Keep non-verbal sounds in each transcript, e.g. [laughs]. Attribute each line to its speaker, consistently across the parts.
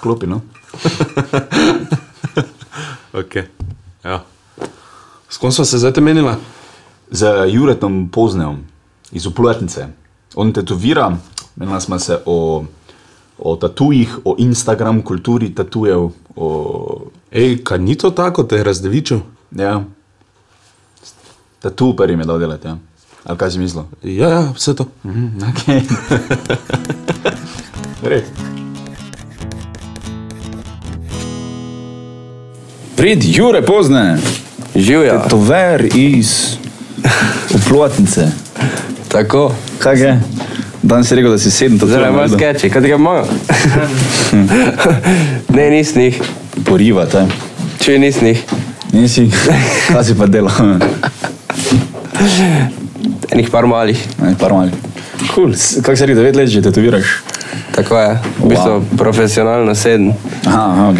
Speaker 1: klopi. No?
Speaker 2: Okay. Ja. S kom smo se zdaj menili?
Speaker 1: Z Juretom Poznevom iz Upletnice. On tetovira, menila smo se o, o tatujih, o Instagram kulturi tatujev. O,
Speaker 2: Ej, kaj ni to tako, te je razdevičil?
Speaker 1: ja. Tatu prvi mi je dal delati. Ja. Ali kaj si mislil?
Speaker 2: Ja, ja, vse to.
Speaker 1: Mm, okay. Res.
Speaker 3: Prid, Jure pozne,
Speaker 4: Živijo,
Speaker 3: tover iz uplotnice.
Speaker 4: tako.
Speaker 3: Kaj je? Danes si rekel, da si sedem, to Hm.
Speaker 4: Zdaj imaš skeče, kaj ga imajo? ne, nisem jih,
Speaker 3: Porivate.
Speaker 4: če nisem jih.
Speaker 3: [laughs] Nisi, kaj si pa delo.
Speaker 4: Enih par malih,
Speaker 3: Par mali. Kul, cool. kako se reče, devet let že tetoviraš.
Speaker 4: tako je. V bistvu
Speaker 3: Wow.
Speaker 4: profesionalno sedem.
Speaker 3: Aha, aha, ok.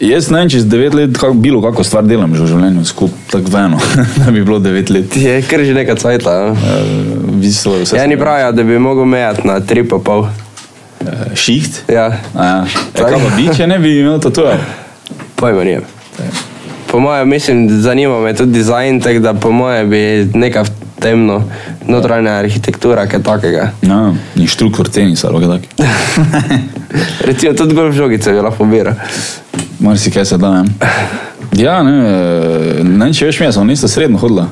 Speaker 3: Jaz ne vem, čez devet let kak, bilo kako stvar delam že v življenju, skupaj tako veno, [laughs] da bi bilo devet let.
Speaker 4: Ti je kar že neka cajta.
Speaker 3: Uh, Vislo, vse.
Speaker 4: Ja, ja ni pravijo, da bi mogel mejati na tri pa pol.
Speaker 3: Uh, šiht?
Speaker 4: Ja,
Speaker 3: Ja. E, kaj pa bi, če ne bi imel tatuja?
Speaker 4: pojma nijem. Po mojem, mislim, zanima me tudi dizajn, tako da po mojem bi neka temno, notranja arhitektura, kaj takega.
Speaker 3: No, inštruktor tenisa ali kaj takega.
Speaker 4: Recimo tudi golf žogice bi lahko biral.
Speaker 3: Mar si kaj se da, ne? Ja, ne, eh, ne vem, če veš, mi smo nista sredno hodila.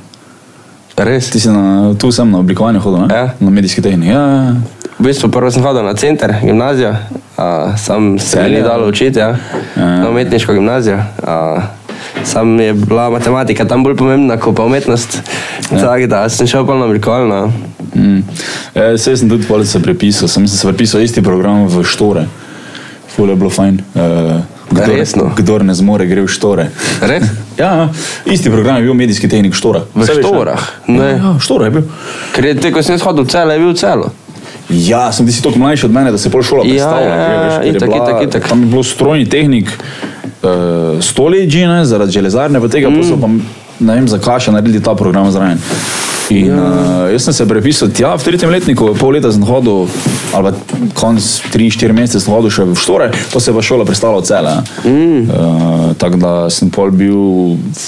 Speaker 4: Res?
Speaker 3: Ti si na, tu sem na oblikovanju hodila, ne?
Speaker 4: Ja.
Speaker 3: Na medijski tehniki. Ja, ja, ja.
Speaker 4: V bistvu prvo sem hodil na center, gimnazijo, a, sam se mi ni
Speaker 3: Celje?
Speaker 4: dalo učiti, ja.
Speaker 3: Ja.
Speaker 4: na umetniško gimnazijo. A, sam je bila matematika tam bolj pomembna kot pa umetnost. Tako da sem šel pa na no. oblikovalno.
Speaker 3: Mm. E, Sej sem tudi pol se prepisal, sem se prepisal isti program v Štore. Ful je bilo fajn. E,
Speaker 4: Ja, Resno?
Speaker 3: kdor ne zmore, gre v Štore.
Speaker 4: Res?
Speaker 3: Ja, ja, isti program je bil medijski tehnik Štora.
Speaker 4: V
Speaker 3: Saj veš, ne?
Speaker 4: Štorah?
Speaker 3: Ja,
Speaker 4: Ne.
Speaker 3: ja, Štora je bil.
Speaker 4: Ker je te, ko sem jaz hodil v celo, je bil v celo.
Speaker 3: Ja, sem ti si toliko mlajši od mene, da se pol šola
Speaker 4: Ja,
Speaker 3: predstavlja.
Speaker 4: ja,
Speaker 3: že,
Speaker 4: ja,
Speaker 3: veš, ker je
Speaker 4: itak,
Speaker 3: bila-
Speaker 4: itak, itak.
Speaker 3: Tam je bilo strojni tehnik, uh, stoleči, ne, zaradi železarne, pa tega mm. posla pa ne vem zakaj še naredili ta program zraven. In ja. uh, jaz sem se prepisal tja, v tretjem letniku, pol leta sem hodil, ali pa konc 3-4 mesece sem hodil še v Štore, pa se je pa šola prestala od cele. Mm. Uh, tako da sem pol bil v,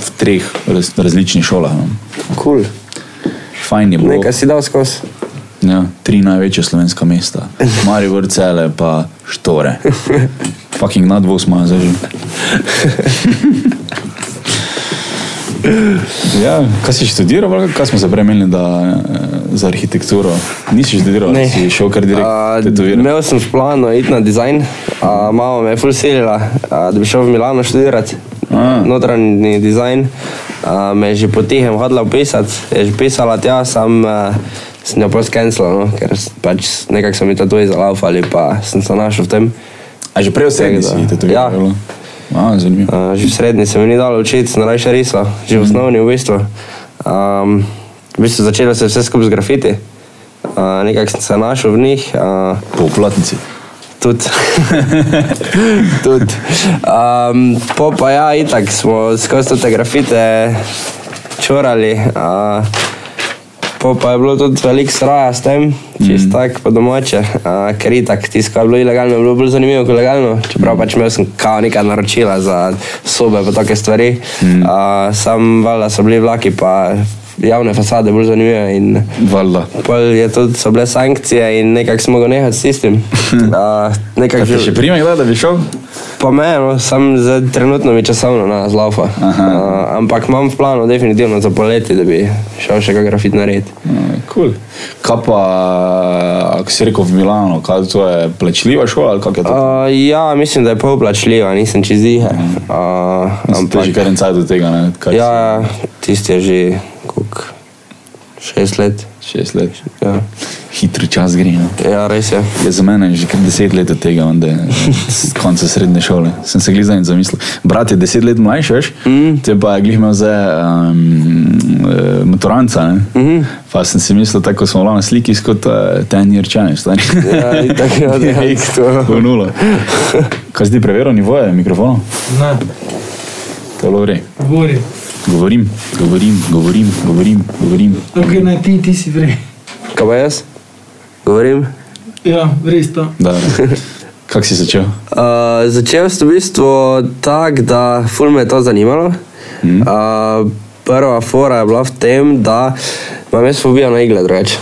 Speaker 3: v treh raz, različnih šolah. no.
Speaker 4: Kul. Cool.
Speaker 3: Fajn je bilo.
Speaker 4: Nekaj si dal skozi.
Speaker 3: Ja, tri največje slovenska mesta, Maribor, Cele pa Štore. Fucking nadvoz ima zdaj že. Ja, kaj si študiral, ali kaj smo se prej menili, da eh, za arhitekturo nisi študiral,
Speaker 4: Ne.
Speaker 3: ne. si šel kar direkt
Speaker 4: A,
Speaker 3: tetovirat.
Speaker 4: Imel sem v planu iti na dizajn, a, mama me je ful silila, a, da bi šel v Milano študirati
Speaker 3: A.
Speaker 4: notranji dizajn. A, me je že potihem hodila pisati, je že pisala tja, sam a, sem jo poskenslal, no, ker s- pač nekako so mi tatuji zalaufali, pa sem se našel v tem.
Speaker 3: A že prej v srednji si
Speaker 4: Tega,
Speaker 3: tetoviral?
Speaker 4: ja.
Speaker 3: ali? A, zanimivo.
Speaker 4: A, že v srednji se mi ni dalo učiti, sem raje risal, že
Speaker 3: Mhm.
Speaker 4: v osnovni v bistvu. Um, v bistvu začelo se je vse skupaj z grafiti, a, nekako sem se našel v njih. A,
Speaker 3: Po uplatnici.
Speaker 4: Tudi. [laughs] Tud. Um, po pa ja, itak smo skozi te grafite čorali. Uh, po pa je bilo tudi veliko sraja s tem, čist mm. tako po domače, uh, ker itak tisto, kar je bilo ilegalno, je bilo bolj zanimivo kot legalno. Čeprav pač imel sem kao nekaj naročila za sobe in take stvari. Mm. Uh, sam valjda so bili vlaki pa javne fasade bolj zanimive in
Speaker 3: Valjda.
Speaker 4: Pol je tudi, so bile sankcije in nekako smo ga nehali
Speaker 3: [laughs]
Speaker 4: s tistim. Uh, nekako
Speaker 3: Kaj
Speaker 4: že
Speaker 3: še prime, kdaj, da bi šel?
Speaker 4: po meni, sam za trenutno mi časovno no, na zlaufa. Uh, ampak imam v planu definitivno za poletje, da bi šel še kaj grafit narediti.
Speaker 3: Cool. Kaj pa, ako si rekel v Milano, kaj to je plačljiva šola ali kako je to?
Speaker 4: Uh, ja, mislim, da je polplačljiva, nisem čez jih.
Speaker 3: Mhm.
Speaker 4: Uh,
Speaker 3: Ampak
Speaker 4: ampak
Speaker 3: že kar en cajt do tega, ne? Kar
Speaker 4: ja, ja, tisti je že koliko, šest let.
Speaker 3: si- Šest let.
Speaker 4: Ja,
Speaker 3: Hitro čas gre. No.
Speaker 4: ja res je.
Speaker 3: Je za mene že kar deset let od tega, da je s konca srednje šole. Sem se glizdan in zamislil. Brat je deset let mlajši, veš, mm. te pa je glih imel za um, eh, maturanca. Mm
Speaker 4: Mhm.
Speaker 3: -hmm. Pa sem si mislil, tako kot smo malo na sliki, kot uh, ten jer čaneš.
Speaker 4: Ja, itak,
Speaker 3: [laughs]
Speaker 4: ja, dejansko.
Speaker 3: V nulo. Kaj zdaj preveril nivoje mikrofonov?
Speaker 5: Ne,
Speaker 3: To je bilo v redu.
Speaker 5: govori.
Speaker 3: Govorim, govorim, govorim, govorim, govorim.
Speaker 5: Ok, ne, ti, ti si vrej.
Speaker 4: Kaj pa jaz? Govorim?
Speaker 5: Ja, res to.
Speaker 3: Da. Kako si začel?
Speaker 4: Uh, začel sem v bistvu tako, da ful me je to zanimalo. Mm. Uh, prva fora je bila v tem, da imam jaz fobijo na igle drugače.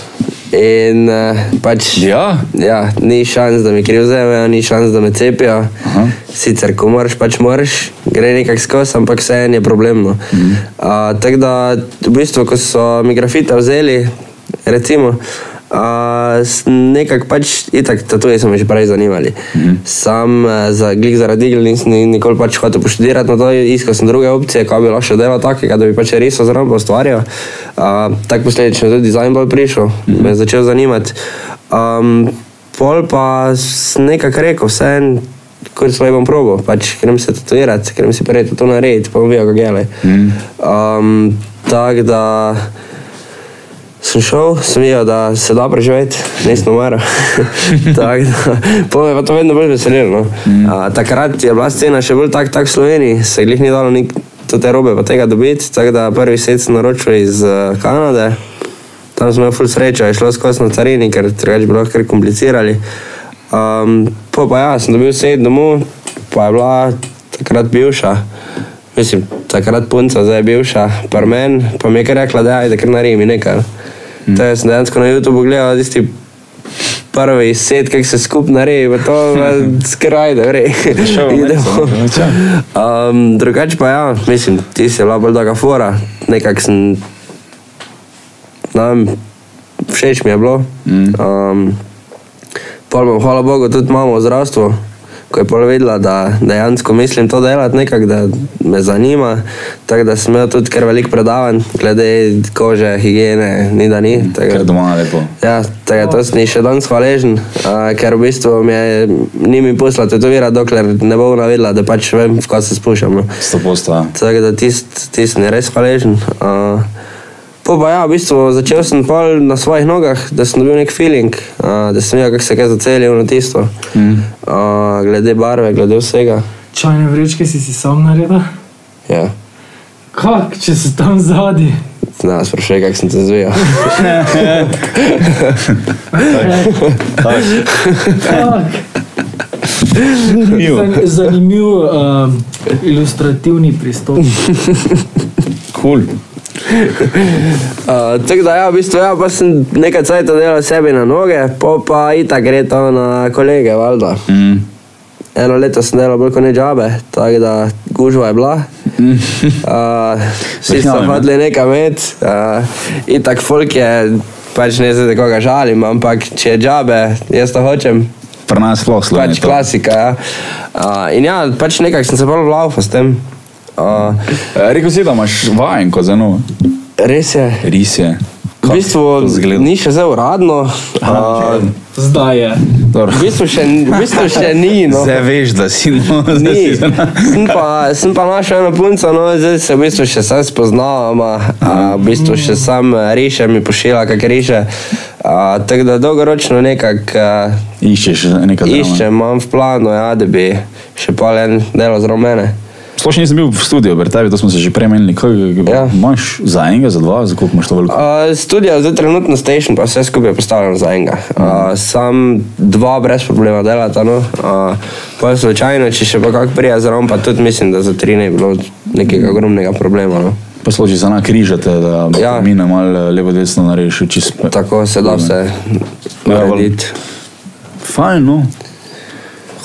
Speaker 4: In uh, pač.
Speaker 3: Ja.
Speaker 4: Ja, ni šans, da mi kriv vzamejo, ni šans, da me cepijo. Aha. Sicer, ko moraš, pač moraš, gre nekako skozi, ampak vseeno je problemno. Mhm. Uh, Tako da, v bistvu, ko so mi grafite vzeli, recimo. Uh, nekako pač, itak, tatuje so me že prej zanimali. Mm -hmm. Sam uh, za glik zaradi igl nisem ni- nikoli pač hotel poštudirati na to, iskal sem druge opcije, kaj bi lahko še delal takega, da bi pač res oziroma ustvarjal. Uh, Tako posledično je tudi dizajn bolj prišel, mm -hmm. me je začel zanimati. Um, pol pa s- nekako rekel, vse en, kot svoj bom probo, pač grem se tatuirati, grem si prej to narediti, pa bom videl, kako je. Mm. Um, Tako da sem šel, sem videl, da se da preživeti, nisem umrl. Tako da, pol me je pa to vedno bolj veselilo. No. Mm. A, takrat je bila scena še bolj tak, tak v Sloveniji, se jih ni dalo nik, tudi te robe pa tega dobiti, tako da prvi set sem naročil iz uh, Kanade. Tam smo imeli ful srečo, je šlo skozi na carini, ker drugače bi lahko kar komplicirali. Um, po pa ja, sem dobil set domov, pa je bila takrat bivša. Mislim, takrat punca, zdaj je bivša, pa meni, pa mi je kar rekla, da je kar naredi nekaj. Mm. To je sem dejansko na YouTubu gledal, tisti prvi set, kako se skupaj naredi, pa to skraj, da gre. Idemo. Um, drugače pa ja, mislim, ti si bila bolj dolga fora, nekak sem nam všeč mi je bilo. Mm. Um, pol bom, hvala Bogu, tudi imamo v zdravstvu, ko je pol vedela, da dejansko mislim to delati nekako, da me zanima. Tako da sem imel tudi kar veliko predavanj glede kože, higiene, ni da ni. tako da-
Speaker 3: Ker doma lepo.
Speaker 4: Ja, tega, to sem ji še danes hvaležen, uh, ker v bistvu mi je, ni mi poslala tetovirati, dokler ne bo navedla, da pač vem, v kaj se spuščam. No.
Speaker 3: Sto posta.
Speaker 4: Tako da tisti tist je res hvaležen. Uh, po pa ja, v bistvu začel sem pol na svojih nogah, da sem dobil nek feeling, uh, da sem videl, kako se kaj zacelil na tisto. Mm.
Speaker 3: Hm.
Speaker 4: Uh, glede barve, glede vsega.
Speaker 5: Čajne vrečke si si sam naredil.
Speaker 4: Ja.
Speaker 5: Kak, če si tam zadnji?
Speaker 4: Ne, sprašuj, kako sem se zvijal. [laughs]
Speaker 3: Zanimivo.
Speaker 5: Zanimiv um, ilustrativni pristop.
Speaker 3: Kul.
Speaker 4: Uh, tako da, ja, v bistvu, ja, pa sem nekaj cajt delal sebi na noge, po pa itak gre to na kolege, valjda.
Speaker 3: Mm.
Speaker 4: Eno leto sem delal bolj kot nežabe, tako da gužva je
Speaker 3: [laughs]
Speaker 4: bila. Uh, vsi so
Speaker 3: Verjamem, ne?
Speaker 4: hodili nekam med, uh, itak folk je, pač ne zdaj koga žalim, ampak če je žabe, jaz to hočem.
Speaker 3: Pri nas sploh
Speaker 4: Pač
Speaker 3: slovenci.
Speaker 4: klasika, ja. Uh, in ja, pač nekako sem se bolj vlaufal s tem. Uh,
Speaker 3: Rekl Eh, si, da imaš vajen kot za eno.
Speaker 4: res je.
Speaker 3: Ris je.
Speaker 4: V bistvu
Speaker 3: zgleda.
Speaker 4: ni še zdaj uradno. Uh,
Speaker 5: Zdaj je.
Speaker 3: Dobro.
Speaker 4: V bistvu še, v bistvu še ni. No.
Speaker 3: [laughs] Zdaj veš, da si no, zdaj
Speaker 4: Ni.
Speaker 3: si zna-
Speaker 4: Sem pa, sem pa našel eno punco, no, zdaj se v bistvu še sam spoznavamo, a, v bistvu še sam eh, riše, mi pošilja, kak riše. A, Tako da dolgoročno nekako a,
Speaker 3: Iščeš nekaj drama.
Speaker 4: iščem, imam v planu, ja, da bi še pol en delo zraven mene.
Speaker 3: Sploh še nisem bil v studiu, pri tebi, to smo se že prej menili. Kaj,
Speaker 4: Ja.
Speaker 3: ja. Imaš za enega, za dva, za koliko imaš to veliko?
Speaker 4: Uh, studio je zdaj trenutno station, pa vse skupaj je postavljeno za enega. Uh, sam dva brez problema delata. No. Uh, pa slučajno, če še pa kak prija zraven, pa tudi mislim, da za tri ne bi bilo nekega ogromnega problema. No.
Speaker 3: Pa služi za na križate, da ja.
Speaker 4: Ja.
Speaker 3: mine malo levo desno nareši čisto.
Speaker 4: Tako se da vse
Speaker 3: Ja, val-
Speaker 4: narediti.
Speaker 3: Fajn, no.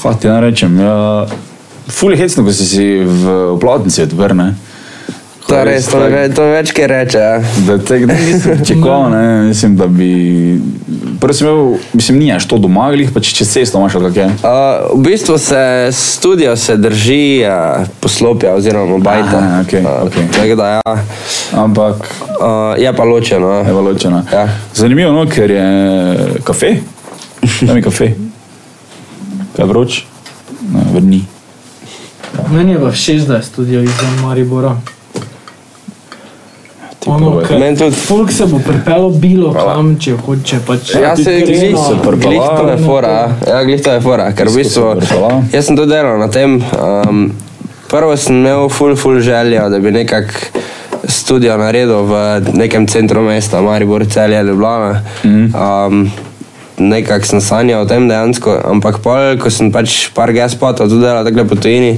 Speaker 3: Hvala ti, da rečem. Ja, Fuli hecno, ko si si v plotnici odprl, ne?
Speaker 4: To je res, to, ve, to več, ki reče. ja.
Speaker 3: Da te kdaj nisem [laughs] pričakoval, ne, mislim, da bi... Prvi sem imel, mislim, nimaš to doma, ali pa če čez cesto imaš ali kaj.
Speaker 4: Uh, v bistvu se studio se drži uh, poslopja oziroma bajta.
Speaker 3: Aha, okej,
Speaker 4: uh,
Speaker 3: okej.
Speaker 4: Tako da ja,
Speaker 3: Ampak,
Speaker 4: uh, je pa ločeno. ja.
Speaker 3: evo ločena.
Speaker 4: Ja.
Speaker 3: Zanimivo, no, ker je kafe. Daj mi kafe. Kaj vroč? No, Ne, vrni.
Speaker 5: Meni je pa všeč, da je studio izven Maribora. Ono,
Speaker 3: probaj.
Speaker 5: kar-
Speaker 4: Meni tudi.
Speaker 5: Folk se bo pripelo bilo kam, če hoče. Pač,
Speaker 4: Ja,
Speaker 3: tudi
Speaker 4: se
Speaker 3: krena
Speaker 4: glih
Speaker 3: se prpala.
Speaker 4: glih to je fora. ja. Ja, glih to je fora, ker v bistvu
Speaker 3: se prpala.
Speaker 4: jaz sem to delal na tem. Um, prvo sem imel full, full željo, da bi nekak studio Mhm. naredil v nekem centru mesta, Maribor, Celje, Ljubljana. Um, nekako sem sanjal o tem dejansko, ampak pol, ko sem pač par gespotov tudi delal tako po tujini,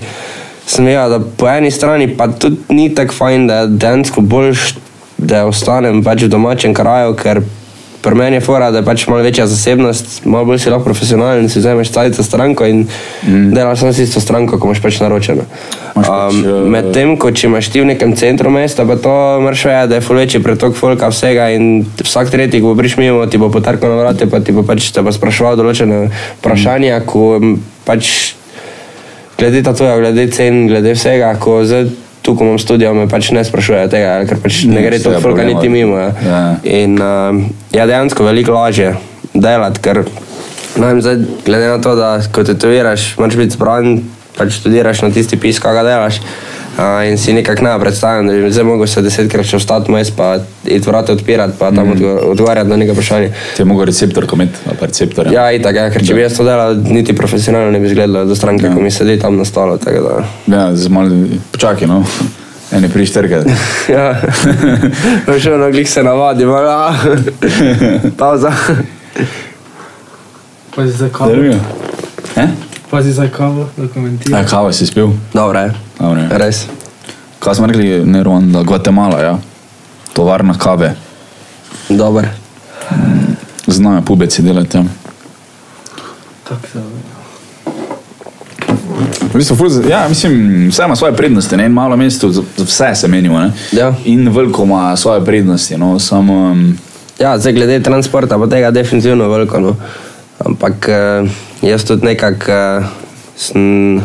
Speaker 4: sem vedel, da po eni strani pa tudi ni tako fajn, da je dejansko boljš, da ostanem pač v domačem kraju, ker pri meni je fora, da je pač malo večja zasebnost, malo bolj si lahko profesionalen, si vzameš cajtno stranko in mm. delaš samo s isto stranko, ko imaš pač naročeno.
Speaker 3: Imaš pač,
Speaker 4: Um,
Speaker 3: eh,
Speaker 4: Medtem, ko če imaš ti v nekem centru mesta, pa to moraš vedeti, da je ful večji pretok folka vsega in vsak tretji, ko bo prišel mimo, ti bo potarkal na vrate, pa ti bo pač te bo spraševal določene vprašanja, ko m, pač glede tatuja, glede cen, glede vsega, ko zdaj tu, ko imam študijo, me pač ne sprašujejo tega, ker pač ne
Speaker 3: Ni
Speaker 4: gre to
Speaker 3: vsega
Speaker 4: folka
Speaker 3: problema.
Speaker 4: niti mimo. Ja.
Speaker 3: Ja.
Speaker 4: In uh, ja, dejansko veliko lažje delati, ker ne vem, zdaj, glede na to, da ko tetoviraš, moraš biti zbran, pač študiraš na tisti pis, kaj ga delaš. Uh, in si nekako ne predstavljam, da bi zdaj mogel se desetkrat še vstati mes, pa iti vrata odpirati, pa
Speaker 3: Mhm.
Speaker 4: tam mm. odgovarjati na nekaj vprašanje.
Speaker 3: Ti je mogel receptor komit, ali pa receptor.
Speaker 4: Ja, itak, ja, ker če bi jaz to delal, niti profesionalno ne bi izgledalo, da stranke, ja. ko mi sedi tam na stolu. tako da.
Speaker 3: ja z malo, počakaj, no. Ene prišterke.
Speaker 4: Ja, no še vedno glih se navadi, ja. malo. Pauza.
Speaker 5: Pazi za kavo.
Speaker 3: Zanimivo.
Speaker 4: Ja.
Speaker 3: Eh?
Speaker 5: Pazi za kavo, dokumentiraj.
Speaker 3: Ja, kava si spil?
Speaker 4: Dobro je,
Speaker 3: Dobro je.
Speaker 4: res.
Speaker 3: Kaj smo rekli, ne Ruanda, Gvatemala, ja. Tovarna kave.
Speaker 4: Dober.
Speaker 3: Znajo pubeci delati, ja.
Speaker 5: Tako se ve.
Speaker 3: V bistvu, ful, z- ja, mislim, vse ima svoje prednosti, ne? in malo mesto, za za vse se menimo. Ne?
Speaker 4: Ja.
Speaker 3: In veliko ima svoje prednosti, no? samo um,
Speaker 4: Ja, zdaj glede transporta, pa tega definitivno veliko. No. Ampak eh, jaz tudi nekako eh, sem,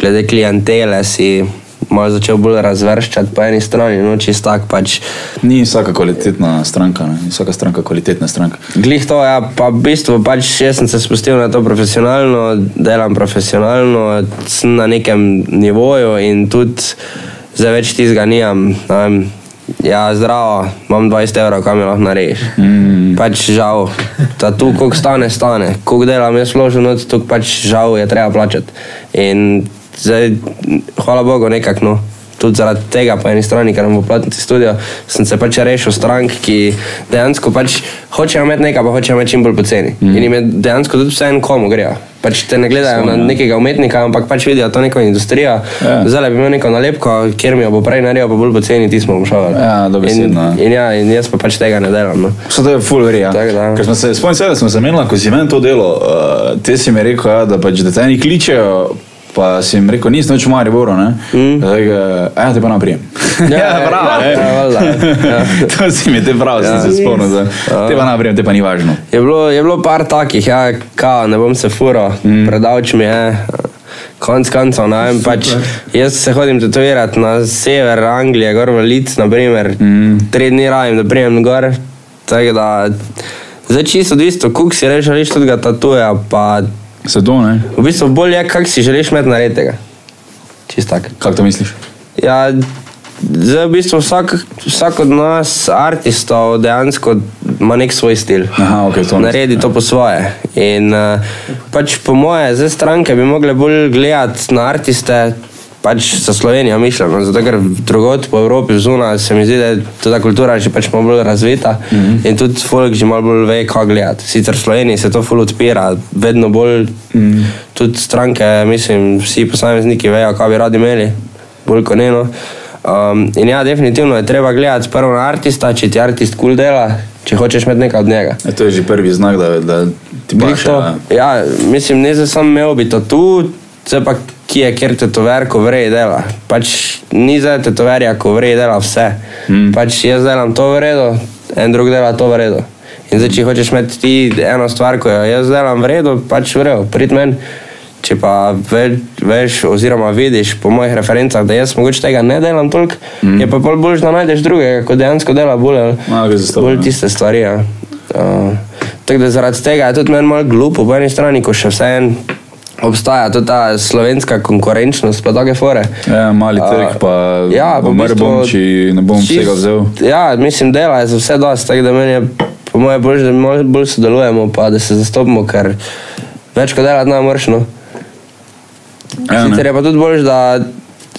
Speaker 4: glede klientele, si malo začel bolj razvrščati po eni strani, no čist tak pač.
Speaker 3: ni vsaka kvalitetna stranka, ne? ni vsaka stranka kvalitetna stranka.
Speaker 4: Glih to, ja, pa v bistvu pač jaz sem se spustil na to profesionalno, delam profesionalno, sem na nekem nivoju in tudi za več tizga nijam. ne vem, Ja, zdravo, imam 20 evrov, kam mi lahko narediš. Mm. Pač žal, ta tu, koliko stane, stane. Koliko delam jaz vložen, tu pač žal je treba plačati. In zdaj, hvala Bogu, nekako. No tudi zaradi tega, po eni strani, ker nam bo platiti studio, sem se pač rešil strank, ki dejansko pač hočejo imeti nekaj, pa hočejo imeti čim bolj poceni. Mm. In jim je dejansko tudi vseeno, komu grejo. Pač te ne gledajo na nekega umetnika, ampak pač vidijo to neko industrijo.
Speaker 3: Ja.
Speaker 4: Yeah. Zdaj bi imel neko nalepko, kjer mi jo bo prej naredil, pa bolj poceni, ti smo mu šel.
Speaker 3: Ja,
Speaker 4: in,
Speaker 3: dobesedno, ja.
Speaker 4: in, ja, in jaz pa pač tega ne delam. No.
Speaker 3: Vse to je full verja.
Speaker 4: Tako da. ja.
Speaker 3: Ker smo se, spomnim se, da smo se menili, ko si meni to delo, uh, te si mi rekel, ja, da pač da te eni kličejo, pa si jim rekel, nisem več v Mariboru, ne? Mm. Zdaj, ja, te pa naprijem. [laughs]
Speaker 4: Ja, ja, ja, ja, valjda, ja.
Speaker 3: to si mi te prav, ja. sem se spomnil, da te pa naprijem, te pa ni važno.
Speaker 4: Je bilo, je bilo par takih, ja, ka, ne bom se furo, mm. predavč mi je. Konc koncev, ne vem, pač jaz se hodim tetovirati na sever Anglije, gor v Lidz, na primer, mm. tri dni rajem, da prijem gor. Tako da, zdaj čisto odvisno, kuk si reče, želiš tudi ga tatuja, pa
Speaker 3: Se to, ne?
Speaker 4: v bistvu bolje je, kak si želiš imeti nareditega. Čisto tako.
Speaker 3: Kako to misliš?
Speaker 4: Ja, zdaj v bistvu vsak, vsak od nas, artistov, dejansko ima nek svoj stil.
Speaker 3: Aha, ok, to ne-
Speaker 4: Naredi to po svoje. In uh, pač po moje, zdaj stranke bi mogle bolj gledati na artiste. Pač za Slovenijo mišljeno, zato ker drugot po Evropi, zunaj, se mi zdi, da je ta kultura že pač malo bolj razvita mm -hmm. in tudi folk že malo bolj ve, kako gledati. Sicer v Sloveniji se to ful odpira, vedno bolj, mm. tudi stranke, mislim, vsi posamezniki vejo, kaj bi radi imeli bolj kot eno. Um, in ja, definitivno je treba gledati prvo na artista, če ti artist kul cool dela, če hočeš imeti nekaj od njega.
Speaker 3: E, to je že prvi znak, da, da ti
Speaker 4: Glih
Speaker 3: paše.
Speaker 4: to.
Speaker 3: ja.
Speaker 4: Ja, mislim, ne za sam imel bi tatu, zdaj pa ki je kjer tetover, ko vrej dela. Pač ni za tetoverja, ko vrej dela vse. Mm. Pač jaz delam to v redu, en drug dela to v redu. In zdaj, če hočeš imeti ti eno stvar, ko jo jaz delam v redu, pač v redu, prid meni. Če pa ve, veš, oziroma vidiš po mojih referencah, da jaz mogoče tega ne delam toliko, mm. je pa bolj bolj, da najdeš drugega, ko dejansko dela bolj.
Speaker 3: Ma, gre za stavo,
Speaker 4: bolj
Speaker 3: ja.
Speaker 4: ti tiste stvari. Ja. Uh, tako da zaradi tega je tudi meni malo glupo, po eni strani, ko še vseeno obstaja tudi ta slovenska konkurenčnost, pa take fore.
Speaker 3: Ja, mali
Speaker 4: A,
Speaker 3: trg, pa
Speaker 4: ja, pa v
Speaker 3: umrl bom,
Speaker 4: bistvu
Speaker 3: če ne bom
Speaker 4: čist-
Speaker 3: vsega vzel.
Speaker 4: Ja, mislim, dela je za vse dosti, tako da meni je po mojem bolj, da malo bolj sodelujemo, pa da se zastopimo, ker več kot delati nam mršno.
Speaker 3: Ja,
Speaker 4: no. Sicer
Speaker 3: ne.
Speaker 4: je pa tudi bolj, da
Speaker 3: Mhm.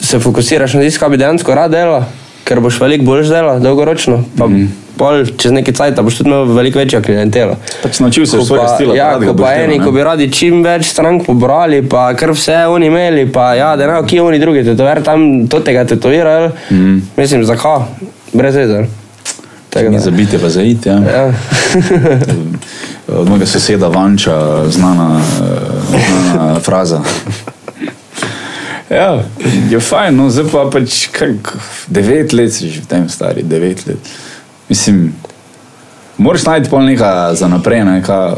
Speaker 4: se fokusiraš na tisto, kar bi dejansko rad delal, ker boš veliko boljš delal dolgoročno. Pa mm. pol čez nekaj cajt boš tudi imel veliko večjo klientelo.
Speaker 3: Pač naučil se
Speaker 4: Ko
Speaker 3: je svojega
Speaker 4: pa-
Speaker 3: stila.
Speaker 4: Ja,
Speaker 3: takega
Speaker 4: ko
Speaker 3: boš
Speaker 4: pa
Speaker 3: delal,
Speaker 4: eni,
Speaker 3: ne.
Speaker 4: ko bi radi čim več strank pobrali, pa kar vse oni imeli, pa ja, da ne, ki oni drugi tetover tam to tega tetovirajo.
Speaker 3: Mhm.
Speaker 4: Mm. Mislim, zakaj? Brez vezer. Tako
Speaker 3: Ni
Speaker 4: da.
Speaker 3: zabite, pa zaite. Ja.
Speaker 4: Ja.
Speaker 3: Od mojega soseda Vanča, znana, eh,
Speaker 4: [laughs]
Speaker 3: znana fraza. Ja, je fajn, no zdaj pa pač kak, devet let si že v tem stari, devet let. Mislim, moraš najti pol nekaj za naprej, ne, ka,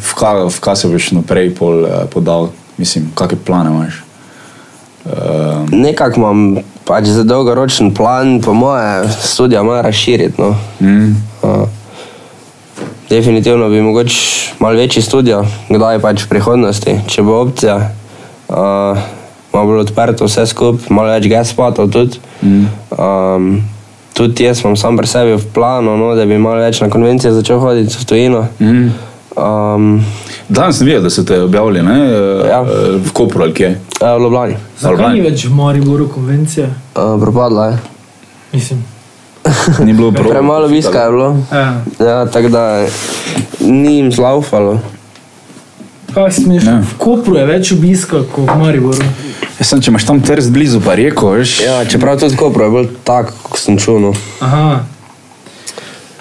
Speaker 3: v kaj ka se boš naprej pol, eh, podal, mislim, kakšne plane imaš. Uh,
Speaker 4: Nekako imam pač za dolgoročen plan, po moje, studio malo razširiti. No.
Speaker 3: mm,
Speaker 4: Uh, definitivno bi mogoče malo večji studio, kdaj pač v prihodnosti, če bo opcija. Uh, malo bolj odprto vse skupaj, malo več gespotov tudi.
Speaker 3: Mm.
Speaker 4: Um, tudi jaz imam sam pri sebi v planu, no, da bi malo več na konvencije začel hoditi v tujino.
Speaker 3: mm.
Speaker 4: Um,
Speaker 3: Danes sem videl, da so te objavili ne, eh,
Speaker 4: Ja.
Speaker 3: eh, v Kopru ali kje.
Speaker 4: eh, v Ljubljani.
Speaker 5: Zakaj ni več v Mariboru konvencije?
Speaker 4: Uh, propadla je.
Speaker 5: Mislim.
Speaker 3: Ni bilo prav.
Speaker 4: [laughs] Premalo obiska je bilo.
Speaker 5: Ja.
Speaker 4: Ja, tako da ni jim zlaufalo.
Speaker 5: Kaj smeš?
Speaker 3: Ja.
Speaker 5: V Kopru je več obiska kot v Mariboru.
Speaker 3: Jaz Ja, sem, če imaš tam trst blizu, pa reko, veš.
Speaker 4: Ja, čeprav tudi Kopro je bil tak, kot sem čutil. no.
Speaker 5: Aha.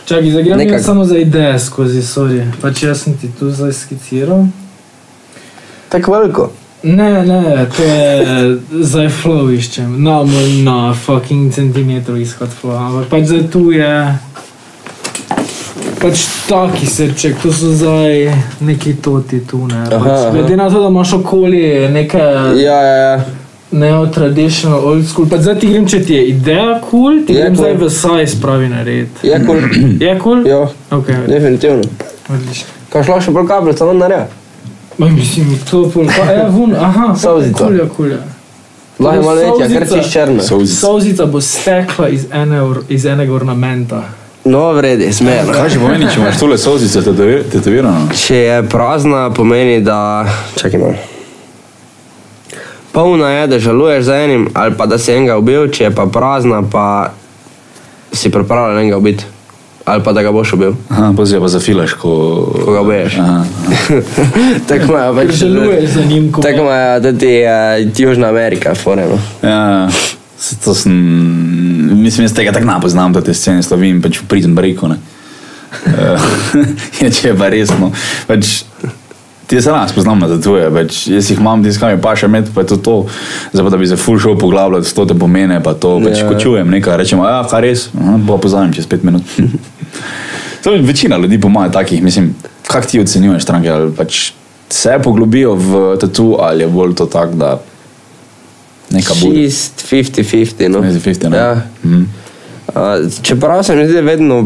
Speaker 5: Čakaj, zdaj gremo
Speaker 4: Nekako.
Speaker 5: jaz samo za ideje skozi, sorry. Pač jaz sem ti tu zdaj skiciral.
Speaker 4: Tako veliko.
Speaker 5: Ne, ne, to je zdaj flow iščem. No, moj na fucking centimetru izhod flow, ampak pač zdaj tu je. Pač taki srček, to so zdaj neki toti tu, ne.
Speaker 4: Aha,
Speaker 5: Pač,
Speaker 4: aha.
Speaker 5: aha, glede na to, da imaš okoli neke
Speaker 4: Ja, ja, ja.
Speaker 5: neo-traditional, old school, pa zdaj ti grem, če ti je ideja kul, cool, ti
Speaker 4: Je
Speaker 5: grem
Speaker 4: cool. Ja.
Speaker 5: zdaj v saj spravi na red.
Speaker 4: Je kul,
Speaker 5: Je kul? Cool?
Speaker 4: Ja, jo,
Speaker 5: Ok,
Speaker 4: definitivno.
Speaker 5: odlično.
Speaker 4: Kaj šlo še bolj kabel, samo naredi.
Speaker 5: Ma mislim, to pol, pa je vun, aha,
Speaker 4: Solzica.
Speaker 5: kulja, kulja.
Speaker 4: Lahko je malo večja, ker
Speaker 5: Solzica.
Speaker 4: čist črna.
Speaker 3: Solzica.
Speaker 5: Sauzica bo stekla iz, ene, or- iz enega ornamenta.
Speaker 4: No, vredi, smerno.
Speaker 3: Kaj že pomeni, če imaš tole sozice tetovi- tetovirano?
Speaker 4: Če je prazna, pomeni, da. Čakaj malo. Polna je, da žaluješ za enim, ali pa da si enega ubil, če je pa prazna, pa si pripravljen enega ubiti. Ali pa da ga boš ubil. [laughs]
Speaker 3: Aha, pozdrav pa zafilaš, ko...
Speaker 4: Ko ga ubiješ.
Speaker 3: Aha,
Speaker 4: Tako imajo
Speaker 5: Ker
Speaker 4: pač.
Speaker 5: žaluješ za njim, ko
Speaker 4: Tako
Speaker 5: je
Speaker 4: imajo tudi uh, Južna Amerika, no. foreno.
Speaker 3: ja, s- to sem... Mislim, jaz tega tako napoznam, da te scene slovim, pač v pridem breku, ne. Eh, [laughs] Ja, če je pa resno. Pač, ti se nas poznam na tatuje, pač, jaz jih imam, tiskam je paša med, pa je to to. Zdaj pa, da bi se full show poglabljal, to te pomene, pa to, pač,
Speaker 4: Ja.
Speaker 3: ko čujem nekaj, rečemo, ja, kaj res, Aha, pa pozajem čez pet minut. [laughs] To je večina ljudi, po mojem, takih. Mislim, kak ti ocenjuješ stranke? Ali pač se poglobijo v tatu, ali je bolj to tak, da neka bo.
Speaker 4: Čist 50-50. No.
Speaker 3: 50-50, ne?
Speaker 4: Ja.
Speaker 3: Mhm.
Speaker 4: Uh, čeprav se mi zdi, da je vedno,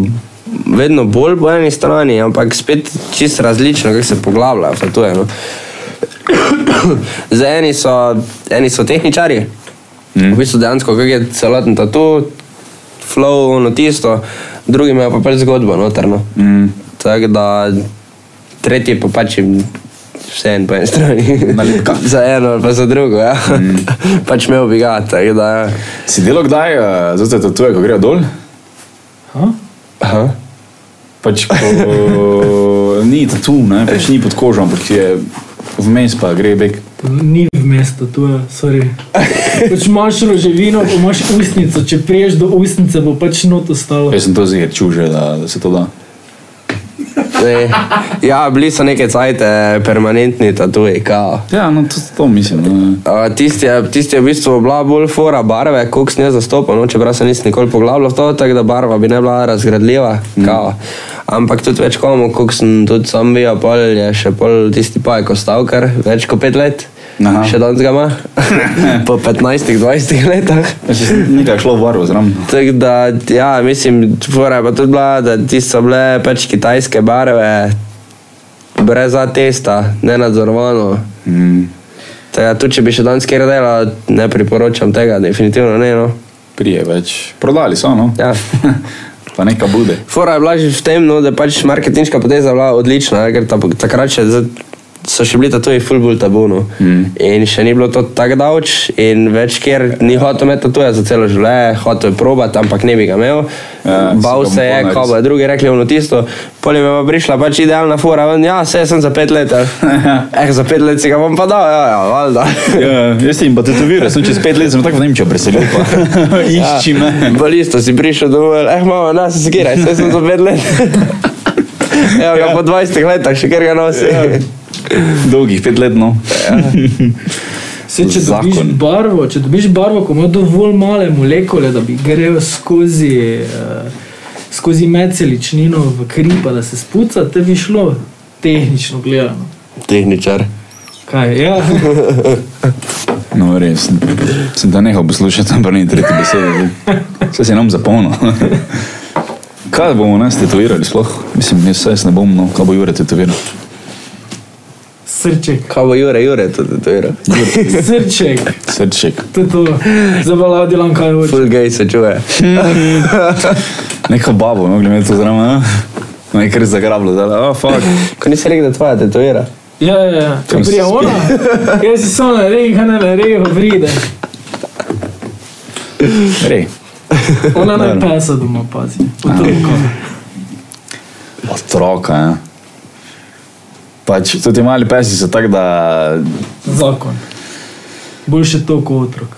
Speaker 4: vedno bolj po eni strani, ampak spet čist različno, kako se poglabljajo. pa to je, No. Za eni so, eni so tehničari, mm. v bistvu dejansko, kako je celoten tatu, flow, ono tisto, drugi imajo pa pač zgodbo notrno.
Speaker 3: Mm.
Speaker 4: Tako da tretji pa pač jim vse en po eni strani.
Speaker 3: Nalepka.
Speaker 4: [laughs] za eno ali pa za drugo, ja. Mm. [laughs] pač imel bi ga, tako da. ja.
Speaker 3: Si delo kdaj, eh, zato je tatuje, ko grejo dol?
Speaker 4: Aha.
Speaker 3: Pač,
Speaker 4: [laughs]
Speaker 3: ko, ni tatu, ne? pač ni pod kožo, ampak je vmes pa gre bek.
Speaker 5: ni v mestu, tu je,
Speaker 4: [laughs]
Speaker 5: sorry. Pač imaš roževino, pa imaš ustnico, če priješ do ustnice, bo pač not ostalo.
Speaker 3: Jaz sem to zir čuže, da, da se to da.
Speaker 4: Ne. Ja, bili so neke cajte, eh, permanentni tatuji, kao.
Speaker 3: Ja, no to, to mislim. Ne.
Speaker 4: A, Tisti je, tisti je v bistvu bila bolj fora barve, koliko sem jaz zastopal, no, čeprav se nisem nikoli poglabljal v to, tako da barva bi ne bila razgradljiva. Mm. Ampak tudi več komu, koliko sem tudi sam bil, pol je še pol tisti pajek ostal, kar več kot pet let.
Speaker 3: Aha.
Speaker 4: Aha. Še danes ga ima, [laughs] po 15-20 letih.
Speaker 3: Jaz sem nekaj šlo v barvo zraven.
Speaker 4: Tako da, ja, mislim, fora je pa tudi bila, da tiste so bile pač kitajske barve, brez atesta, nenadzorovano.
Speaker 3: Mm.
Speaker 4: Tega, tudi če bi še danes kjer delal, ne priporočam tega, definitivno ne. No.
Speaker 3: Prije več. Prodali so, no?
Speaker 4: Ja.
Speaker 3: [laughs] pa neka bude.
Speaker 4: Fora je bila že v tem, no, da pač marketinška poteza bila odlična, ne, ker ta, takrat še z- so še bili tatuji ful bolj tabuno. Mm. In še ni bilo to tako davč in več, ker ni hotel imeti tatuja za celo življenje, hotel je probati, ampak ne bi ga imel.
Speaker 1: Ja,
Speaker 4: Ja, Bal
Speaker 1: si ga
Speaker 4: se je,
Speaker 1: bo naredil.
Speaker 4: ko bo drugi rekli, ono tisto, polje me bo prišla pač idealna fura, ven, ja, se sem za pet let.
Speaker 1: [laughs]
Speaker 4: ali." Eh, za pet let si ga bom pa dal, ja, ja, valjda.
Speaker 3: Ja, jaz sem jim pa tetoviral, sem čez pet let sem tako v Nemčijo preselil. pa
Speaker 5: [laughs]
Speaker 3: Ja. Išči me.
Speaker 4: Balisto Ja. si prišel domov, eh, mama, nas zgiraj, se sem za pet [laughs] let. Evo ga ja. po 20 letih, še kar ga nosi. Ja.
Speaker 3: Dolgih pet let, no.
Speaker 5: Se, če dobiš
Speaker 3: Zakon.
Speaker 5: barvo, če dobiš barvo, ko ima dovolj male molekule, da bi grejo skozi, eh, skozi medceličnino v kri, pa da se spuca, te bi šlo tehnično gledano.
Speaker 4: Tehničar.
Speaker 5: Kaj, ja,
Speaker 3: No, res. Sem da nehal poslušati, tam pa ni tretje besede. Vse se nam zapolno. [laughs] Kaj bomo nas tetovirali sploh? Mislim, jaz vse ne bom, no, kaj bo Jure tetoviral.
Speaker 5: [laughs] srček,
Speaker 4: Kaj bo Jure, Jure, to tatuira.
Speaker 5: srček,
Speaker 3: Srček.
Speaker 5: to je to, zabavno delam, kaj hočeš.
Speaker 4: Full gay se čuje.
Speaker 3: Neka babo, mogli imeti to zraven, no, je kar zagrablo, da, a, oh, fuck.
Speaker 4: Ko nisi rekel, da tvoja tatuira.
Speaker 5: Ja, ja, ja. Ko
Speaker 3: Tam si
Speaker 5: prija
Speaker 3: spet.
Speaker 5: ona,
Speaker 3: [laughs]
Speaker 5: jaz si samo naredi, kaj ne naredi, pa pride.
Speaker 3: Rej.
Speaker 5: Ona naj pesa doma, pazi. Otroka.
Speaker 3: Otroka, ja. Pač, tudi mali pesi so tak, da
Speaker 5: Zakon. Boljše to kot otrok.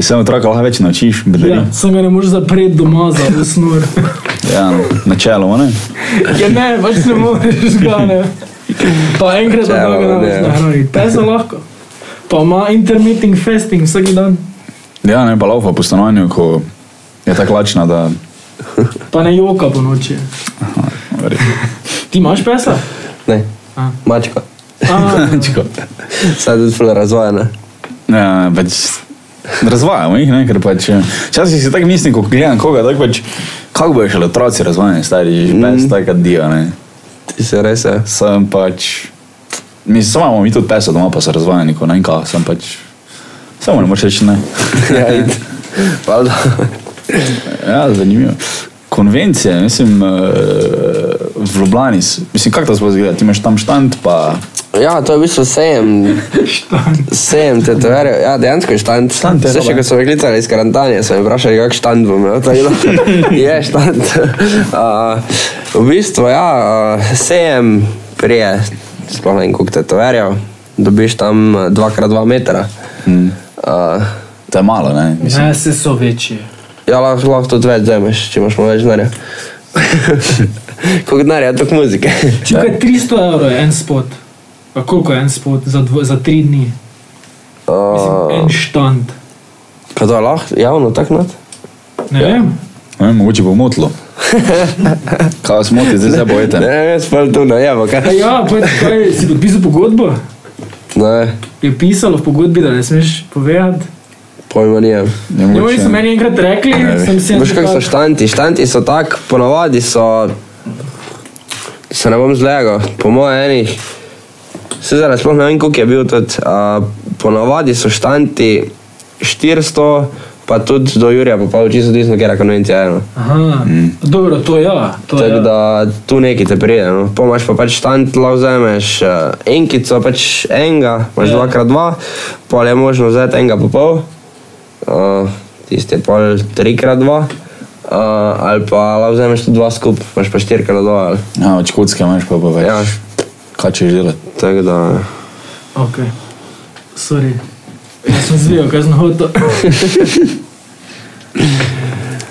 Speaker 3: se otroka lahko več naučiš, bedeli.
Speaker 5: Ja, sem ga ne moreš zapreti doma za usnor.
Speaker 3: Ja, no, načeloma, ne?
Speaker 5: Ja, ne, pač ne moreš ga ne. Pa enkrat na dan ga ne moreš
Speaker 4: Čelo, ne.
Speaker 5: nahraniti. Pesa lahko. Pa ima intermittent fasting vsak dan.
Speaker 3: Ja, ne pa laufa po stanovanju, ko je tako lačna, da...
Speaker 5: Pa ne joka po noči. Ti imaš pesa?
Speaker 4: Ne,
Speaker 5: A.
Speaker 4: mačka. [laughs]
Speaker 5: A,
Speaker 3: Čiko.
Speaker 4: Sad je full razvojena.
Speaker 3: Ja, pač razvajamo jih, ne, ker pač... ja. Včasih si tako mislim, ko gledam koga, tako pač... Kako bojo šele otroci razvajeni, stari, že pes, taka dio, ne?
Speaker 4: Ti se res ja. je.
Speaker 3: Sem pač... Mislim, samo imamo mi tudi pesa doma, pa so razvajeni, ko ne vem kaj, sem pač... Samo ne moreš reči ne.
Speaker 4: Ja, id. Valjda.
Speaker 3: Ja, zanimivo. Konvencije, mislim, eh, v Ljubljani, s- mislim, kako to sploh zgleda, ti imaš tam štand, pa...
Speaker 4: Ja, to je v bistvu sejem. Sejem tetovarjev. Ja, dejansko je štand.
Speaker 3: Štand je,
Speaker 4: Saj še,
Speaker 3: dober.
Speaker 4: ko so me klicali iz karantanje, so me vprašali, kak štand bom ja, imel. Tako [laughs] da je štand. Uh, v bistvu, ja, uh, sejem prije, sploh ne vem koliko tetovarjev, dobiš tam 2x2 metra.
Speaker 3: Mm.
Speaker 4: Uh,
Speaker 3: To je malo, ne? Mislim,
Speaker 5: ne, se so večje.
Speaker 4: Ja, lahko, lahko tudi več vzameš, če imaš malo več denarja. [laughs] Koliko denarja, toliko muzike.
Speaker 5: Čakaj, 300 evrov je en spot. Pa koliko je en spot za, dvo, za tri dni? Mislim, en štand.
Speaker 4: Kaj to lahko, javno tako not?
Speaker 5: Ne ja. vem.
Speaker 3: ne vem, mogoče bo
Speaker 5: [laughs]
Speaker 3: motlo. Kaj vas moti, zdaj se
Speaker 4: Ne,
Speaker 3: bojite.
Speaker 4: ne, jaz pa tu ne, ja, pa
Speaker 5: A
Speaker 4: kaj.
Speaker 5: ja, pa kaj, si podpisal pogodbo?
Speaker 4: Ne,
Speaker 5: Je pisalo v pogodbi, da ne smeš povedati.
Speaker 4: pojma nijem.
Speaker 3: Ne
Speaker 5: Ja, oni
Speaker 3: mogoče.
Speaker 5: so meni enkrat rekli,
Speaker 3: veš.
Speaker 5: sem se
Speaker 4: Veš, kako so štanti? Štanti so tak, ponavadi so... Se ne bom zlegal, po mojem enih... Se zdaj sploh ne vem, koliko je bil tudi. A, ponavadi so štanti 400, pa tudi do Jurija, pa pa očisto odvisno, kjer je no. konvencija eno.
Speaker 5: Aha, mm. dobro, to ja. To
Speaker 4: Tako
Speaker 5: ja.
Speaker 4: da tu neki te pride, no. pomaž pa pač štant, lahko vzameš eh, enkico, pač enega, imaš
Speaker 5: Ja.
Speaker 4: yeah. dvakrat dva, pol je možno vzeti enega pa pol, uh, tisti je pol trikrat dva, uh, ali pa lahko vzameš tudi dva skup, imaš pa štirikrat dva. Ali.
Speaker 3: Ja, od škotske imaš pa pa več.
Speaker 4: Ja.
Speaker 3: Kaj češ delati?
Speaker 4: Tako da,
Speaker 5: Ok, sorry. Jaz sem zvijal, kaj sem hotel.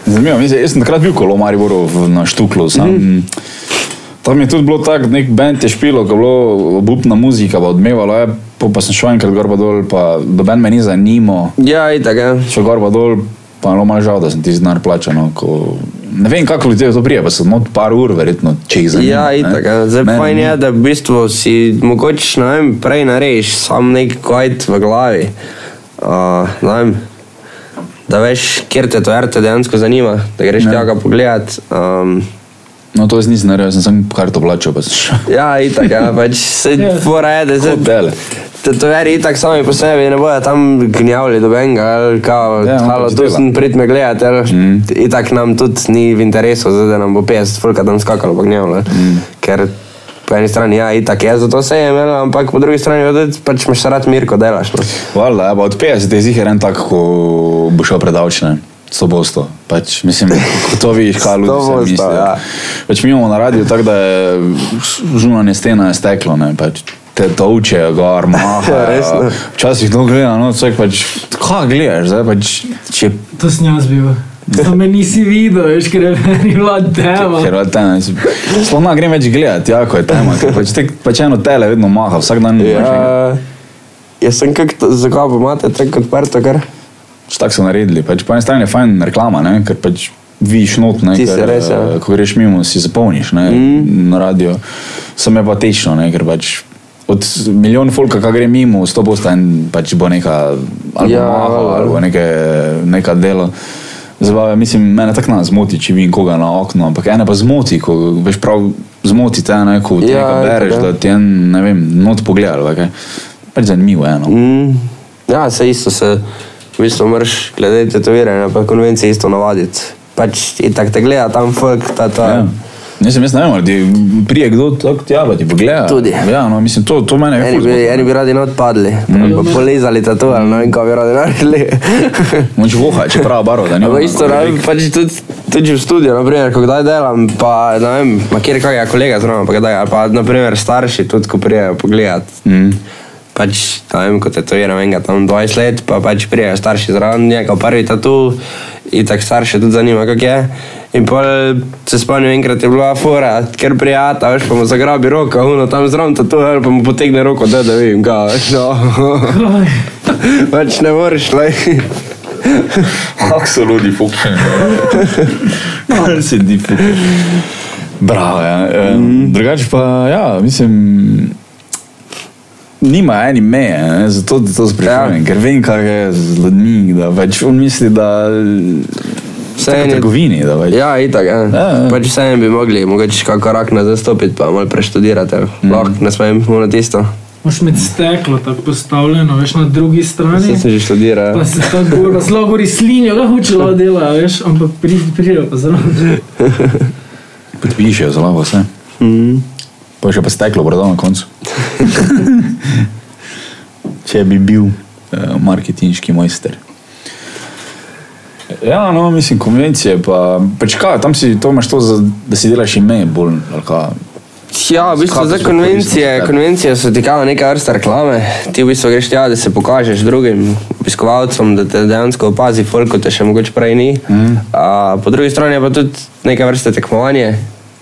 Speaker 3: Zanimivo, mislim, jaz sem takrat bil kolo v Mariboru v- na Štuklu. Sam,
Speaker 5: Mhm.
Speaker 3: mm. Tam je tudi bilo tako, nek bend je špilo, ko je bilo obupna muzika, pa odmevalo je, po pa sem šel enkrat gor pa dol, pa doben me ni zanimal.
Speaker 4: ja, itak, ja.
Speaker 3: Šel gor pa dol, pa je bilo malo žal, da sem ti znar plačal. No, ko... Ne vem, kako ljudje to prije, pa sem od par ur verjetno, če jih zanima.
Speaker 4: Ja,
Speaker 3: ne.
Speaker 4: itak, ja. zdaj
Speaker 3: Meni
Speaker 4: fajn
Speaker 3: ni.
Speaker 4: je, da v bistvu si mogoče, ne vem, prej narediš sam nek kajt v glavi. Uh, ne vem, da veš, kjer te to RT dejansko zanima, da greš tja ga pogledat. Um,
Speaker 3: No, to jaz nisem naredil, jaz sem samo karto plačal, pa sem šel.
Speaker 4: ja, itak, ja, pač se
Speaker 5: Ja.
Speaker 4: fora je, da se
Speaker 3: Hotele.
Speaker 4: Tetoveri itak sami po sebi ne bojo tam gnjavili do benga, ali kao,
Speaker 3: Ja,
Speaker 4: ja,
Speaker 3: on
Speaker 4: halo,
Speaker 3: pač
Speaker 4: tu
Speaker 3: dela."
Speaker 4: sem prid me gledat, ali mm. itak nam tudi ni v interesu, zdaj, da nam bo 50 fulka tam skakalo po gnjavlju, mm. ker po eni strani, ja, itak je, zato se je imel, ampak po drugi strani, vedeti, pač imaš rad mir, ko delaš. No.
Speaker 3: [laughs] Valjda, ja, pa od 50 je zihar en tak, ko bo šel predavčne. Sobosto, pač mislim, ko to
Speaker 4: [laughs]
Speaker 3: vidiš, kaj
Speaker 4: Sobosto,
Speaker 3: ljudi mislijo.
Speaker 4: ja.
Speaker 3: Pač mi imamo na radiju tako, da je zunanje stena je steklo, ne, pač te tolčejo
Speaker 4: [laughs]
Speaker 3: gor, mahajo.
Speaker 4: Resno?
Speaker 3: Včasih to gleda, no, vsak pač, kaj gledaš, zdaj pač, če
Speaker 5: To s njim zbiva. To me nisi videl, veš, ker je meni bila tema.
Speaker 3: Ker tema. Sploh ne grem več gledati, jako je tema. ker Pač, tek, pač eno tele vedno maha, vsak dan je ja.
Speaker 4: Ja, jaz sem kak, to- zakaj pa imate tako odprto, ker
Speaker 3: Tako so naredili. Pač, po eni strani je fajn reklama, ne? ker pač viš not, ne,
Speaker 4: Ti
Speaker 3: ker,
Speaker 4: se res, ja. Mhm.
Speaker 3: eh, ko greš mimo, si zapolniš ne, mm. na radio. Sem je pa tečno, ne, ker pač od milijon folka, ki gre mimo, sto posta in pač bo neka, ali ja.
Speaker 4: Ja.
Speaker 3: maha, ali bo neke, neka delo. Zabave, mislim, mene tako nas zmoti, če vidim koga na oknu, ampak ene pa zmoti, ko veš prav zmoti te, ne, ko ti
Speaker 4: Ja,
Speaker 3: ja, nekaj
Speaker 4: itak,
Speaker 3: bereš,
Speaker 4: ja.
Speaker 3: da ti je, ne vem, not pogled ali kaj. Pač zanimivo je, no.
Speaker 4: Mm, ja, se isto se, v bistvu moraš glede tetoviranja, pa konvencije isto navaditi. Pač in tako te gleda tam folk, ta ta.
Speaker 3: Ja.
Speaker 4: Ja.
Speaker 3: Jaz sem jaz ne vem, ali prije kdo tako tja, pa ti pogleda.
Speaker 4: Tudi.
Speaker 3: Ja, no, mislim, to, to mene je
Speaker 4: Eni bi,
Speaker 3: ful.
Speaker 4: eni bi radi not padli, mm. pa polizali tatuaž, no in ko bi radi naredili.
Speaker 3: Moč voha, če prava barva,
Speaker 4: [laughs]
Speaker 3: da ne
Speaker 4: Ampak isto, ne, pač tudi, tudi v studiu, naprimer, ko kdaj delam, pa ne vem, ma kjer kakega kolega zraven, pa kdaj, ali pa naprimer starši tudi, ko prijejo pogledat.
Speaker 3: Mm.
Speaker 4: pač, ne vem, ko tetoviram enega tam 20 let, pa pač prijejo starši zraven, njega prvi tatu in tako starše tudi zanima, kako je. In pol se spomnim, enkrat je bila fora, ker prijata, veš, pa mu zagrabi roko, uno tam zraven tatu, ali pa mu potegne roko, da da vidim, ga, veš, no. [laughs] pač ne moreš, le.
Speaker 3: Kako so ljudi [laughs] fukšeni.
Speaker 4: No.
Speaker 3: Kako se di fukšeni. Bravo, ja.
Speaker 4: Mhm.
Speaker 3: Mm. Drugače pa, ja, mislim, nima eni meje, ne? zato te to sprašujem, ja. ker vem, kaj je z ljudmi, da pač on misli, da
Speaker 4: Vse
Speaker 3: je v
Speaker 4: en je-
Speaker 3: trgovini, da pač.
Speaker 4: Ja, itak, ja.
Speaker 3: Ja, ja.
Speaker 4: Pač vseeno bi mogli, mogoče kak korak nazaj stopiti, pa malo preštudirati, mm.
Speaker 3: Mhm.
Speaker 4: lahko ne smem, ono tisto.
Speaker 5: Moš med steklo tako postavljeno, veš, na drugi strani.
Speaker 4: Vse se že študira. ja.
Speaker 5: Pa se ta gora, zelo gori slinjo, ga hočela dela, veš, ampak pride, pride pa zelo.
Speaker 3: Podpišejo zelo vse.
Speaker 4: Mm.
Speaker 3: Mhm. Pa še pa steklo, brdo na koncu. [laughs] Če bi bil uh, marketinški mojster. Ja, no, mislim, konvencije pa, pač kaj, tam si to imaš to, za, da si delaš ime bolj, ali kaj.
Speaker 4: Ja, v bistvu
Speaker 3: Kako
Speaker 4: za
Speaker 3: so
Speaker 4: konvencije,
Speaker 3: koristne?
Speaker 4: konvencije so ti kao neka vrsta reklame. Ti v bistvu greš tja, da se pokažeš drugim obiskovalcem, da te dejansko opazi, koliko te še mogoče prej ni. Mm. A, po drugi strani je pa tudi neka vrsta tekmovanje.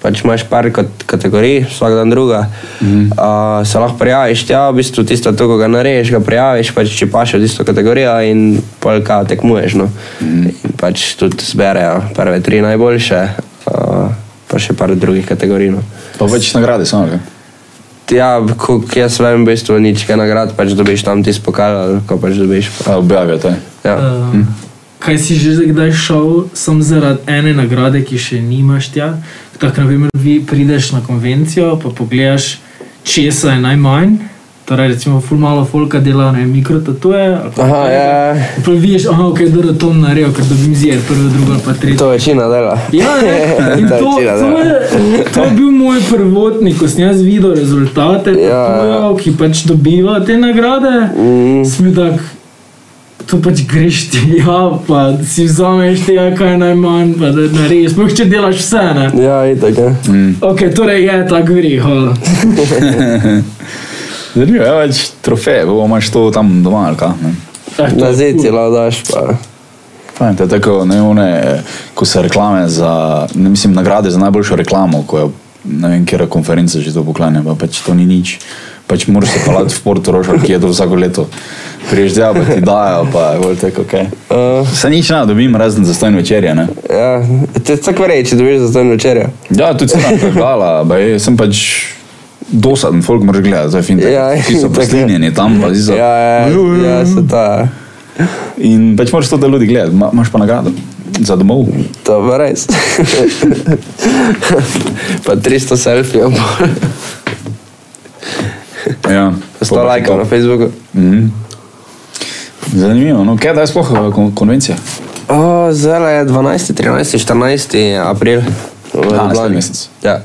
Speaker 4: Pač imaš par kot kategorij, vsak dan druga. Mm. A, se lahko prijaviš tja, v bistvu tisto, to, ko ga narediš, ga prijaviš, pač če paš v tisto kategorijo in polka tekmuješ. No. Mm. In pač tudi zberejo prve tri najboljše, a, pa še par drugih kategorij. No.
Speaker 3: Pa več nagrade, samo kaj.
Speaker 4: Ja, kot jaz vem, v bistvu nič, kaj nagrad pač dobiš tam tisti pokal, ali ko pač dobiš.
Speaker 3: A, Objavijo te.
Speaker 4: Ja.
Speaker 5: Um, kaj si že kdaj šel, sem zaradi ene nagrade, ki še nimaš tja. Tako, na primer, vi prideš na konvencijo, pa pogledaš, česa je najmanj. Torej, recimo, ful malo folka dela, ne vem, mikrotatuje. ali pa
Speaker 4: Aha,
Speaker 5: kaj.
Speaker 4: ja,
Speaker 5: Pa vidiš, aha, ok, dobro, to bom naredil, ker dobim zir, prvo, drugo, ali pa tretje.
Speaker 4: to večina dela.
Speaker 5: Ja,
Speaker 4: [laughs]
Speaker 5: ne, in
Speaker 4: Ta
Speaker 5: to,
Speaker 4: večina,
Speaker 5: to,
Speaker 4: da.
Speaker 5: je, to je bil moj prvotnik, ko sem jaz videl rezultate,
Speaker 4: Ja, ja.
Speaker 5: tatujev, ki pač dobivajo te nagrade.
Speaker 4: Mm.
Speaker 5: Smil tak, to pač greš ti, [laughs] ja, pa si vzameš tega, kaj je najmanj, pa da narediš, sploh če delaš vse. Ne?
Speaker 4: Ja, itak, ja.
Speaker 5: Ok, torej je ja. tako gre, hvala.
Speaker 3: Zanimivo, ja, več trofeje, bo imaš to tam doma, ali kaj. ne.
Speaker 5: Eh, to
Speaker 4: Na
Speaker 5: je
Speaker 4: zid
Speaker 5: cool.
Speaker 4: si lahko daš, pa.
Speaker 3: Fajn, to je tako, ne, one, eh, ko se reklame za, ne mislim, nagrade za najboljšo reklamo, ko je, ne vem, kera konferenca že to poklanja, pa pač to ni nič. Pač moraš se palati v Portorožu, ki je to vsako leto. Priješ tja, pa ti dajo, pa je bolj tako, ok.
Speaker 4: Uh,
Speaker 3: Se nič ne dobim, razen za stojno večerje, ne.
Speaker 4: ja, te tako reči, če dobiš za to večerjo.
Speaker 3: Ja, tudi sem tam gala, pa je, sem pač dosaden, folk moraš gledati, to je fintech.
Speaker 4: Ja,
Speaker 3: Vsi so [laughs]
Speaker 4: tako je.
Speaker 3: preslinjeni tam, pa zizo.
Speaker 4: Ja, ja, ja, se ta.
Speaker 3: In pač moraš to, da ljudi gledajo, Ma- imaš pa nagrado za domov.
Speaker 4: To je pa res. [laughs] pa 300 selfijev, pa
Speaker 3: Ja,
Speaker 4: 100 lajkov na Facebooku.
Speaker 3: Mhm. Zanimivo, no, kaj da je sploh eh, kon- konvencija?
Speaker 4: O, zdaj je 12, 13, 14 april. v
Speaker 3: naslednji
Speaker 4: Ljubljani.
Speaker 3: mesec.
Speaker 4: Ja.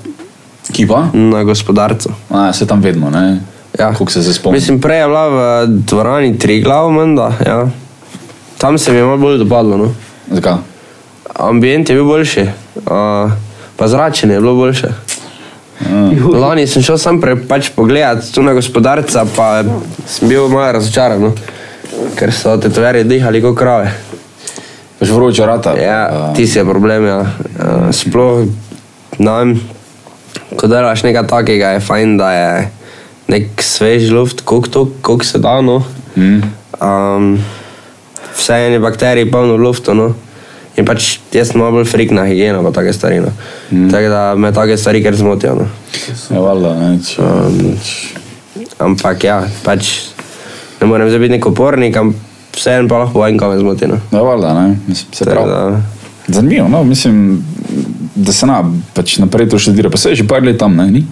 Speaker 3: Ki pa?
Speaker 4: na gospodarcu.
Speaker 3: A, se tam vedno, ne?
Speaker 4: Ja.
Speaker 3: Kako se zdaj spomnim.
Speaker 4: Mislim, prej je bila v dvorani tri glav, menda. Ja. Tam se mi je malo bolj dopadlo. No.
Speaker 3: Zakaj?
Speaker 4: Ambient je bil boljši, uh, pa zračenje je bilo boljše. Lani sem šel sam pre, pač pogledat tu na gospodarca, pa sem bil malo razočaran, no. ker so te tveri dihali kot krave.
Speaker 3: Pač vroče rata.
Speaker 4: Ja,
Speaker 3: A,
Speaker 4: ti si je problem. Ja. Uh, sploh nam, ko delaš nekaj takega, je fajn, da je nek svež luft, koliko to- koliko se da. No.
Speaker 3: Mm.
Speaker 4: Um, vse ene bakterije, polno lufta. No. In pač jaz sem malo bolj frik na higieno, pa take stvari. No. Mm. Tako da me take stvari kar zmotijo. No.
Speaker 3: Ja, valjda, ne. Če,
Speaker 4: Um, ampak ja, pač ne morem zdaj biti nek upornik, ampak vseeno pa lahko en kam zmotijo. No.
Speaker 3: ja, valjda, ne. Mislim, se
Speaker 4: Tako
Speaker 3: pravi.
Speaker 4: da-
Speaker 3: Zanimivo, no? mislim, da se na, pač naprej to še dira. Pa se je že par let tam, ne? Ni?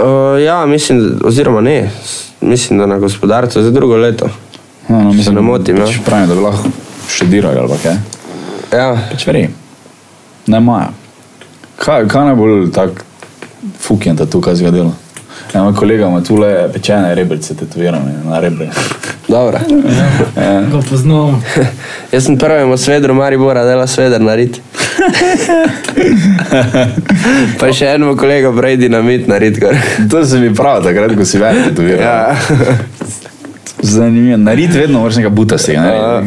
Speaker 4: Uh, ja, mislim, oziroma ne, s- mislim, da na gospodarstvu za drugo leto.
Speaker 3: No, no, mislim,
Speaker 4: ne motim, ja.
Speaker 3: Pač pravim, da bi lahko še dirali ali pa kaj.
Speaker 4: Ja,
Speaker 3: Pač veri. Ne maja. Kaj, kaj najbolj tak fucking ta tukaj zgodilo? Ja, moj kolega ima tu le pečene rebrce tetovirane na rebre. [laughs] Eh.
Speaker 4: dobro.
Speaker 5: Ga poznamo.
Speaker 4: Jaz sem prvemu svedru Maribora dela sveder narediti. pa še enemu kolegu prej dinamit narediti. gor.
Speaker 3: To se mi pravi takrat, ko si več tetoviral.
Speaker 4: Ja.
Speaker 3: Zanimivo. Narit vedno moraš nekaj buta se. Ne?
Speaker 4: Ja.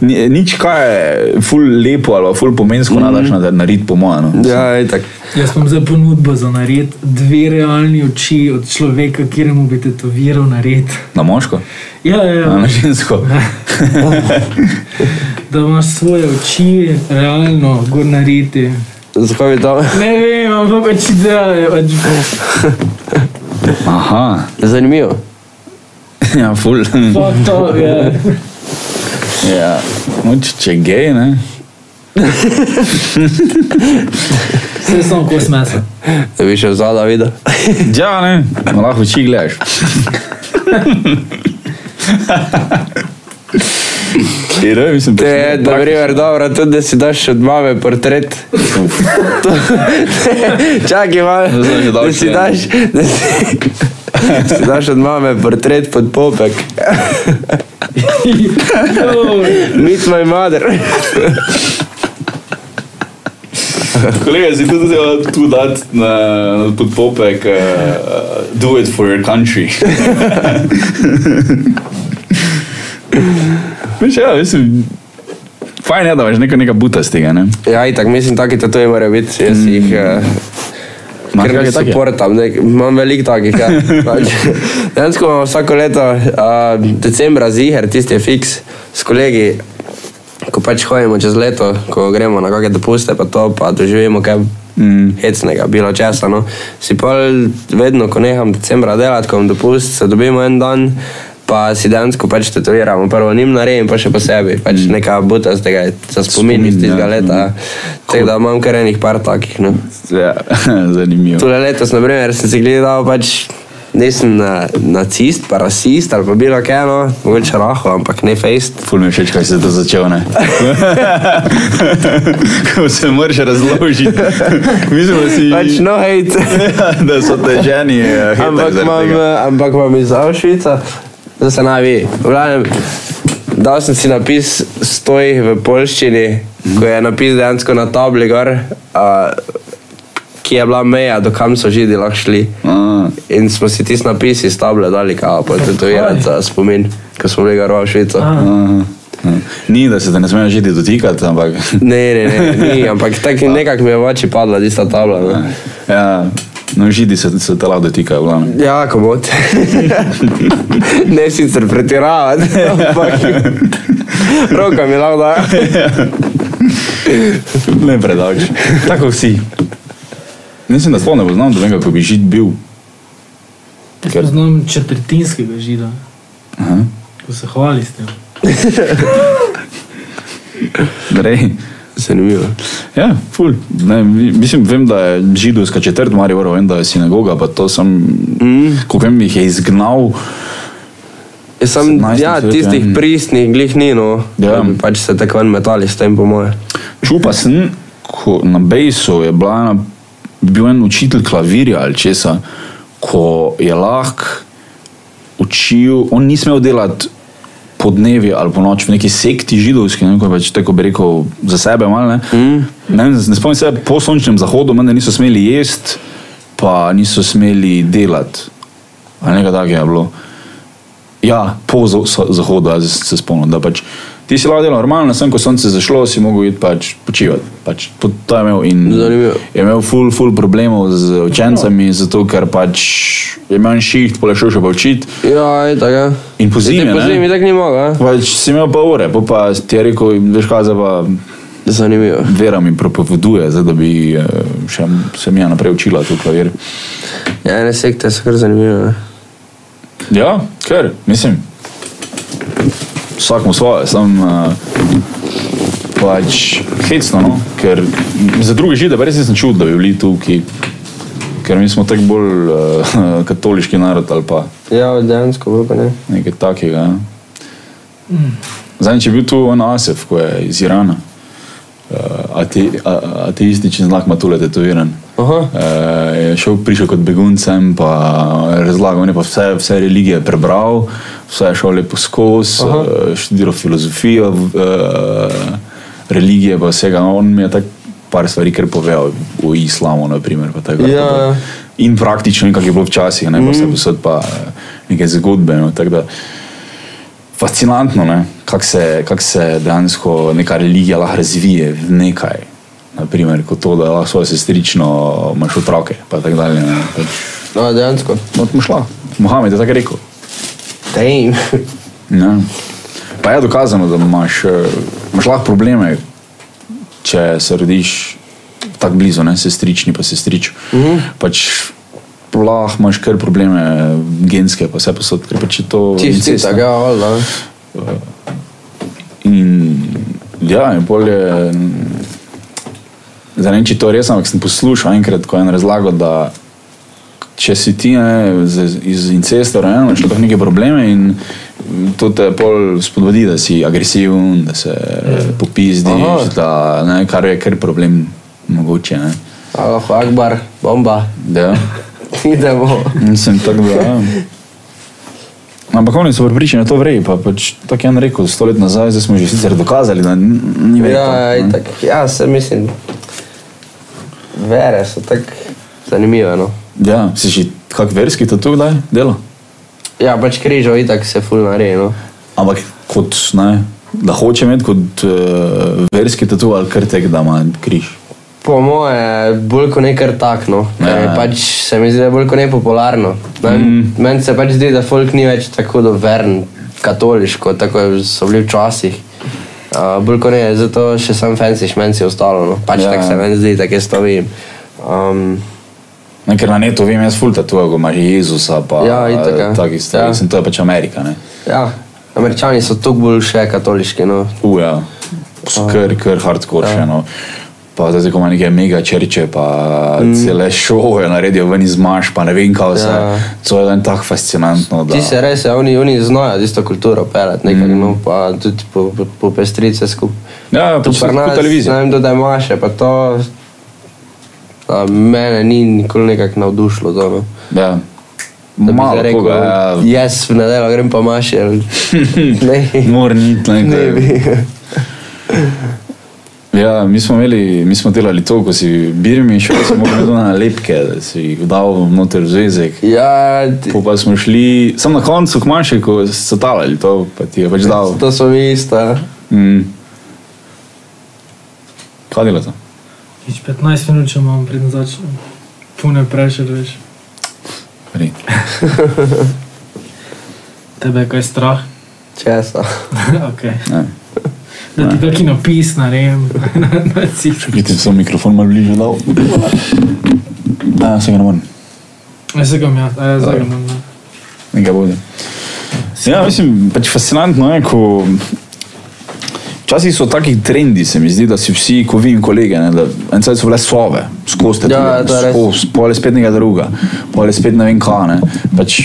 Speaker 3: Ni- Nič kaj je ful lepo ali pa ful pomensko mm -hmm. nadaš na narit po mojem. No.
Speaker 4: [laughs] Mhm. ja, itak.
Speaker 5: Jaz imam zdaj ponudbo za nared, dve realni oči od človeka, kjer mu bi tetoviral nared.
Speaker 3: Na moško,
Speaker 5: Ja, ja,
Speaker 3: a na
Speaker 5: ja.
Speaker 4: [laughs]
Speaker 3: žensko.
Speaker 5: Da imaš svoje oči, realno, gor naredi.
Speaker 4: Zakaj bi to?
Speaker 5: Ne vem, ampak pač ideje, pač
Speaker 3: Aha,
Speaker 4: Zanimivo.
Speaker 3: ja, ful.
Speaker 5: fuck to, ja.
Speaker 3: Ja. No, če, če je gej, ne.
Speaker 5: Vse samo kos mesa.
Speaker 4: Da bi še vzala videl.
Speaker 3: Ja, ne, no, lahko oči gledaš. Ti ne, mislim,
Speaker 4: To je,
Speaker 3: no.
Speaker 4: na primer, dobro, tudi da si daš od mame portret. [laughs] Čakaj, malo.
Speaker 3: To sem že dal
Speaker 4: Da si
Speaker 3: člen.
Speaker 4: daš, da si, [laughs] si daš od mame portret pod popek. [laughs] Meet my mother.
Speaker 3: Kolega, si tudi treba tu dati na na podpopek, uh, do it for your country. [laughs] Veš, ja, mislim, fajn je, da imaš nekaj, nekaj buta z tega, ne?
Speaker 4: Ja, itak, mislim, taki tatuji morajo biti. Jaz jih... eh,
Speaker 3: Imaš
Speaker 4: Ker
Speaker 3: Mm. kakšne
Speaker 4: ga
Speaker 3: take?
Speaker 4: podportam, nek- imam veliko takih.
Speaker 3: [laughs]
Speaker 4: Ja. Pač, Dejansko imam vsako leto, uh, decembra ziger, tisti je fiks s kolegi, ko pač hodimo čez leto, ko gremo na kakšne dopuste, pa to, pa doživimo kaj mm. hecnega, bilo česa. No. Si pa vedno, ko neham decembra delati, ko imam dopust, se dobimo en dan. Pa si dejansko pač tetoviramo, prvo njim naredim, pa še posebej, pač neka buta z tega, za spomin
Speaker 3: Spomin,
Speaker 4: iz
Speaker 3: ja.
Speaker 4: tistega leta. ja. Tako da imam kar enih par takih. No.
Speaker 3: Ja, [laughs] zanimivo.
Speaker 4: Tole letos, na primer, sem si gledal, pač nisem na, nacist, pa rasist ali pa bilo kaj, no, mogoče raho, ampak ne fejst.
Speaker 3: Ful mi je všeč, kaj se je to začel, ne? [laughs] Ko se moraš razložiti. [laughs] Mislim, da si... Ja,
Speaker 4: Pač no hate.
Speaker 3: da so te ženi. eh, hitak
Speaker 4: ampak,
Speaker 3: zaradi
Speaker 4: imam,
Speaker 3: tega.
Speaker 4: eh, ampak imam iz Avšvica, da se naj ve. V glavnem, Dal sem si napis stoj v polščini, ko je napis dejansko na tabli gor, uh, ki je bila meja, do kam so židi lahko šli.
Speaker 3: A,
Speaker 4: In smo si tisti napisi iz table dali, kao, pa tetovirati za spomin, ko smo bili gor v Avšvicu.
Speaker 3: aha. Ni, da se te ne smejo žiti dotikati, ampak... [laughs]
Speaker 4: Ne, ne, ne, ni, ampak tako nekako mi je v oči padla tista tabla. Ne.
Speaker 3: Ja, no, židi se, se te lahko dotikajo, v glavnem.
Speaker 4: Ja,
Speaker 3: [laughs]
Speaker 4: komod. ne sicer pretiravati, ampak roka mi lahko da.
Speaker 3: Ne predavč. Tako vsi. Mislim, da sploh ne poznam nobenega, ko bi žid bil.
Speaker 5: Jaz
Speaker 3: Ker-
Speaker 5: poznam četrtinskega žida,
Speaker 3: Aha.
Speaker 5: ko se hvali s tem.
Speaker 3: Rej.
Speaker 4: Zanimivo.
Speaker 3: Ja, ful. Ne, mi- mislim, vem, da je židovska četrt Maribor, vem, da je sinagoga, pa to sem, mm. koliko vem, jih je izgnal.
Speaker 4: Jaz sem,
Speaker 3: 17.
Speaker 4: ja,
Speaker 3: stoletju,
Speaker 4: tistih
Speaker 3: ja.
Speaker 4: pristnih glih ni, no.
Speaker 3: Ja.
Speaker 4: Da bi Pač se tako ven metali s tem, po moje.
Speaker 3: Čupa sem, ko na Bejsu je bila ena bil en učitelj klavirja ali česa, ko je lahko učil, on ni smel delati po dnevi ali po noči v neki sekti židovski, ne vem, kako pač, tako bi rekel, za sebe malo. Ne, mm. ne, vem, ne spomnim se, po sončnem zahodu menda niso smeli jesti, pa niso smeli delati. Ali nekaj takega je bilo. Ja, po za- sa- zahodu, jaz se spomnim, da pač ti si lahko delal normalno, sem ko sonce zašlo, si mogel iti pač počivati. Pač, to to je imel in
Speaker 4: Zanimivo.
Speaker 3: je imel ful, ful problemov z učencami, zato ker pač je imel en šiht, pole šel še pa učiti.
Speaker 4: Ja, je tako.
Speaker 3: In po zimi,
Speaker 4: Po
Speaker 3: ne?
Speaker 4: zimi tako ni mogel.
Speaker 3: Pač si imel pa ure, pol pa ti je rekel, veš kaj, zdaj pa
Speaker 4: Zanimivo.
Speaker 3: vera mi propoveduje, zdaj, da bi eh, še, se mi naprej učila tu klavir.
Speaker 4: Ja, ene sekte so kar zanimive. ne.
Speaker 3: Ja, ker, mislim, vsakmu svoje, sem uh, pač hecno, no? ker za druge žide pa res nisem čutil, da bi bili tukaj, ker mi smo tako bolj uh, [laughs] katoliški narod ali pa
Speaker 4: Ja, dejansko bilo pa ne.
Speaker 3: nekaj takega. Ne? Zadnjič je bil tu on Asef, ko je iz Irana. Uh, ate, a, ateistični znak matule tetoviran.
Speaker 4: Aha.
Speaker 3: Uh, je šel, prišel kot beguncem, pa razlagal, on je pa vse, vse religije prebral, vse je šel lepo skozi, uh, študiral filozofijo, v- uh, religije pa vsega. No, on mi je tako par stvari kar povedal, o islamu naprimer. Pa tako,
Speaker 4: Ja,
Speaker 3: pa-
Speaker 4: ja.
Speaker 3: in praktično, in kako je bilo včasih, ne pa vse posod pa eh, neke zgodbe. No, tako da, fascinantno je, kako se, kak se dejansko neka religija lahko razvije v nekaj. Naprimer, kot to, da lahko svojo sestrično imaš otroke, pa tako dalje. ne. Pač,
Speaker 4: No, dejansko.
Speaker 3: No, smo šla. Mohamed je tako rekel.
Speaker 4: [laughs] Dej.
Speaker 3: Ja. Pa je dokazano, da imaš, eh, imaš lahko probleme, če se rodiš tako blizu, ne sestrični, pa sestrič. Mm -hmm. pač, Lahko imaš kar probleme, genske, pa vse posod, ker pač je to
Speaker 4: Čisti,
Speaker 3: incest, ne.
Speaker 4: tako ja, valjda.
Speaker 3: In ja, in bolje. Zdaj ne vem, če to res, ampak sem poslušal enkrat, ko je en razlagal, da če si ti ne, z- iz incesta rojen, imaš lahko neke probleme in to te pol spodbudi, da si agresiven, da se popizdiš,
Speaker 4: Aha.
Speaker 3: da ne, kar je kar problem mogoče. Ne.
Speaker 4: Aloha, Akbar, bomba. [laughs]
Speaker 3: Da.
Speaker 4: Idemo.
Speaker 3: Mislim, tako da. ja. Ampak oni so pripričani, da to vrej, pa pač tako je en rekel, sto let nazaj, zdaj smo že sicer dokazali, da ni- ni več.
Speaker 4: Ja, itak. Ja, se mislim. Vere so tako zanimive. No.
Speaker 3: Ja, si že kak verski tatu kdaj delo?
Speaker 4: Ja, pač križo itak se ful naredi. No.
Speaker 3: Ampak kot, ne, da hoče imeti kot uh, verski tatu ali kar tek, da ima križ.
Speaker 4: Po moje, bolj kot nekaj takno.
Speaker 3: Ja,
Speaker 4: Ja.
Speaker 3: ja.
Speaker 4: Pač se mi zdi, da je bolj kot nepopularno. Ne? Mm. Meni se pač zdi, da folk ni več tako doveren, katoliško, tako je- so bili včasih. Uh, bolj kot ne, zato še sam fansiš, meni si ostalo. No. Pač
Speaker 3: Ja,
Speaker 4: ja. tako se
Speaker 3: ja.
Speaker 4: meni zdi, tako jaz to vidim. Um,
Speaker 3: Ne, ker na netu vem, jaz ful tatuja, ko imaš Jezusa, pa
Speaker 4: Ja, itak, ja.
Speaker 3: Taki stvari,
Speaker 4: Ja.
Speaker 3: ja. sem to je pač Amerika, ne.
Speaker 4: ja. Američani so tu bolj še katoliški. No.
Speaker 3: Uja, ja. kar, kar hardcore
Speaker 4: Ja.
Speaker 3: še, no. Pa zdaj, ko ima neke mega črče, pa mm. cele šove naredijo ven iz maš, pa ne vem, kaj vse.
Speaker 4: Ja.
Speaker 3: Ja. To je tako fascinantno. Da...
Speaker 4: Ti se res, ja, oni, oni znajo tisto kulturo pelati, nekaj mm. no, pa tudi po, po, po pestrice skupaj.
Speaker 3: Ja, pač
Speaker 4: Pri
Speaker 3: na
Speaker 4: nas,
Speaker 3: televiziji.
Speaker 4: Ne vem, da ima še, pa to a, mene ni nikoli nekako navdušilo. To, no.
Speaker 3: Ja.
Speaker 4: Da bi
Speaker 3: Malo
Speaker 4: zdaj
Speaker 3: rekel, koga, ja,
Speaker 4: jaz v nedeljo grem pa maše.
Speaker 3: [laughs]
Speaker 4: ali- ne,
Speaker 3: Mor ni
Speaker 4: ne
Speaker 3: tlajnega.
Speaker 4: bi.
Speaker 3: Ja, mi smo, imeli, mi smo delali to, ko si birmi šel, si mogel imeti na lepke, da si jih dal noter v zvezek.
Speaker 4: Ja, ti-
Speaker 3: Po pa smo šli, sam na koncu kmaši, ko so talali to, pa ti je pač dal.
Speaker 4: to so mi ista.
Speaker 3: Mm. Kaj dela to?
Speaker 5: Več 15 minut, če imam, preden začnem. Pune prešer, veš.
Speaker 3: Ri.
Speaker 5: Tebe je kaj [laughs] strah,
Speaker 4: Česa.
Speaker 5: okay.
Speaker 3: Ne.
Speaker 5: da ti kaki napis [laughs] naredim, na cifr.
Speaker 3: Bi ti sem mikrofon malo bližje dal? Ja, se ga ne morem.
Speaker 5: Ne se ga mi, ja, zdaj ga imam. ja.
Speaker 3: Nekaj bodi. Ja, mislim, pač fascinantno je, ko. Včasih so taki trendi, se mi zdi, da si vsi, ko vidim kolege, ne, da en cel so bile sove, skozi te
Speaker 4: Ja, to je res.
Speaker 3: skozi, pole spet nekaj druga, pole spet ne vem kaj. Ne. Pač,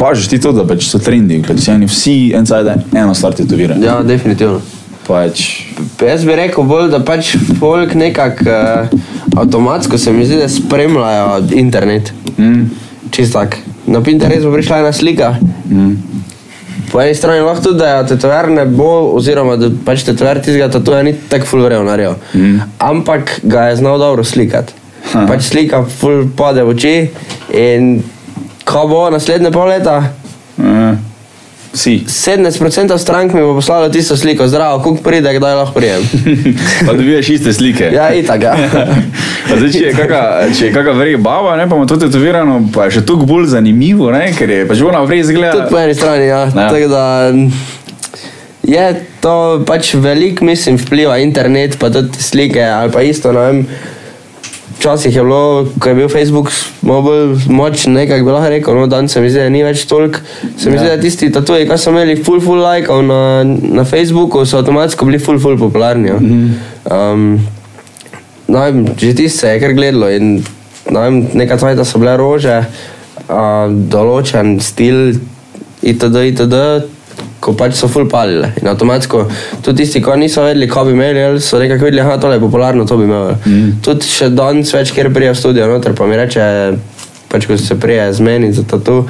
Speaker 3: Pažiš ti to, da pač so trendi, pač se eni vsi en cel dan eno stvar tetovirajo.
Speaker 4: Ja, definitivno.
Speaker 3: Pač,
Speaker 4: Pa Jaz bi rekel bolj, da pač folk nekako, uh, avtomatsko se mi zdi, da spremljajo internet. Mm. Čist tak. Na Pinterest bo prišla ena slika. Mm. Po eni strani lahko tudi, da tetovar ne bo, oziroma da pač tetovar tistega tatuja ni tako fulverjev naredil. Mm. Ampak ga je znal dobro slikati. Ha. Pač slika ful pade v oči in ko bo naslednje pol leta,
Speaker 3: Ja. Si. [laughs]
Speaker 4: 17% strank mi bo poslalo tisto sliko, zdravo, koliko pride, kdaj lahko prijem.
Speaker 3: Pa dobivaš iste slike.
Speaker 4: Ja, itak, ja.
Speaker 3: [laughs] Pa Zdaj, če je kakšna, če je kakšna vrej baba, ne, pa ima to tetovirano, pa je še toliko bolj zanimivo, ne, ker je pač ona vrej
Speaker 4: Tudi po
Speaker 3: zgleda.
Speaker 4: eni strani, ja.
Speaker 3: Ja.
Speaker 4: Tako da mm, je to pač veliko, mislim, vpliva internet, pa tudi slike ali pa isto, ne vem. Včasih je bilo, ko je bil Facebook malo bolj močen, nekako bi lahko rekel, no danes se mi zdi, da ni več toliko. Se mi ja. zdi, da tisti tatuji, ki so imeli full full lajkov na, na Facebooku, so avtomatsko bili full full popularni. ja.
Speaker 3: Mhm.
Speaker 4: Um, ne vem, že tisti se je kar gledalo in ne vem, nekaj cajta so bile rože, uh, določen stil itd. itd. Ko pač so full palile in avtomatsko, tudi tisti, ki niso vedeli, kaj bi imeli, ali so nekako videli, da tole je popularno, to bi imeli. Mm. Tudi še danes več, ker prija v studio noter, pa mi reče, pač ko se prija zmeni za to,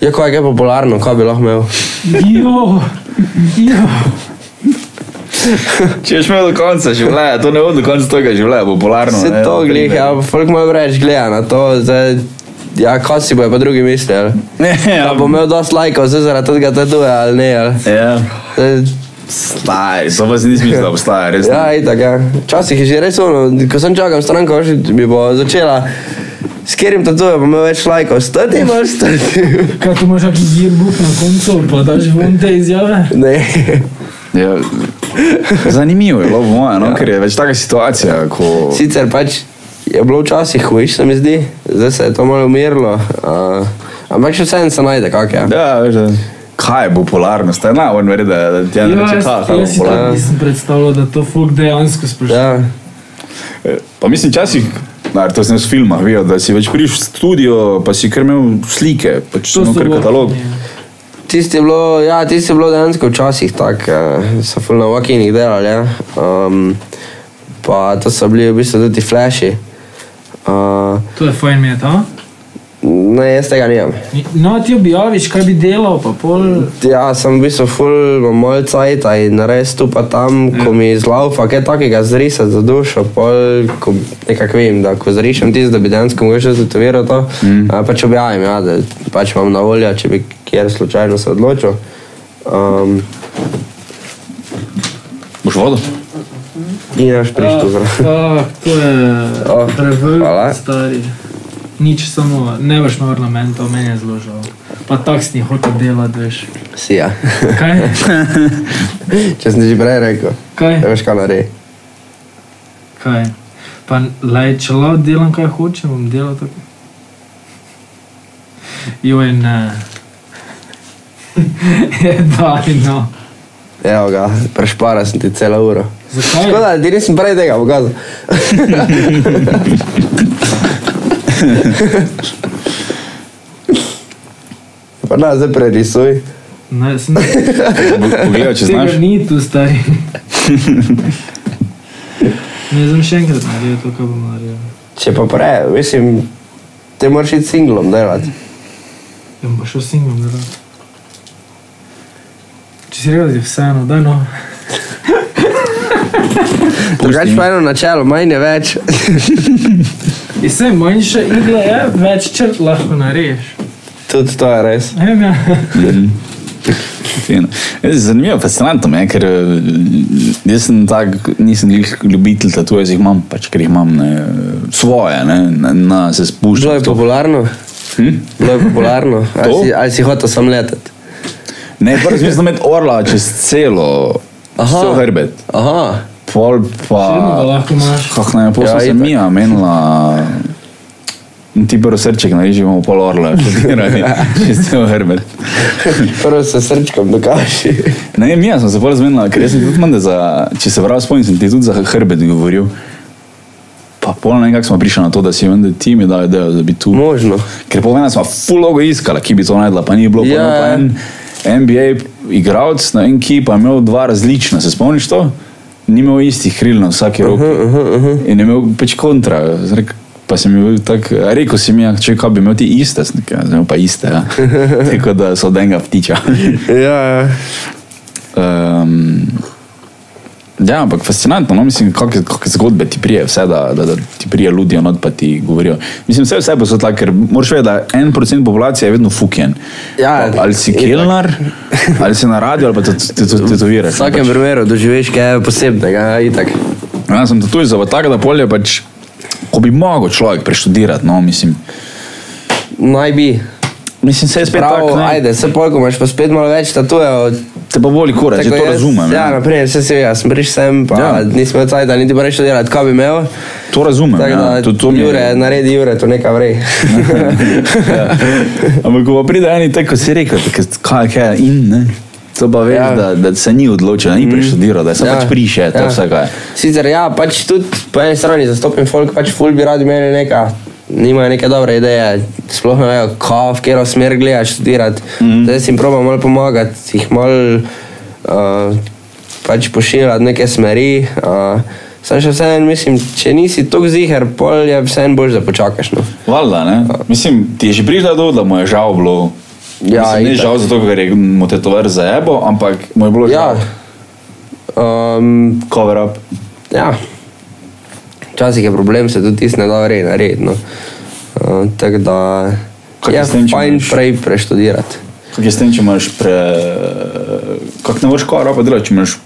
Speaker 4: je kaj je popularno, kaj bi lahko imel.
Speaker 5: Jo, jo.
Speaker 3: Če ješ imel do konca življenja, to ne bo do konca tega življenja popularno.
Speaker 4: Vse
Speaker 3: ne, no,
Speaker 4: to glih, ja, folk moj reč gleda na to, zdaj, ja, kaj si bojo pa drugi mislili.
Speaker 3: Ne, ja,
Speaker 4: Ja, bo imel dosti lajkov, zdaj zaradi tega tatuja ali ne. Ali.
Speaker 3: ja.
Speaker 4: Zdaj,
Speaker 3: Stari, so vas nisem mislil, da obstaja, res.
Speaker 4: Ja, itak, ja. Včasih je že res ono, ko sem čakal stranko, že bi bo začela, s katerim tatujem bo imel več lajkov, stoti ali stoti.
Speaker 5: Kaj tu imaš, kakšen yearbook na koncu, pa daš ven te izjave?
Speaker 4: [laughs] Ne.
Speaker 3: Ja. Zanimivo je bilo, po mojem, no, ja. ker je več taka situacija, ko...
Speaker 4: Sicer pač je bilo včasih hujš, se mi zdi, zdaj se je to malo umirilo, uh, ampak še vseeno se najde, kak je.
Speaker 3: Ja, veš, da- kaj je popularnost, Ja, ne, on verjede, da ti je reče,
Speaker 5: Jo, Ja, jaz,
Speaker 3: "Ha, kaj je
Speaker 5: jaz si
Speaker 3: popularnost.
Speaker 5: tako nisem predstavljal, da to folk dejansko sprašuje.
Speaker 4: Ja,
Speaker 3: E, Pa mislim, včasih, nar, to sem jaz v filmah videl, da si več prišel v studio, pa si kar imel slike, pač
Speaker 5: To
Speaker 3: samo
Speaker 5: so
Speaker 3: kar
Speaker 5: bo-
Speaker 3: katalog.
Speaker 5: Ja.
Speaker 4: tisti je bilo, ja, tisti je bilo dejansko včasih tako, uh, so fulno vakinih delali, ja. um, pa to so bili v bistvu tudi flashi. Uh,
Speaker 5: To je fajn met, a?
Speaker 4: ne, jaz tega nimam.
Speaker 5: No, ti objaviš, kaj bi delal, pa pol.
Speaker 4: Ja, sem v bistvu ful, imam malo cajta in res tu pa tam, ko mi zlaupa, kaj takega zrisati za dušo, pol, ko nekako vem, da ko zrišem tisto, da bi dejansko mogoče zatoviral to, mm. pač objavim, ja, da pač imam na voljo, če bi kjer slučajno se odločil. Um,
Speaker 3: Boš vodo?
Speaker 4: in naš prišel zraven.
Speaker 5: Ah, to je
Speaker 4: Ah,
Speaker 5: prevelik,
Speaker 4: hvala.
Speaker 5: stari. Nič samo, ne boš imel ornamentov, meni je zelo žal. Pa taksni hotel delati, veš.
Speaker 4: Si ja,
Speaker 5: Kaj?
Speaker 4: [laughs] če sem ti že prej rekel,
Speaker 5: Kaj?
Speaker 4: da veš kaj naredi.
Speaker 5: Kaj? Pa laj, če lao delam, kaj hočem, bom delal tako. Joj, ne. [laughs] Je daj, no.
Speaker 4: Evo Ja, ga, prešpara sem ti celo uro.
Speaker 5: Zakaj?
Speaker 4: Škoda, da ti nisem prej tega [laughs] pokazal. Pa da, zdaj prerisuj.
Speaker 5: Ne,
Speaker 4: [laughs]
Speaker 5: sem,
Speaker 3: Poglej, če
Speaker 5: tega
Speaker 3: znaš.
Speaker 5: ni tu, stari. Ne, zdaj bom še enkrat naredil to, kar bom naredil.
Speaker 4: Če pa prej, mislim, te moraš iti singlom delati.
Speaker 5: Ja, bom pa šel singom, ne da. Če si rekel, da ti je vseeno, da no.
Speaker 4: Drugač pa eno načelo, manj je več.
Speaker 5: In vse manjša igla je, več črt lahko narediš.
Speaker 4: [laughs] Tudi to je res.
Speaker 5: Ne vem, ja.
Speaker 3: Fino. Jaz, Zanimivo, fascinantno je, ker eh, jaz sem tak, nisem glih ljubitelj tatujev, jih imam, pač, ker jih imam ne, svoje, ne, na, na se
Speaker 4: Bilo
Speaker 3: spuščam.
Speaker 4: je popularno.
Speaker 3: Hm?
Speaker 4: Bilo je popularno. Ali
Speaker 3: To?
Speaker 4: si, ali si hotel sam leteti?
Speaker 3: Ne, prvi sem mislil imeti orla čez celo,
Speaker 4: Aha.
Speaker 3: cel hrbet.
Speaker 4: Aha,
Speaker 3: Pol pa...
Speaker 5: Vedno ga lahko imaš.
Speaker 3: Kako naj
Speaker 4: Ja,
Speaker 3: posla ja, se
Speaker 4: itak.
Speaker 3: mija menila. Ti prvo srček narižemo pol orla, [laughs] čistil Herbert.
Speaker 4: prvo se srčkom dokaži.
Speaker 3: Ne, mija sem se bolj zmenila, ker jaz sem tudi manj, za, če se prav spomnim, sem ti tudi za Herbert govoril. Pa pol nekako smo prišli na to, da si vem, da ti mi dal idejo, da bi tu.
Speaker 4: Možno.
Speaker 3: Ker po enem smo fulogo iskali, ki bi to najdla, pa ni bilo.
Speaker 4: Ja,
Speaker 3: Yeah. Pa
Speaker 4: ja.
Speaker 3: no, en NBA igralec, ne vem ki, pa je imel dva različna, se spomniš to? ni imel istih kril na vsaki roki. Uh -huh, uh -huh. In je imel pač kontra. Zrek, pa sem jim tako rekel, si mi, ja, če kaj bi imel ti iste, snike, zdaj pa iste. Ja. [laughs] Tako da so denga ptiča.
Speaker 4: Ja, ja.
Speaker 3: Um, Ja, ampak fascinantno, no? mislim, kakšne zgodbe ti prije, vse, da, da, da ti prije ludijo, not pa ti govorijo. Mislim, vse, vse posod tako, ker moraš vedeti, da en procent populacije je vedno fuken.
Speaker 4: Ja,
Speaker 3: ali si
Speaker 4: itak.
Speaker 3: kelnar, ali si na radiju, ali pa te te- te- pač.
Speaker 4: V
Speaker 3: tetoviraš.
Speaker 4: vsakem primeru doživiš kaj posebnega, itak.
Speaker 3: Jaz Ja, sem tatuj za tako, da polje pač, ko bi mogel človek preštudirati, no, mislim.
Speaker 4: Naj bi.
Speaker 3: Mislim, se je spet
Speaker 4: Prav,
Speaker 3: tako,
Speaker 4: tak,
Speaker 3: ne,
Speaker 4: ajde, se pojko, imaš pa spet malo več tatujev.
Speaker 3: te pa voli kurac, že
Speaker 4: Tako
Speaker 3: to
Speaker 4: jaz-
Speaker 3: razumem.
Speaker 4: Ja,
Speaker 3: Ja.
Speaker 4: naprej, vse se ve, jaz sem prišel sem, pa
Speaker 3: Ja.
Speaker 4: ja. nisem imel cajta, niti pa rešil delati, kaj bi imel.
Speaker 3: To razumem.
Speaker 4: Tako da,
Speaker 3: Ja. To, to mi je-
Speaker 4: Jure, naredi Jure, to nekaj vrej.
Speaker 3: ja. [laughs] Ampak ko pa pride eni tako, kot si rekel, tako, kaj, kaj in ne. To pa veš, ja.
Speaker 4: Ja.
Speaker 3: da, da se ni odločil, da ni preštudiral, da se ja.
Speaker 4: Ja.
Speaker 3: pač priše, to ja.
Speaker 4: Ja.
Speaker 3: vse kaj.
Speaker 4: Sicer ja, pač tudi po eni strani zastopim folk, pač ful bi radi imeli neka, nimajo neke dobre ideje, sploh ne vejo, kako, v katero smer gledaš študirati. Mm
Speaker 3: Mhm.
Speaker 4: -hmm. Zdaj si jim probam malo pomagati, jih malo uh, pač pošiljati neke smeri. Uh, Sam še vseeno mislim, če nisi tako ziger, pol je vseeno boš, da počakaš. No.
Speaker 3: Valjda, ne? Mislim, ti je že prišla do, da mu je žal bilo.
Speaker 4: Ja,
Speaker 3: Mislim, ne
Speaker 4: itak.
Speaker 3: žal zato, ker je mu tetovar zajebo, ampak mu je bilo
Speaker 4: Ja.
Speaker 3: žal.
Speaker 4: Um,
Speaker 3: Cover up.
Speaker 4: Ja. Včasih je problem, se tudi tisti ne da re- narediti. No. Uh, tako da
Speaker 3: Kaj
Speaker 4: je
Speaker 3: s tem, če
Speaker 4: fajn
Speaker 3: imaš-
Speaker 4: prej preštudirati.
Speaker 3: Kaj je s tem, če imaš pre... Kak ne moreš cover up delati, če imaš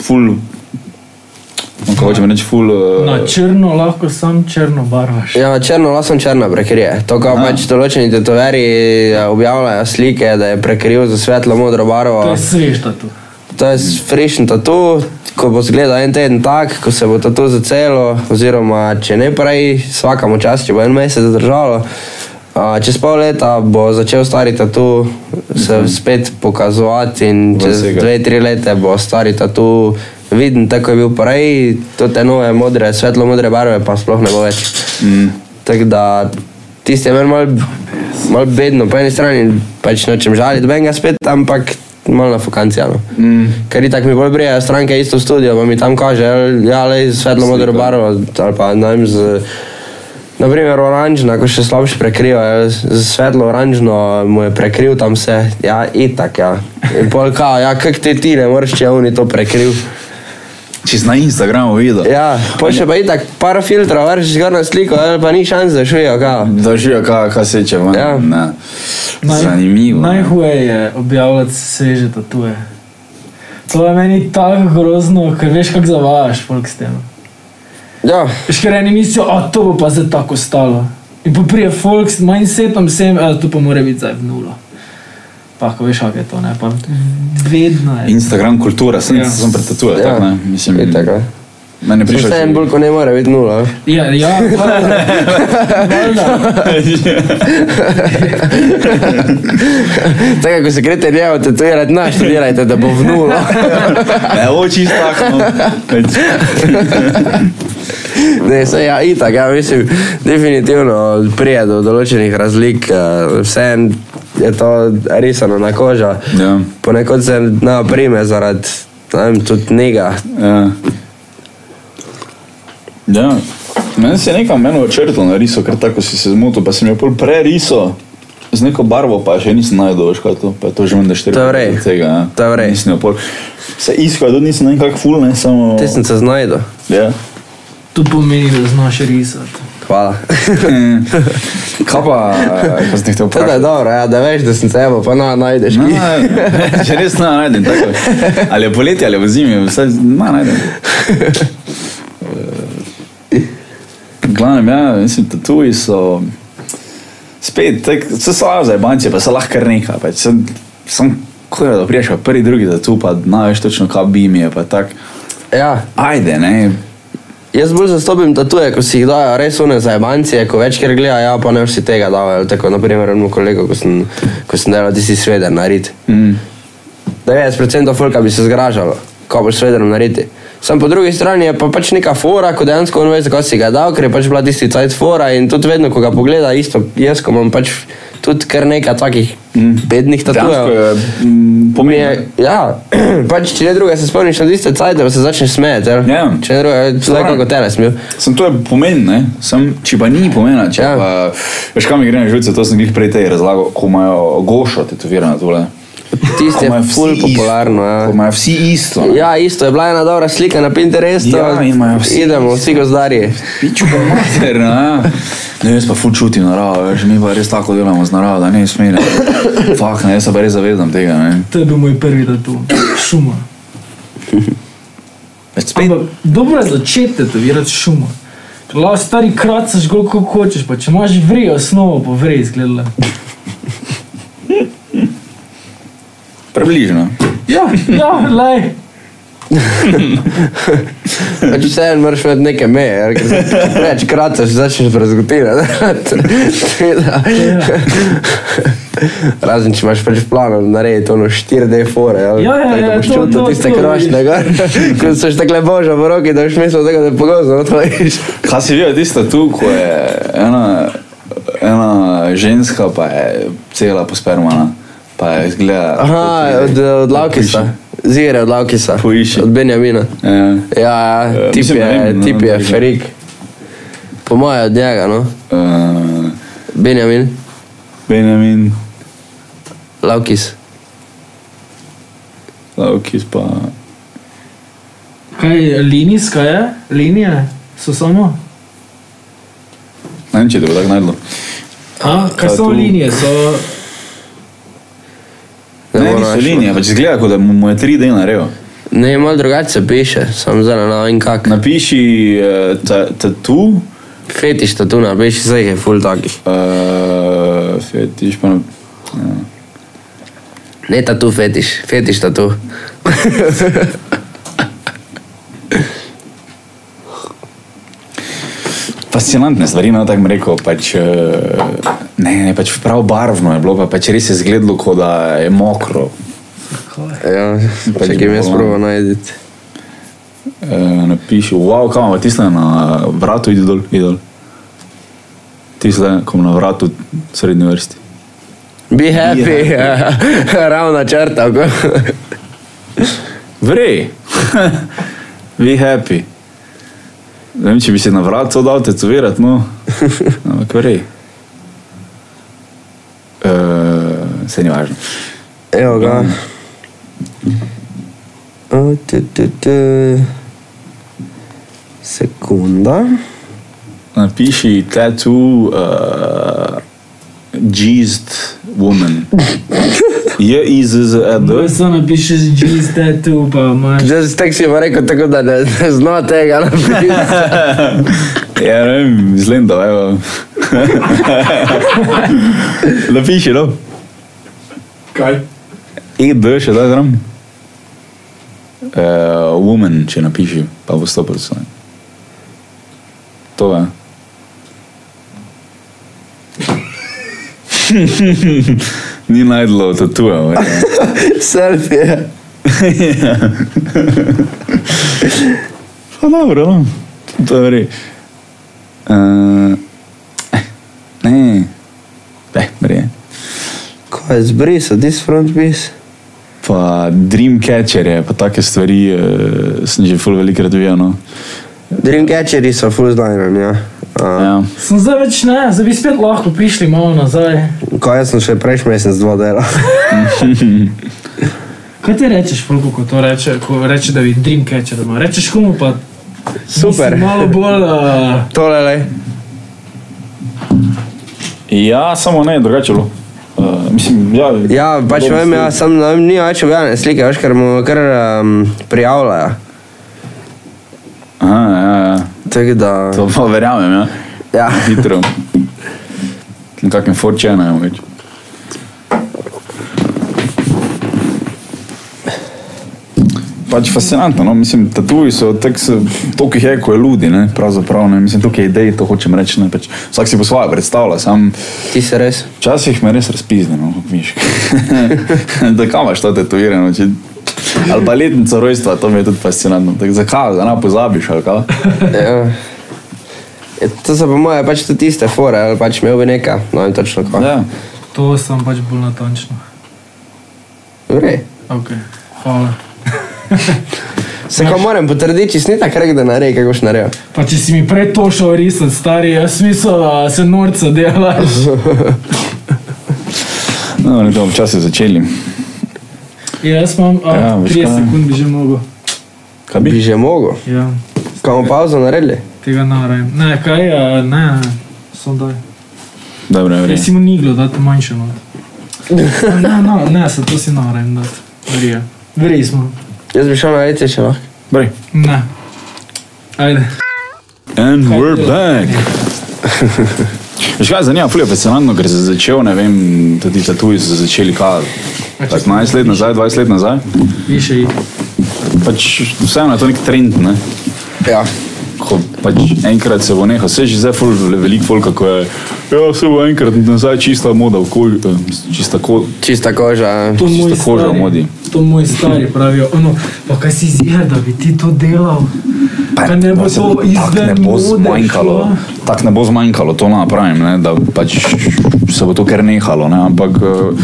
Speaker 3: full... no, Kako hočem reči, full... eh,
Speaker 5: Na črno lahko sam črno barvaš.
Speaker 4: Ja, črno lasom črna prekrije. To, kar pač določeni tetoveri eh, objavljajo slike, da je prekril za svetlo modro barvo.
Speaker 5: To je svež tatu.
Speaker 4: To je frešen tatu, ko bo zgledal en teden tak, ko se bo tatu zacelo, oziroma če ne prej, vsakamo čas, če bo en mesec zdržalo. A, čez pol leta bo začel stari tatu se spet pokazovati in čez
Speaker 3: Vsega.
Speaker 4: dve, tri leta bo stari tatu viden, tako je bil prej, tudi te nove modre, svetlo modre barve pa sploh ne bo več. Mm. Tako da tisti je meni malo mal bedno, po eni strani pač nočem žaliti, venga spet, ampak malo na fukancijano. Mm. Ker itak mi bolj breje, stranke isto v studio, pa mi tam kaže, "El, ja, le svetlo modro barvo ali pa ne vem z... Naprimer, oranžna, ko še slabše prekriva, el, z svetlo oranžno mu je prekril tam vse, ja, itak, ja. In pol kao, ja, kak te ti ne moreš, če je oni to prekril.
Speaker 3: Čez na Instagramu videl.
Speaker 4: Ja, pol še pa itak, par filtrov, vršiš gor na sliko, el, pa ni šans, da švijo, kao.
Speaker 3: Držijo, kaj ka seče ven.
Speaker 4: Ja.
Speaker 3: Ne. Zanimivo. ne.
Speaker 5: Najhuje je objavljati sveže tatuje. To je meni tako grozno, ker veš, kako zavajaš folk s tem.
Speaker 4: Ja,
Speaker 5: Veš, ker eni mislijo, a to bo pa zdaj tako stalo. In pa prije folk s mindsetom sem, a to pa mora biti zdaj v nulo. Pa ko veš, kako je to, ne, pa vedno je.
Speaker 3: Instagram kultura, sem,
Speaker 5: Ja.
Speaker 3: ja. sem pretatuje.
Speaker 4: Ja.
Speaker 3: Ja. Tak, ne? Mislim,
Speaker 4: itak, ja.
Speaker 3: meni je prišlo.
Speaker 4: Vse en bolj,
Speaker 3: [laughs]
Speaker 4: ko ne more biti eh? nula.
Speaker 5: Ja, ja, valjda. Valjda.
Speaker 4: Tako, ko se greste dnevo tetovirati, naš študirajte, da bo v [laughs] nulo.
Speaker 3: Ne, Ja, oči no. stakno.
Speaker 4: Ne, se ja, itak, ja, mislim, definitivno prije do določenih razlik, eh, vse en je to risano na kožo.
Speaker 3: Ja.
Speaker 4: Ponekod se naprime zaradi, ne vem, tudi njega.
Speaker 3: Ja. ja. Meni se je nekam meni očrtalo na riso, ker tako si se zmotil, pa sem jo pol preriso. Z neko barvo pa še nisem najdel, veš kaj je to, pa je to že menda 4
Speaker 4: To je v redu.
Speaker 3: tega. Ja.
Speaker 4: To je v redu.
Speaker 3: Nisem jo pol. Se iskal, tudi nisem nekako ful, ne samo.
Speaker 4: Te sem se znajdel.
Speaker 3: Ja.
Speaker 5: To pomeni, da znaš risati.
Speaker 4: Hvala.
Speaker 3: [laughs] Kaj pa, eh, ko ste te
Speaker 4: To
Speaker 3: vprašali?
Speaker 4: je dobro, ja, da veš, da sem se evo, pa na, najdeš.
Speaker 3: No, [laughs]
Speaker 4: ki.
Speaker 3: če res ne najdem, tako. ali je poletje ali je v zimi, vse ima najdem. Eh, v Glavnem, ja, mislim, tatuji so spet, tak, vse so za banci, pa so lahko kar nekaj. Pač. Sem, sem kujo, da priješ pa prvi, drugi tatu, pa znaš točno, kaj bi mi je, pa tak.
Speaker 4: Ja,
Speaker 3: Ajde, ne.
Speaker 4: Jaz bolj zastopim tatuje, ko si jih dajo res one zajebancije, ko večkrat gleda, ja pa ne vsi tega dajo. Tako naprimer enemu kolegu, ko sem, ko sem delal tisti sveder narediti.
Speaker 3: Mm.
Speaker 4: 90% folka bi se zgražalo, ko boš sveder narediti. Sam po drugi strani je pa pač neka fora, ko dejansko on ve, zakaj si ga dal, ker je pač bila tisti cajt fora in tudi vedno, ko ga pogleda, isto jaz, ko imam pač tudi kar nekaj takih bednih
Speaker 3: Mm. Dejansko
Speaker 4: tatujev.
Speaker 3: je mm,
Speaker 4: Mi
Speaker 3: pomembno.
Speaker 4: Je, ja, [clears throat] pač če ne druga se spomniš na tiste cajte, pa se začneš smejati.
Speaker 3: Ja.
Speaker 4: Ja. Če ne druga,
Speaker 3: Stvarno.
Speaker 4: zdaj kako tele smil.
Speaker 3: Sem to je pomen, ne? Sem, če pa ni pomena, če ja.
Speaker 4: Ja.
Speaker 3: pa, veš kam mi gre na živce, to sem jih prej tej razlagal, ko imajo gošo tetovirano tole.
Speaker 4: Tisti je ful popularno.
Speaker 3: Ja.
Speaker 4: Ja.
Speaker 3: Ko imajo vsi isto. ne.
Speaker 4: Ja, isto je bila ena dobra slika na Pinterestu.
Speaker 3: Ja, in imajo vsi
Speaker 4: Idemo, vsi gozdarji.
Speaker 3: Piču pa mater, ne. Ne, jaz pa ful čutim naravo, veš, mi pa res tako delamo z naravo, da ne smem. Fak, ne, jaz se pa res zavedam tega, ne.
Speaker 5: To je bil moj prvi tatu, šuma.
Speaker 3: Več spet.
Speaker 5: Ampak dobro je začeti tetovirati šuma. Ker Lahko stari kracaš gor, kako hočeš, pa če imaš vrijo osnovo, pa vrej izgledala.
Speaker 3: Približno.
Speaker 5: Ja, ja, lej.
Speaker 4: Pač vseeno moraš imeti neke meje, ja, ker se preveč kratko začneš razgotirati. Razen če imaš pač plan, narediti ono 4D fore. Ja,
Speaker 5: Ja, ja,
Speaker 4: tako
Speaker 5: ja,
Speaker 4: boš
Speaker 5: to,
Speaker 4: čutil
Speaker 5: to,
Speaker 4: tiste
Speaker 5: to,
Speaker 4: krošne,
Speaker 5: vidiš.
Speaker 4: gor, ko si tako boža v roki, da boš mislil, da ga ne pogozno otvoriš.
Speaker 3: Kaj si videl tisto tu, ko je ena, ena ženska, pa je cela pospermana, pa je izgleda.
Speaker 4: Aha, od, od Laukisa. Zire od Laukisa.
Speaker 3: Poiši.
Speaker 4: Od Benjamina.
Speaker 3: Ja,
Speaker 4: Ja,
Speaker 3: Eh,
Speaker 4: ja, tip
Speaker 3: mislim, ne
Speaker 4: je,
Speaker 3: vem,
Speaker 4: tip
Speaker 3: no,
Speaker 4: je
Speaker 3: tega.
Speaker 4: ferik. Po mojem od njega, no.
Speaker 3: uh,
Speaker 4: Benjamin,
Speaker 3: Benjamin,
Speaker 4: Laukis.
Speaker 3: Laukis pa.
Speaker 5: Kaj je linijska je? Linije so samo?
Speaker 3: Ne vem, če te bo tako najdlo.
Speaker 5: A, kaj so
Speaker 3: Tatu.
Speaker 5: linije? So...
Speaker 3: Ne,
Speaker 4: Ja,
Speaker 3: ne niso linije, pač izgleda, kot da mu mu je tri dni narejo.
Speaker 4: Ne, malo drugače se piše, sem zelo na en kak.
Speaker 3: Napiši eh, ta- tatu,
Speaker 4: Fetiš tatu napiši, zdaj jih je full takih.
Speaker 3: eh, fetiš pa. nap- ja.
Speaker 4: Ne tatu fetiš, fetiš tatu.
Speaker 3: Fascinantne stvari, no tako bi rekel. Pač, eh, ne, ne, pač prav barvno je bilo, pa pač res je izgledalo, kot da je mokro.
Speaker 4: Ja,
Speaker 3: Pač
Speaker 4: če jim jaz
Speaker 3: bolan.
Speaker 4: prvo najdete.
Speaker 3: E, napiši, wow, kam je tisto na vratu, idi dol, idi dol. Tisto, ko na vratu srednji vrsti.
Speaker 4: Be happy, ja. [laughs] ravna črta. ko.
Speaker 3: Vrej, [laughs] vi happy. Ne vem, če bi se na vrat to dal tetovirati, no, ampak vrej. Uh, se ni važno.
Speaker 4: Evo ga.
Speaker 3: Mm.
Speaker 4: O, tu, tu, tu. Sekunda.
Speaker 3: Napiši tattoo uh, jizzed woman. E Je
Speaker 5: Kaj
Speaker 3: izz,
Speaker 5: so napišeš, jeez, tatu, pa imaš.
Speaker 4: Zdaj si tak si pa rekel tako, da ne, ne [laughs] zna tega napisati.
Speaker 3: Ja, ne vem, zlen da, evo. [laughs] Napiši, no.
Speaker 5: Kaj?
Speaker 3: ID še da zram. Uh, woman, če napiši, pa bo 100%. To je. [laughs] Ni najdlo tatuja.
Speaker 4: Selfie.
Speaker 3: [laughs] Pa dobro, no. to je res. Uh, ne, Eh, ne, ne.
Speaker 4: Ko je zbrisal, this front piece.
Speaker 3: Pa Dreamcatcher je, pa take stvari uh, sem že ful velikrat videl. No.
Speaker 4: Dreamcatcheri so full znani, ja. Uh,
Speaker 3: Ja.
Speaker 5: Sem zdaj več ne, zdaj bi spet lahko prišli malo nazaj.
Speaker 4: Kaj jaz sem še prejšnji mesec dva dela.
Speaker 5: Kaj ti rečeš, Fulko, ko to reče, ko reče, da bi Dreamcatcher doma? Rečeš komu pa?
Speaker 4: Super.
Speaker 5: Mislim, Malo bolj. Uh,
Speaker 4: [laughs] Tole le.
Speaker 3: ja, samo ne, drugače je bilo. Uh, mislim, ja,
Speaker 4: Ja, pač
Speaker 3: podobno
Speaker 4: vem,
Speaker 3: stvari.
Speaker 4: ja, sam ne vem, ni več objavljene slike, veš, ker mu kar um, prijavljajo.
Speaker 3: Aha, ja, ja.
Speaker 4: Tako da,
Speaker 3: To pa verjamem, ja.
Speaker 4: ja.
Speaker 3: hitro. Na kakem forčena je več. Pač fascinantno, no? mislim, tatuji so tako, se- toliko jih je, ko je ljudi, ne, pravzaprav, ne, mislim, toliko je idej, to hočem reči, ne, pač vsak si po svoje predstavlja, sam
Speaker 4: Ti si res.
Speaker 3: [laughs] včasih me res razpizne, no, kako miš. da kam imaš to tatuirano, če Ali pa letnico rojstva, to mi je tudi fascinantno. Tak, zakaj, da ne pozabiš, ali kaj?
Speaker 4: Ja. Ja, To so po moje pač tudi tiste fore, ali pač imel bi neka, no in točno kako.
Speaker 3: Ja.
Speaker 5: To sem pač bolj natančno.
Speaker 4: Vrej.
Speaker 5: Okay. Hvala.
Speaker 4: Se ga moram potrditi, če si ni tako rekel, da naredi, kako si naredil.
Speaker 5: Pa če si mi prej to šel risati, stari, jaz mislim, da se norca delaš.
Speaker 3: No, ne bomo včasih začeli.
Speaker 5: Jaz imam a,
Speaker 3: Ja, veš
Speaker 5: 30
Speaker 3: kaj?
Speaker 5: sekund, bi že mogel.
Speaker 3: Kaj
Speaker 4: Bi
Speaker 3: bi?
Speaker 4: že mogel.
Speaker 5: Ja,
Speaker 4: Kaj bomo pauzo naredili?
Speaker 5: tega narajem. Ne, kaj, a, ne, sem daj.
Speaker 3: Dobro, ne
Speaker 5: Kaj
Speaker 3: vem.
Speaker 5: si mu niglo, da te manjše not. Ne, no, ne, se to si narajem, da. Verije. Verije smo.
Speaker 4: Jaz bi šel na leti še no. lahko.
Speaker 3: Brej.
Speaker 5: Ne. Ajde.
Speaker 3: And we're back. Veš kaj, zanima, fulje fascinantno, ker se je začel, ne vem, tudi tatuji so se začeli kaj, 15 let nazaj, 20 let nazaj.
Speaker 5: Više jih.
Speaker 3: Pač vseeno je to nek trend, ne?
Speaker 4: Ja.
Speaker 3: Ko pač enkrat se bo nehal, vse že zdaj ful, veliko folka, ko je, ja, se bo enkrat nazaj čista moda, okolj, čista ko,
Speaker 4: Čista koža.
Speaker 5: To
Speaker 3: Čisto
Speaker 5: moj
Speaker 3: koža
Speaker 5: stari-
Speaker 3: modi.
Speaker 5: To moj stari pravijo, ono, pa kaj si zir, da bi ti to delal? Pa ne bo to
Speaker 3: Tako ne
Speaker 5: izven
Speaker 3: bo
Speaker 5: mode.
Speaker 3: zmanjkalo,
Speaker 5: šlo.
Speaker 3: tako ne bo zmanjkalo, to napravim, ne, da pač se bo to kar nehalo, ne, ampak eh,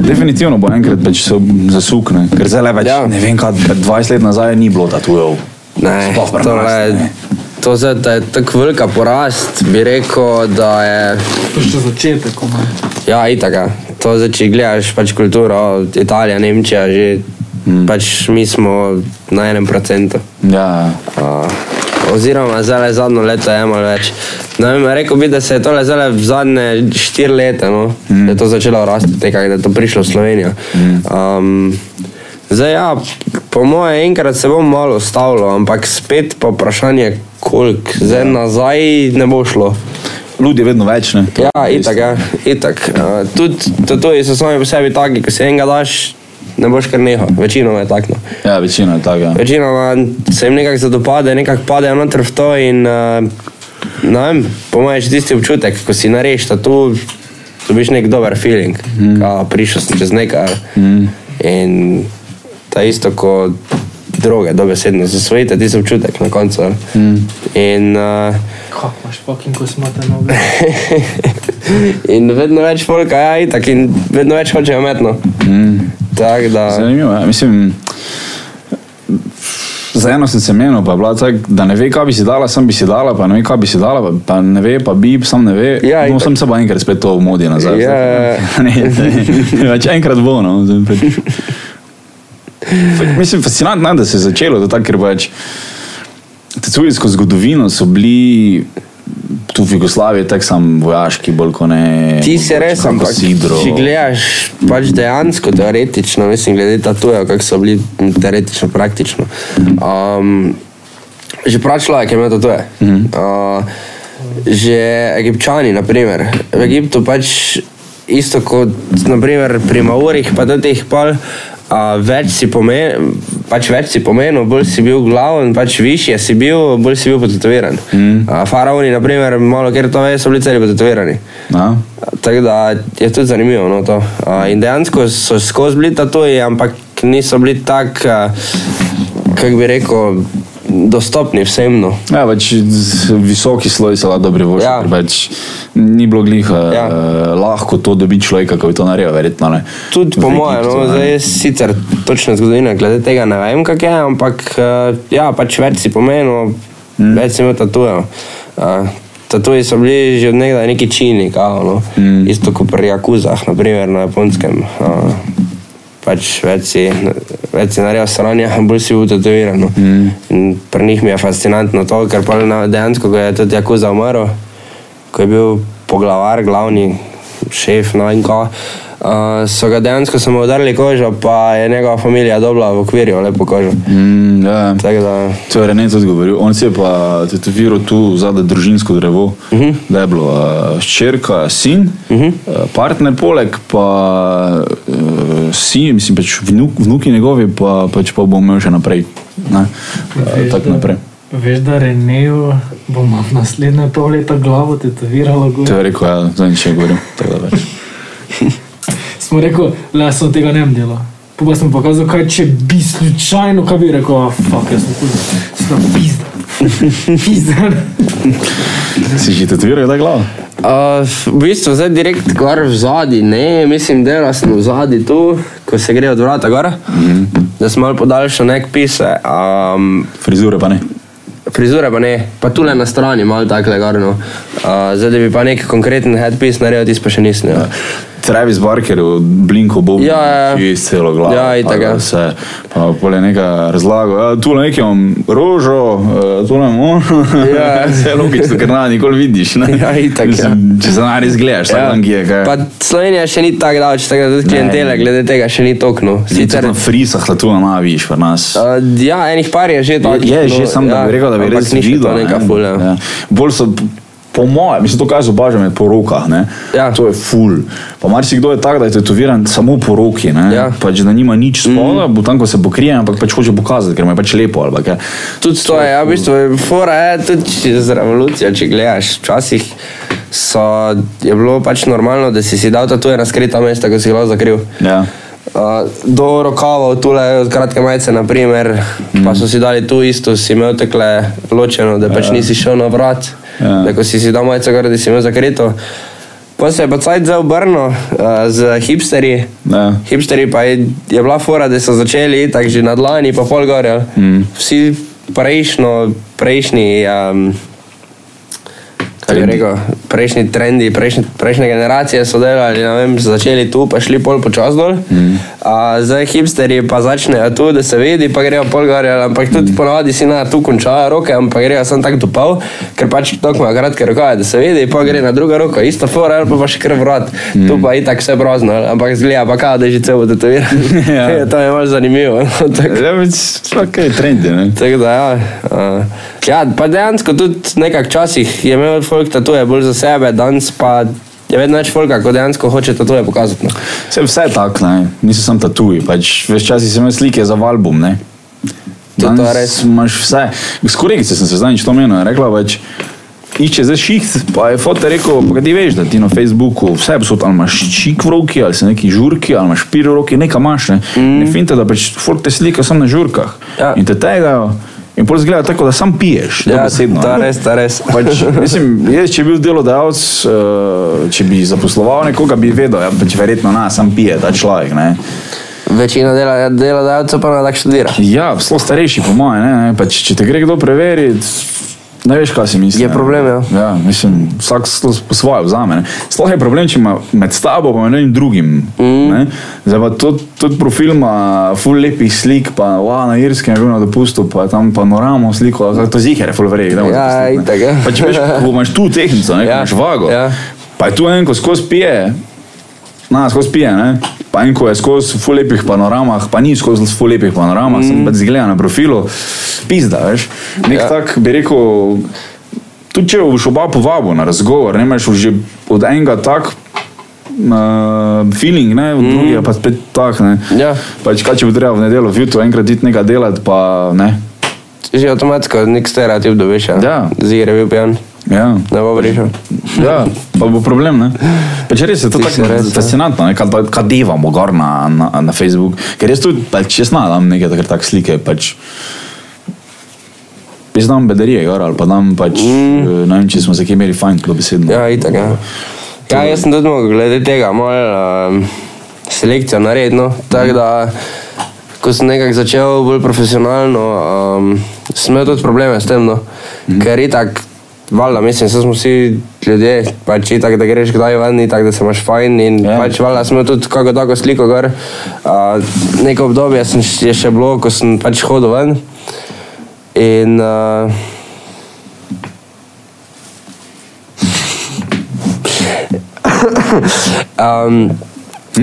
Speaker 3: definitivno bo enkrat pač se zasukne, ker zdaj le več, ja.
Speaker 4: Ja.
Speaker 3: ne vem, kaj 20 let nazaj ni bilo tatujev.
Speaker 4: Ne,
Speaker 3: Sploh pri
Speaker 4: tole,
Speaker 3: nas, ne.
Speaker 4: to zdaj, da je tako velika porast, bi rekel, da je
Speaker 5: To je še začetek, komaj.
Speaker 4: Ja, itaka. To zdaj, če gledaš pač kulturo, Italija, Nemčija, že mm. pač mi smo na enem procentu.
Speaker 3: Ja,
Speaker 4: Uh, oziroma, zdaj le zadnjo leto je malo več. Ne vem, rekel bi, da se je tole zdaj v zadnje štiri leta, no, mm. da je to začelo rasti, nekaj, da je to prišlo v Slovenijo. Mm. Um, zdaj, ja, po moje enkrat se bom malo ustavilo, ampak spet pa vprašanje, koliko. Zdaj nazaj ne bo šlo.
Speaker 3: ljudi je vedno več, ne. to je
Speaker 4: Ja,
Speaker 3: dejstvo.
Speaker 4: itak, ja, itak. Uh, tudi tatuji so sami po sebi taki, ko si enega daš, ne boš kar nehal, večinoma je tako. No.
Speaker 3: Ja, večina je taka. Ja.
Speaker 4: Večinoma se jim nekako zadopade, nekako padejo noter v to in uh, ne vem, po mojem je še tisti občutek, ko si nareš tatu, dobiš nek dober feeling, mm. ka prišel sem čez nekaj mm. in ta isto kot droge, dobesedno zasvojite tisti občutek na koncu. Mm. In uh,
Speaker 5: Kako imaš fucking kosmate
Speaker 3: [laughs]
Speaker 5: noge?
Speaker 4: [laughs] In vedno več folka, ja, itak, in vedno več hočejo umetno.
Speaker 3: Mm.
Speaker 4: Tako da,
Speaker 3: Zanimivo, ja. mislim. Za eno sem se menil, pa je bila tak, da ne ve, kaj bi si dala, sam bi si dala, pa ne ve, kaj bi si dala, pa, pa ne ve, pa bi, sam ne ve.
Speaker 4: Ja,
Speaker 3: no,
Speaker 4: itak.
Speaker 3: sem se pa enkrat spet to v modi nazaj.
Speaker 4: Ja,
Speaker 3: ne, [laughs] ne, več enkrat bo, no. zdaj
Speaker 4: [laughs]
Speaker 3: pač. Mislim, fascinantno je, da se je začelo, da tako, ker pač tacujsko zgodovino so bili tu v Jugoslaviji, tako sam vojaški, bolj kot ne.
Speaker 4: ti si res,
Speaker 3: kako
Speaker 4: ampak
Speaker 3: sidro.
Speaker 4: če gledaš pač dejansko, teoretično, mislim, glede tatujev, kako so bili m, teoretično, praktično. Um, že prav človek je imel tatuje. Mm. Uh, že egipčani, naprimer. v Egiptu pač isto kot naprimer, pri Maurih, pa tudi teh pol. Uh, več si pomenil, pač več si pomenil, bolj si bil glaven, pač višje si bil, bolj si bil potetoviran. Mm. Uh, faraoni, naprimer, malo ker to ve, so bili celi potetovirani.
Speaker 3: Ja.
Speaker 4: Tako da je tudi zanimivo. No, to. A, In dejansko so skozi bili tatuji, ampak niso bili tako, kako bi rekel, dostopni vsem. No.
Speaker 3: Ja, pač z- visoki sloj se lahko dobro voši,
Speaker 4: Ja.
Speaker 3: ja. pač ni bilo glih ja.
Speaker 4: Ja.
Speaker 3: eh, lahko to dobi človek, kako je to naredil, verjetno ne.
Speaker 4: Tudi po
Speaker 3: V
Speaker 4: mojem,
Speaker 3: Egiptu,
Speaker 4: no,
Speaker 3: ne.
Speaker 4: zdaj jaz sicer točno zgodovina, glede tega ne vem, kak je, ampak eh, ja, pač več si pomenil, mm. več si imel tatujev. Eh, Tatuji so bili že od nekdaj neki čini, kao, no. mm. isto kot pri Jakuzah, naprimer na japonskem. Eh, Pač več si, več si naredil sranja, [laughs] bolj si bil tetoviran. No. Mm. In Pri njih mi je fascinantno to, ker pa dejansko, ko je tudi Jakuza umrl, ko je bil poglavar, glavni šef, no in ko. Uh, so ga dejansko samo udarili kožo, pa je njegova družina dobila v okviru lepo kožo.
Speaker 3: Mm, ja.
Speaker 4: Tako da,
Speaker 3: To je Rene tudi govoril. On si je pa tetoviral tu zadaj družinsko drevo, uh -huh.
Speaker 4: Mhm.
Speaker 3: da je bilo eh, hčerka, sin, uh -huh. partner poleg, pa uh, sin, mislim pač vnuk, vnuki njegovi, pa pač pa bo imel še naprej. Ne? Eh, Tako naprej.
Speaker 5: Veš, da Reneju bomo v naslednje pol leta glavo tetoviralo. gor.
Speaker 3: To je rekel, ja, zdaj če govorim. tako da pač.
Speaker 5: Smo rekli, le so tega ne bi delal. Pa pa sem pokazal, kaj če bi slučajno, kaj bi rekel, oh, fuck, jaz sem kužil, sem pizda. Pizda.
Speaker 3: Si že tetoviral, da je glava?
Speaker 4: Uh, v bistvu zdaj direkt gor v zadnji, ne, mislim, da sem v zadnji tu, ko se gre od vrata gor, mm. da sem malo podaljšal nek pise. Um,
Speaker 3: Frizure pa ne.
Speaker 4: Frizure pa ne, pa tule na strani, malo tako legarno. Uh, zdaj, da bi pa nek konkreten headpiece naredil, tisto pa še nisem. Ja.
Speaker 3: Travis Barker, Blinko Bob,
Speaker 4: Ja, ja.
Speaker 3: ki je s celo glavo.
Speaker 4: Ja, itak, ja.
Speaker 3: pa Vse, pa polje neka razlago. Ja, tu nekaj imam rožo, eh, tu imam ono.
Speaker 4: Ja.
Speaker 3: [laughs] Vse je logično, ker na nikoli vidiš. Ne?
Speaker 4: Ja, itak, ja.
Speaker 3: Mislim, Če se na res gledaš, ja. tam je kaj.
Speaker 4: Pa Slovenija še ni tako daleč, tako da tudi klientele glede tega še ni no. tokno.
Speaker 3: Sicer na frisah, da tu ne vidiš, pri nas.
Speaker 4: Uh, ja, enih par je že no, ja, tako.
Speaker 3: Je že sam, da bi rekel, da bi res videl. ne.
Speaker 4: Neka fulja.
Speaker 3: Ja. Bolj so, po mojem, mislim, to kaj se obaža med porokah, ne.
Speaker 4: Ja.
Speaker 3: To je ful. Pa marsikdo je tak, da je tetoviran samo po roki, ne.
Speaker 4: Ja.
Speaker 3: Pač, da nima nič spola, mm. bo tam, ko se pokrije, ampak pač hoče pokazati, ker mu je pač lepo ali pa kaj.
Speaker 4: Tudi to je, ja, v bistvu, je fora je tudi z revolucijo, če gledaš. Včasih so, je bilo pač normalno, da si si dal tatuje na skrita mesta, ko si ga zakril.
Speaker 3: Ja.
Speaker 4: Uh, do rokavov, tule od kratke majice, naprimer, mm. pa so si dali tu isto, si imel tekle ločeno, da pač ja. nisi šel na vrat,
Speaker 3: Ja.
Speaker 4: ja. da ko si si dal majico, gor, da si imel zakrito. Pa se je pa cajt zdaj obrnil uh, z hipsterji.
Speaker 3: Ja.
Speaker 4: Hipsteri pa je, je bila fora, da so začeli tako že na dlani, pa pol gorja. Mm. Vsi prejšnjo, prejšnji, um, kaj bi rekel, prejšnji trendi, prejšnje, prejšnje generacije so delali, ne vem, začeli tu, pa šli pol počas dol. Mm. A, zdaj hipsteri pa začnejo tu, da se vidi, pa grejo pol gorja, ampak tudi mm. ponovadi si na tu končajo roke, ampak grejo sem tako do pol, ker pač tako ima kratke rokave, da se vidi, pa gre na drugo roko, isto fora, ali pa, pa še krv vrat. Mm. Tu pa itak vse brozno, ampak zgleda pa kao, da je že celo tetoviran.
Speaker 3: Ja.
Speaker 4: [laughs] ja. to je malo zanimivo. [laughs] no, tako.
Speaker 3: Ja, več, kaj je trendi, ne.
Speaker 4: Tako da, ja, uh, ja, pa dejansko tudi nekako časih je imel folk tatuje bolj za sebe, danes pa je vedno več folka, ko dejansko hoče tatuje pokazati. No.
Speaker 3: Vse, vse je tako, ne. Niso samo tatuji, pač več časa si imel slike za album, ne.
Speaker 4: To je to
Speaker 3: Danes
Speaker 4: res.
Speaker 3: Imaš vse. S kolegico sem se zadnjič to menil, rekla pač, išče za šiht, pa je fotor rekel, pa ti veš, da ti na Facebooku vse je posod, ali imaš šik v roki, ali se neki žurki, ali imaš pir v roki, nekaj imaš, ne. Mm. Ne finte, da pač folk te slika samo na žurkah.
Speaker 4: Mhm. Ja.
Speaker 3: In te tegajo. In pol zgleda tako, da sam piješ. dobesedno,
Speaker 4: to je
Speaker 3: ne.
Speaker 4: res, to je res.
Speaker 3: Pač, mislim, jaz, če bi bil delodajalec, eh, če bi zaposloval nekoga, bi vedel, ja, pač verjetno nas sam pije ta človek. Ne.
Speaker 4: Večina dela, delodajalcev pa tako študira.
Speaker 3: Ja, zelo starejši, po mojem, ne, ne, pač, če te gre kdo preveriti. Ne veš, kaj si misliš.
Speaker 4: Je problem, ja.
Speaker 3: ja mislim, vsak slo- po svoje vzame. Sploh je problem, če ima med sabo in enim drugim. Mm. Ne? Zdaj pa tudi, tudi profil ima full lepih slik, pa wow, na Irskem je bil na dopustu, pa je tam panoramo sliko, ali kako to ziger je full verjeti.
Speaker 4: Ja, itak, ja.
Speaker 3: Pa če veš, ko imaš tu tehnico, ne, ja.
Speaker 4: Ja,
Speaker 3: imaš vago.
Speaker 4: ja.
Speaker 3: Pa je tu en, ko skozi pije, Na, skozi pije, ne? pa en, ko je skozi v lepih panoramah, pa ni skozi v lepih panoramah, mm. sem pač zgleda na profilu, pizda, veš. Nek ja.
Speaker 4: Ja.
Speaker 3: tak bi rekel, tudi če boš oba povabo na razgovor, ne imaš že od enega tak uh, feeling, ne, od mm. drugega pa spet tak, ne.
Speaker 4: Ja.
Speaker 3: Pač kaj, če bi treba v nedeljo v jutro enkrat iti nekaj delati, pa ne.
Speaker 4: Že avtomatsko nek stereotip dobiš.
Speaker 3: Ja.
Speaker 4: Zire bil pijan,
Speaker 3: Ja.
Speaker 4: ne bo prišel.
Speaker 3: Ja, pa bo problem. ne. Pač res je to
Speaker 4: Ti
Speaker 3: tako
Speaker 4: si res, ja.
Speaker 3: fascinantno, ne, kad, kad devamo gor na, na, na Facebook. Ker jaz tudi, pač jaz znam neke take tak slike, pač jaz znam bedarije gor ali pa znam pač, mm. ne vem, če smo se kje imeli fajn, to besedno.
Speaker 4: Ja, itak. Ja. Ja, jaz sem tudi mogel glede tega malo um, selekcijo narediti. No. Tako da, ko sem nekako začel bolj profesionalno, um, sem imel tudi probleme s tem, no. mm. ker itak. Valjda, mislim, saj smo vsi ljudje, pač tako, da greš kdaj ven, tako da se imaš fajn. In
Speaker 3: Ja.
Speaker 4: ja. pač valjda smo tudi kako tako sliko gor. Uh, neko obdobje sem, š- je še bilo, ko sem pač hodil ven. In uh, Um,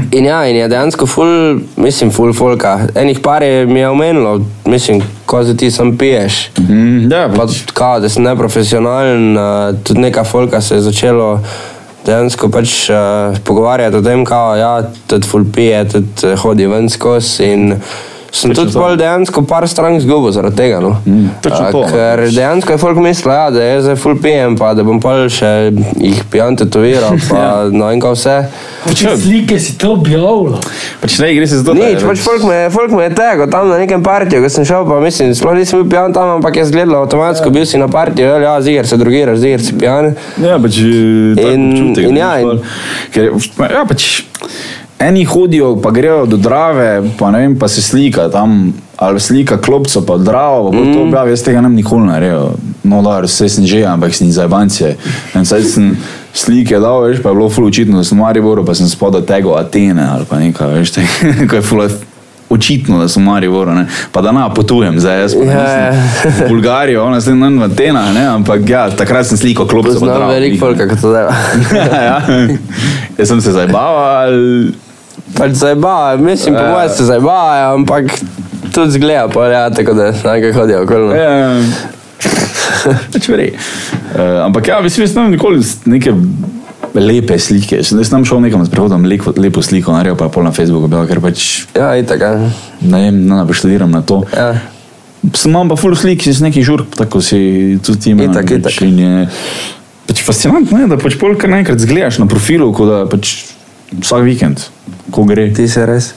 Speaker 4: in ja, in je dejansko ful, mislim, ful folka. Enih par je mi je omenilo, mislim, ko se ti sam piješ.
Speaker 3: Mm, ja,
Speaker 4: Pa
Speaker 3: pa,
Speaker 4: tudi kao, da si neprofesionalen, uh, tudi neka folka se je začelo dejansko pač uh, pogovarjati o tem, kao, ja, tudi ful pije, tudi eh, hodi ven eh, skozi in Sem tudi bolj dejansko par strank zgubil zaradi tega. No. Mm,
Speaker 3: točno to, ne.
Speaker 4: ker dejansko je folk mislil, ja, da jaz zdaj full pijem, pa da bom pol še jih pijan tetoviral, pa [laughs] ja. no in kaj vse.
Speaker 5: Če slike si to objavljal,
Speaker 3: Pač ne gre se zato. da je
Speaker 4: Nič, pač folk me, je- folk me je tego tam na nekem partiju, ko sem šel, pa mislim, sploh nisem bil pijan tam, ampak je zgledalo avtomatsko, bil si na partiju, ja, ja ziger se drugiraš, ziger si pijan.
Speaker 3: Ja, pač eh, tak
Speaker 4: In-
Speaker 3: občutek,
Speaker 4: in
Speaker 3: ne,
Speaker 4: ja,
Speaker 3: pač
Speaker 4: in-
Speaker 3: bolj. Ker, je- ja, pač, eni hodijo, pa grejo do Drave, pa ne vem, pa se slika tam, ali slika klopco, pa Dravo, pa mm. to objavi, jaz tega nam nikoli ne rejo. No, da, vse sem že, ampak sem iz Ajbance. In saj sem slike dal, veš, pa je bilo ful očitno, da sem v Mariboru, pa sem spodal tega Atene ali pa nekaj, veš, [laughs] te, ko je ful očitno, da sem v Mariboru, ne. Pa da na, potujem, zdaj jaz pa ne.
Speaker 4: Ja,
Speaker 3: Yeah.
Speaker 4: ja.
Speaker 3: Bulgarijo, ona zdaj nam v Atenah, ne, ampak ja, takrat sem sliko klopil.
Speaker 4: Poznam veliko folk, kako to dela.
Speaker 3: [laughs]
Speaker 4: [laughs]
Speaker 3: ja, jaz sem se zabaval,
Speaker 4: Pač zajbava, mislim, po
Speaker 3: Ja.
Speaker 4: mojem se zajbava, ampak tudi zgleda, pa ja, tako da nekaj hodijo okoli. no.
Speaker 3: več ja. Pač veri. Ampak ja, mislim, jaz nisem nikoli s- neke lepe slike. Sem- Jaz sem šel nekam s prehodom, lepo, lepo sliko naredil, pa je pol na Facebooku objavil, ker pač
Speaker 4: Ja, itak. ja.
Speaker 3: ne vem, ne naštudiram na to.
Speaker 4: Ja.
Speaker 3: Sem imam pa full slik iz nekih žurk, tako si tudi imaš.
Speaker 4: Itak, itak.
Speaker 3: Pač fascinantno je, da pač pol kar naenkrat zgledaš na profilu, kot da pač vsak vikend, ko gre.
Speaker 4: Ti si res.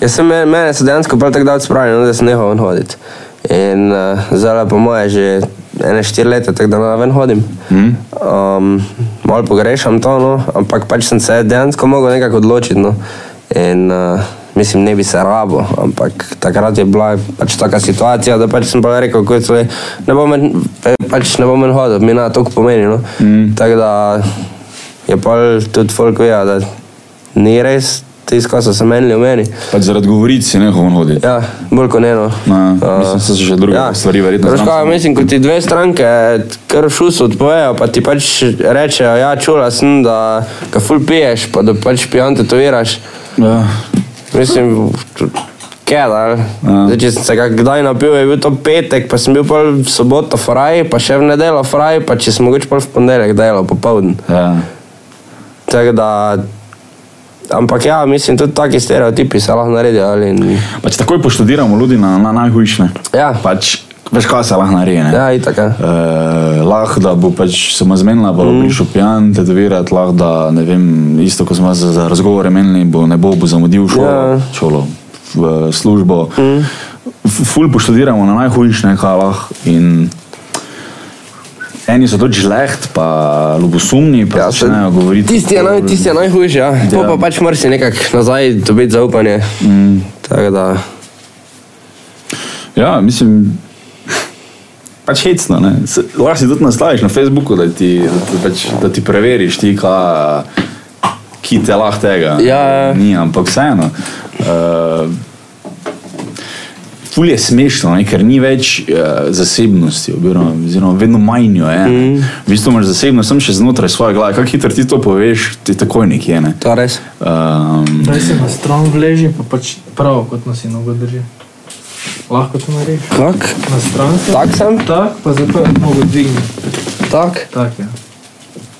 Speaker 4: Jaz sem, me- mene so dejansko prav tako dal spravljeno, no, da sem nehal ven hoditi. In uh, zdaj po moje že ene štiri leta, tako da ne ven hodim. Mm. Um, Malo pogrešam to, no, ampak pač sem se dejansko mogel nekako odločiti. No. In, uh, Mislim, ne bi se rabo, ampak takrat je bila pač taka situacija, da pač sem pa rekel, kujc, le, ne bom en, eh, pač ne bom en hodil, mi na to pomeni. No. Mm. Tako da je pa tudi folk veja, da ni res tisto, kar so se menili o meni.
Speaker 3: Pač zaradi govoric si nehal ven hoditi.
Speaker 4: Ja, bolj kot eno.
Speaker 3: Na, No, ja. mislim, saj so še druge stvari verjetno znam
Speaker 4: Praška,
Speaker 3: samo.
Speaker 4: ja. mislim, ko ti dve stranke kar v šusu odpovejo, pa ti pač rečejo, ja, čula sem, da ga ful piješ, pa da pač pijan tetoviraš.
Speaker 3: Ja.
Speaker 4: Mislim, Kedar.
Speaker 3: Ja.
Speaker 4: Zdaj, če sem se kak kdaj napil, je bil to petek, pa sem bil pol v soboto fraj, pa še v nedeljo fraj, pa če sem mogoče pol v ponedeljek delal popovdne.
Speaker 3: Ja.
Speaker 4: Tako da, ampak ja, mislim, tudi taki stereotipi se lahko naredijo. Ali,
Speaker 3: Pač takoj poštudiramo ljudi na, na najhujše.
Speaker 4: Ja.
Speaker 3: Pač, veš, kaj se lahko naredi. ne?
Speaker 4: ja, itak. ja.
Speaker 3: Eh, lahko da bo pač samo zmenila, pa bo mm. prišel pijan, tetovirati, lahko da ne vem, isto kot smo za, za razgovore menili, bo ne bo, bo zamudil šolo,
Speaker 4: Ja.
Speaker 3: yeah. šolo v službo. Mm. Ful poštudiramo na najhujših nekalah in eni so tudi žleht, pa ljubosumni, pa ja,
Speaker 4: Ja, se-
Speaker 3: začnejo govoriti.
Speaker 4: Tisti je, naj, tisti je najhujši, ja. ja. pa pač moraš si nekako nazaj dobiti zaupanje. Mm. Tako da,
Speaker 3: Ja, mislim. Pač hecno, ne. Se- lahko si tudi nastaviš na Facebooku, da ti, da ti, pač, da ti preveriš, ti, ka, ki te lahko tega.
Speaker 4: Ja, ja.
Speaker 3: Ni, ampak vseeno. Uh, Ful je smešno, ne, ker ni več uh, zasebnosti, oziroma, oziroma vedno manj jo je. Mm. V bistvu imaš zasebnost samo še znotraj svoje glave. Kako hitro ti to poveš, ti takoj nekje. Ne.
Speaker 4: to je res.
Speaker 3: Um,
Speaker 5: da se na stran vleži, pa pač prav kot nas je nogo drži. Lahko to narediš.
Speaker 4: Kak?
Speaker 5: Na stran se
Speaker 4: Tak sem,
Speaker 5: tak, pa zato je nogo dvignil.
Speaker 4: tak.
Speaker 5: Tak je.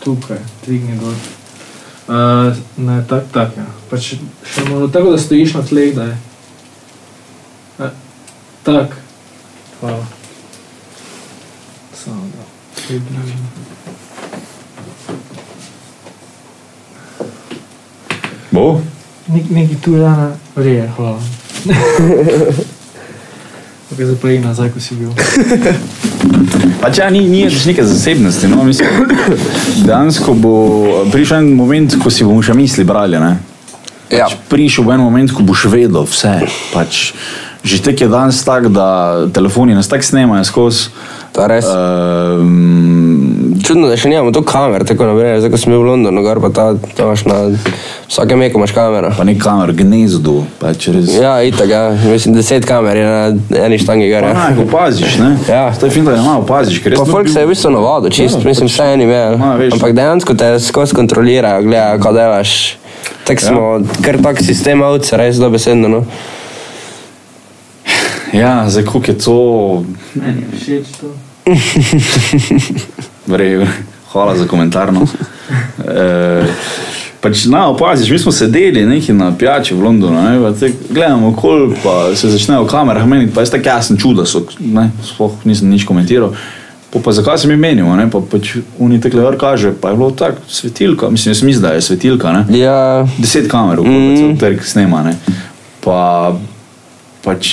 Speaker 5: Tukaj, dvigni dol. Uh, ne, tak, tak je. Pač še malo tako, da stojiš na tleh, da je. Uh, tak. Hvala. Samo da. približim.
Speaker 3: bo?
Speaker 5: Nek, neki tu je ena, reje, hvala. [laughs] Ok, zdaj pa je nazaj, ko si bil.
Speaker 3: Pač ja, ni, ni več neke zasebnosti. No? Mislim, dejansko bo prišel en moment, ko si bomo še misli brali. Ne?
Speaker 4: Ja.
Speaker 3: Pač prišel bo en moment, ko boš vedel vse. Pač, že tek je danes tak, da telefoni nas tako snemajo skozi.
Speaker 4: To je res.
Speaker 3: Um,
Speaker 4: Čudno, da še nimamo tu kamer, tako naprej, zdaj ko sem bil v Londonu, gor pa ta, to imaš na vsakem meku imaš kamero.
Speaker 3: pa nek kamer gnezdu, pač res.
Speaker 4: Ja, itak, ja. mislim, deset kamer je na eni štangi gor.
Speaker 3: Pa
Speaker 4: Ja.
Speaker 3: naj jih opaziš, ne?
Speaker 4: Ja.
Speaker 3: To je fint, da jih malo opaziš, ker res
Speaker 4: Pa
Speaker 3: ne
Speaker 4: folk
Speaker 3: bi-
Speaker 4: se je v bistvu navadil, čist,
Speaker 3: Ja,
Speaker 4: ja, mislim,
Speaker 3: pač-
Speaker 4: vse eni vejo.
Speaker 3: Ma, veš.
Speaker 4: Ampak dejansko te skozi kontrolirajo, gledajo, kaj delaš. Tako smo, ja. ker tak sistem avca, res dobesedno. No.
Speaker 3: Ja, zdaj koliko je to,
Speaker 5: Meni je všeč to.
Speaker 3: verjamem. Hvala za komentar. No. Eh, Pač, na, opaziš, mi smo sedeli nekje na pijači v Londonu, ne, pa te gledamo okol, pa se začnejo v kamerah meniti, pa je tako jasno čuda, so, ne, sploh nisem nič komentiral. Pa, pa zakaj se mi menimo, ne, pa pač oni teklevar kaže, pa je bilo tako svetilka, mislim, jaz mislim, da je svetilka, ne.
Speaker 4: Ja,
Speaker 3: Deset kamer, mm. trg snema, ne. Pa pač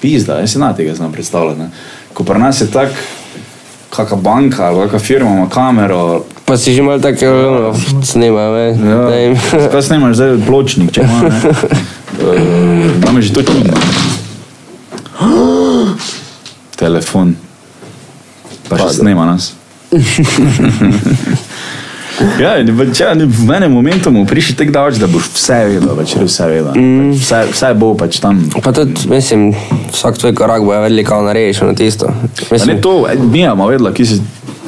Speaker 3: pizda, jaz si na tega znam predstavljati, ne. Ko pri nas je tako, kakšna banka ali kakšna firma ima kamero,
Speaker 4: pa si že malo tako ono, snima, veš.
Speaker 3: Ja.
Speaker 4: da jim-
Speaker 3: Kaj snemaš zdaj pločnik, če imaš? Nam je že to čudno. Telefon. Pa še snema nas. ja, in pač, ja, ni- v enem momentu mu priši tako daleč, da boš vse vedel, pač res vse vedel. Mm. Vse, vse bo pač tam.
Speaker 4: Pa tudi, mislim, vsak tvoj korak bo vedeli, kako narediš, ono tisto.
Speaker 3: A Ne
Speaker 4: Mislim,
Speaker 3: to, Mija ima vedela, ki si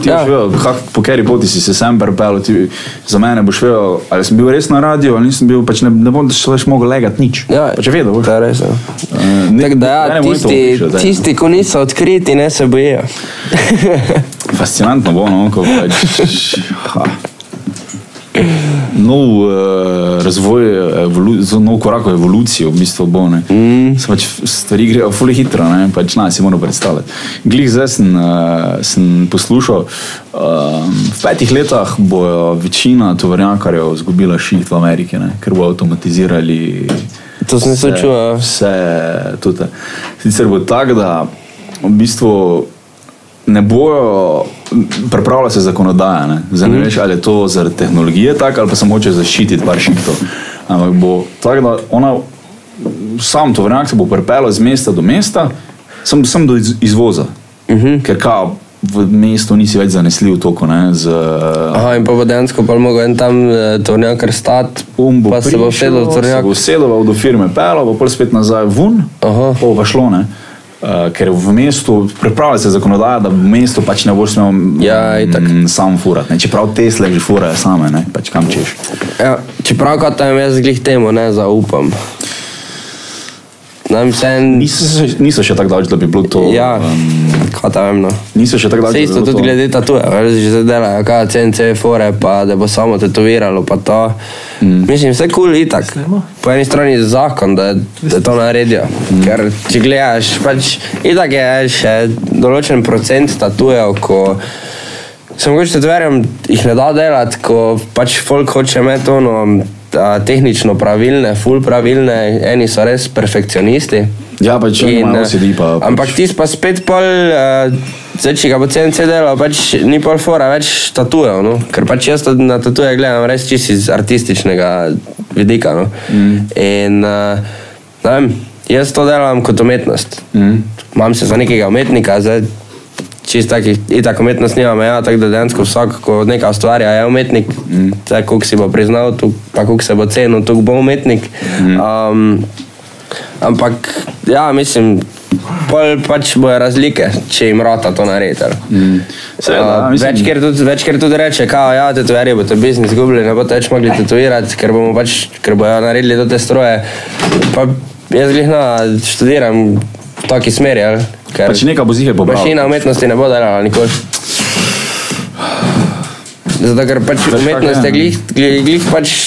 Speaker 3: ti
Speaker 4: Ja.
Speaker 3: ja. šel, kak, po kateri poti si se sem pripeljal, ti- za mene boš vedel, ali sem bil res na radiju, ali nisem bil, pač ne, ne bom šel več mogel legati nič.
Speaker 4: Ja,
Speaker 3: pač je vedel. boš.
Speaker 4: To je res. ja.
Speaker 3: Eh, ne-
Speaker 4: Tako da,
Speaker 3: v
Speaker 4: ja,
Speaker 3: enem momentu bo
Speaker 4: tisti,
Speaker 3: prišel, no. Ja. da je-
Speaker 4: tisti, ko niso odkriti, ne se bojijo.
Speaker 3: Fascinantno bo, no, ko pač. ha. Nov eh, razvoj, evolu, zelo nov korak v evoluciji, v bistvu bo. Mm. Pač stvari grejo fully hitro, ne pač na si moramo predstavljati. Glih zdaj sem, eh, sem poslušal, eh, v petih letah bo večina tovornjakarjev izgubila šiht v Ameriki, ne, ker bo avtomatizirali.
Speaker 4: To sem
Speaker 3: vse-
Speaker 4: slišal, ja.
Speaker 3: Vse tudi. Sicer bo tako, da v bistvu ne bojo, pripravlja se zakonodaja. Ne? Zdaj
Speaker 4: Mhm.
Speaker 3: ne veš, ali je to zaradi tehnologije tako, ali pa samo hoče zaščititi par šiktov. Ampak bo tako, da ona, sam tovrnjak se bo pripeljal iz mesta do mesta, sem, sem do iz, izvoza. Uh
Speaker 4: Mhm.
Speaker 3: -huh. Ker kao, v mestu nisi več zanesljiv toliko, ne, z
Speaker 4: Aha, in pa bo dejansko pa mogo en tam eh, tornjakar stat,
Speaker 3: Um bo
Speaker 4: pa se bo vse
Speaker 3: prišel,
Speaker 4: do
Speaker 3: se
Speaker 4: tornjaka.
Speaker 3: bo sedoval do firme, pelal, pa pol spet nazaj ven,
Speaker 4: Aha.
Speaker 3: pol pa šlo ne. Uh, ker v mestu, pripravlja se zakonodaja, da v mestu pač ne boš smel mm,
Speaker 4: Ja, itak.
Speaker 3: sam furati. ne. Čeprav Tesla že furajo same, ne? pač kam češ.
Speaker 4: Ja, čeprav kot tam jaz glih temu ne zaupam. Nam se en...
Speaker 3: Niso, še- niso še tako daleč, da bi bilo to.
Speaker 4: Ja,
Speaker 3: Um,
Speaker 4: kot tam vem. No.
Speaker 3: niso še tako
Speaker 4: Se
Speaker 3: daleč, da bi
Speaker 4: isto
Speaker 3: bilo
Speaker 4: tudi
Speaker 3: to.
Speaker 4: glede tatuje, veš, že se delajo, kaj CNC fore, pa da bo samo tetoviralo, pa to. Mm. Mislim, vse kul cool, itak. Po eni strani je zakon, da, da to naredijo. Mm. Ker če gledaš, pač itak je še določen procent tatujev, ko se mogoče tetoverjem jih ne da delati, ko pač folk hoče imeti ono a, tehnično pravilne, full pravilne, eni so res perfekcionisti.
Speaker 3: Ja, pač če
Speaker 4: In,
Speaker 3: imaš
Speaker 4: eh,
Speaker 3: OCD, pa.
Speaker 4: Ampak ti pa spet pol, uh, zdaj, če ga bo CNC delal, pač ni pol fora več tatujev, no? ker pač jaz to na tatuje gledam res čisto iz artističnega vidika. No? Mm. In uh, ne vem, jaz to delam kot umetnost. Mm. Imam se za nekega umetnika, zdaj čisto takih, itak umetnost nima meja, tako da dejansko vsak, ko nekaj ustvarja, je umetnik, mm. tako koliko si bo priznal, tuk, pa koliko se bo cenil, tako bo umetnik. Mm. Um, Ampak, ja, mislim, pol pač bojo razlike, če jim rota to naredi. Mm.
Speaker 3: Seveda, ja, mislim-
Speaker 4: večkrat tudi, večkrat tudi reče, kao, ja, tetoverji bodo biznis izgubili, ne bodo več mogli tetovirati, ker, bomo pač, ker bojo naredili to te stroje. Pa jaz glih na študiram v taki smeri, ali, ker
Speaker 3: Pač nekaj bo zihar pobral.
Speaker 4: mašina umetnosti ne bo delala nikoli. Zato, ker pač
Speaker 3: kako
Speaker 4: umetnost je
Speaker 3: je, ne?
Speaker 4: glih, glih, glih pač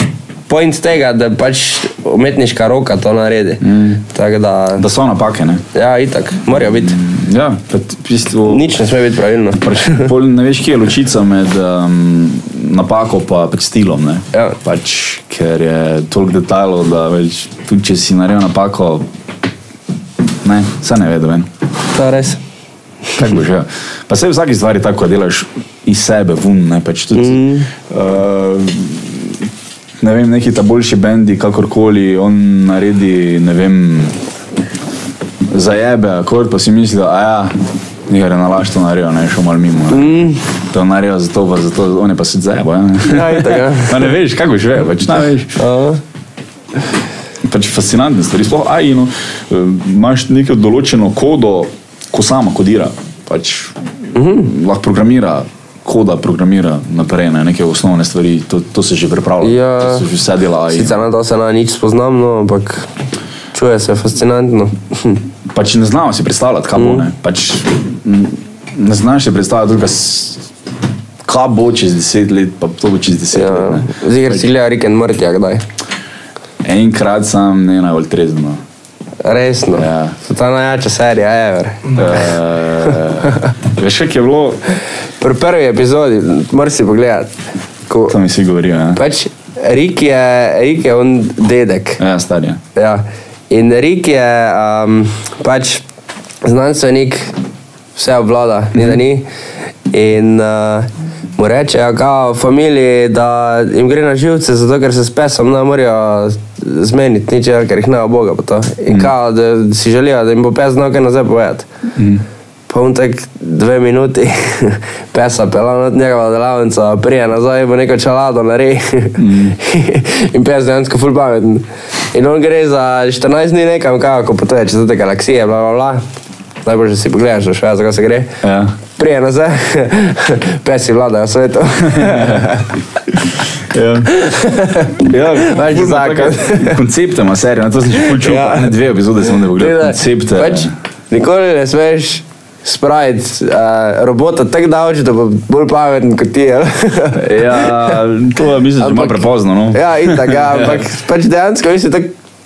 Speaker 4: point tega, da pač umetniška roka to naredi. Mm. Tako da,
Speaker 3: Da so napake, ne?
Speaker 4: ja, itak, morajo biti.
Speaker 3: Ja, pa t- v bistvu.
Speaker 4: Nič ne sme biti [laughs] pravilno.
Speaker 3: Pol ne veš, kje je ločica med um, napako pa pač stilom. ne.
Speaker 4: Ja.
Speaker 3: Pač, ker je toliko detajlov, da več, tudi če si naredil napako, ne, se ne vedo. ven.
Speaker 4: To je res.
Speaker 3: Tako bo že. ja. Pa se vsaki stvari tako ko delaš iz sebe, vun, ne pač tudi. Mm. Uh, Ne vem, neki ta boljši bendi, kakorkoli, on naredi, ne vem, zajebe akord, pa si misli, da ja, nekaj je nalaž to naredil, ne šel malo mimo. Mm. To naredijo zato, pa zato, oni pa se zajebo. Ja,
Speaker 4: Ja, itak, ja.
Speaker 3: [laughs] Pa ne veš, kako boš vedel, pač ne veš.
Speaker 4: A,
Speaker 3: Pač fascinantne stvari, sploh AI, no, eh, imaš neko določeno kodo, ko sama kodira, pač uh
Speaker 4: Mhm.
Speaker 3: -huh. lahko programira. Koda programira naprej, ne, neke osnovne stvari, to, to se že pripravlja,
Speaker 4: Ja.
Speaker 3: to se že vse dela. AI.
Speaker 4: Sicer na to se na nič spoznam, no, ampak čuje se fascinantno. [laughs] Hm.
Speaker 3: pač ne znamo
Speaker 4: Mhm.
Speaker 3: si predstavljati, kaj bo. Ne, pač, m, ne znaš si predstavljati, drugega, s- kaj bo čez deset let, pa to bo čez deset ja. let.
Speaker 4: Ja.
Speaker 3: Ne.
Speaker 4: Zigar si gleda Rick and Morty, a kdaj?
Speaker 3: Enkrat sem ne najbolj
Speaker 4: [laughs]
Speaker 3: trezno.
Speaker 4: Resno.
Speaker 3: Ja.
Speaker 4: To je ta najjača serija, ever.
Speaker 3: Uh, veš, kaj je bilo?
Speaker 4: Pri prvi epizodi, moraš si pogledati. Ko,
Speaker 3: To mi vsi govorijo. Ja,
Speaker 4: pač, Rick je, Rick je on dedek.
Speaker 3: ja star je.
Speaker 4: Ja. In Rik je um, pač znanstvenik, vse obvlada, ni da ni. In uh, mu rečejo, kao, familiji, da jim gre na živce, zato ker se s pesom ne morejo zmeniti, ničesar, ker jih ne oboga. pa to. In mm. kao, da si želijo, da jim bo pes znal kaj nazaj povedati. Mm. Pa on tak dve minuti, [laughs] pesa pela od njegova delavnica, prije nazaj bo neko čelado naredi mm. [laughs] in pes dejansko ful pameten. In on gre za 14 dni nekam, kako potuje čez te galaksije, bla bla bla. Najbolj, že si pogledaš, da še veš, zakaj se gre.
Speaker 3: Ja.
Speaker 4: Prije nazaj, [laughs] pesi vladajo svetu. [laughs]
Speaker 3: Ja. Ja,
Speaker 4: Pač
Speaker 3: ful ima
Speaker 4: zakon.
Speaker 3: take Koncepte ima serija, na to sem že ful čutil.
Speaker 4: Ja.
Speaker 3: Ja. Dve epizode sem ne
Speaker 4: Tako
Speaker 3: pogledal.
Speaker 4: da,
Speaker 3: Koncepte. ja.
Speaker 4: Pač, nikoli ne smeš spraviti uh, robota tako daleč, da bo bolj pameten kot ti. [laughs] ali?
Speaker 3: Ja, to je, mislim, da je malo
Speaker 4: Ampak-
Speaker 3: prepozno. No.
Speaker 4: Ja, itak, ja, ampak pač dejansko mislim, da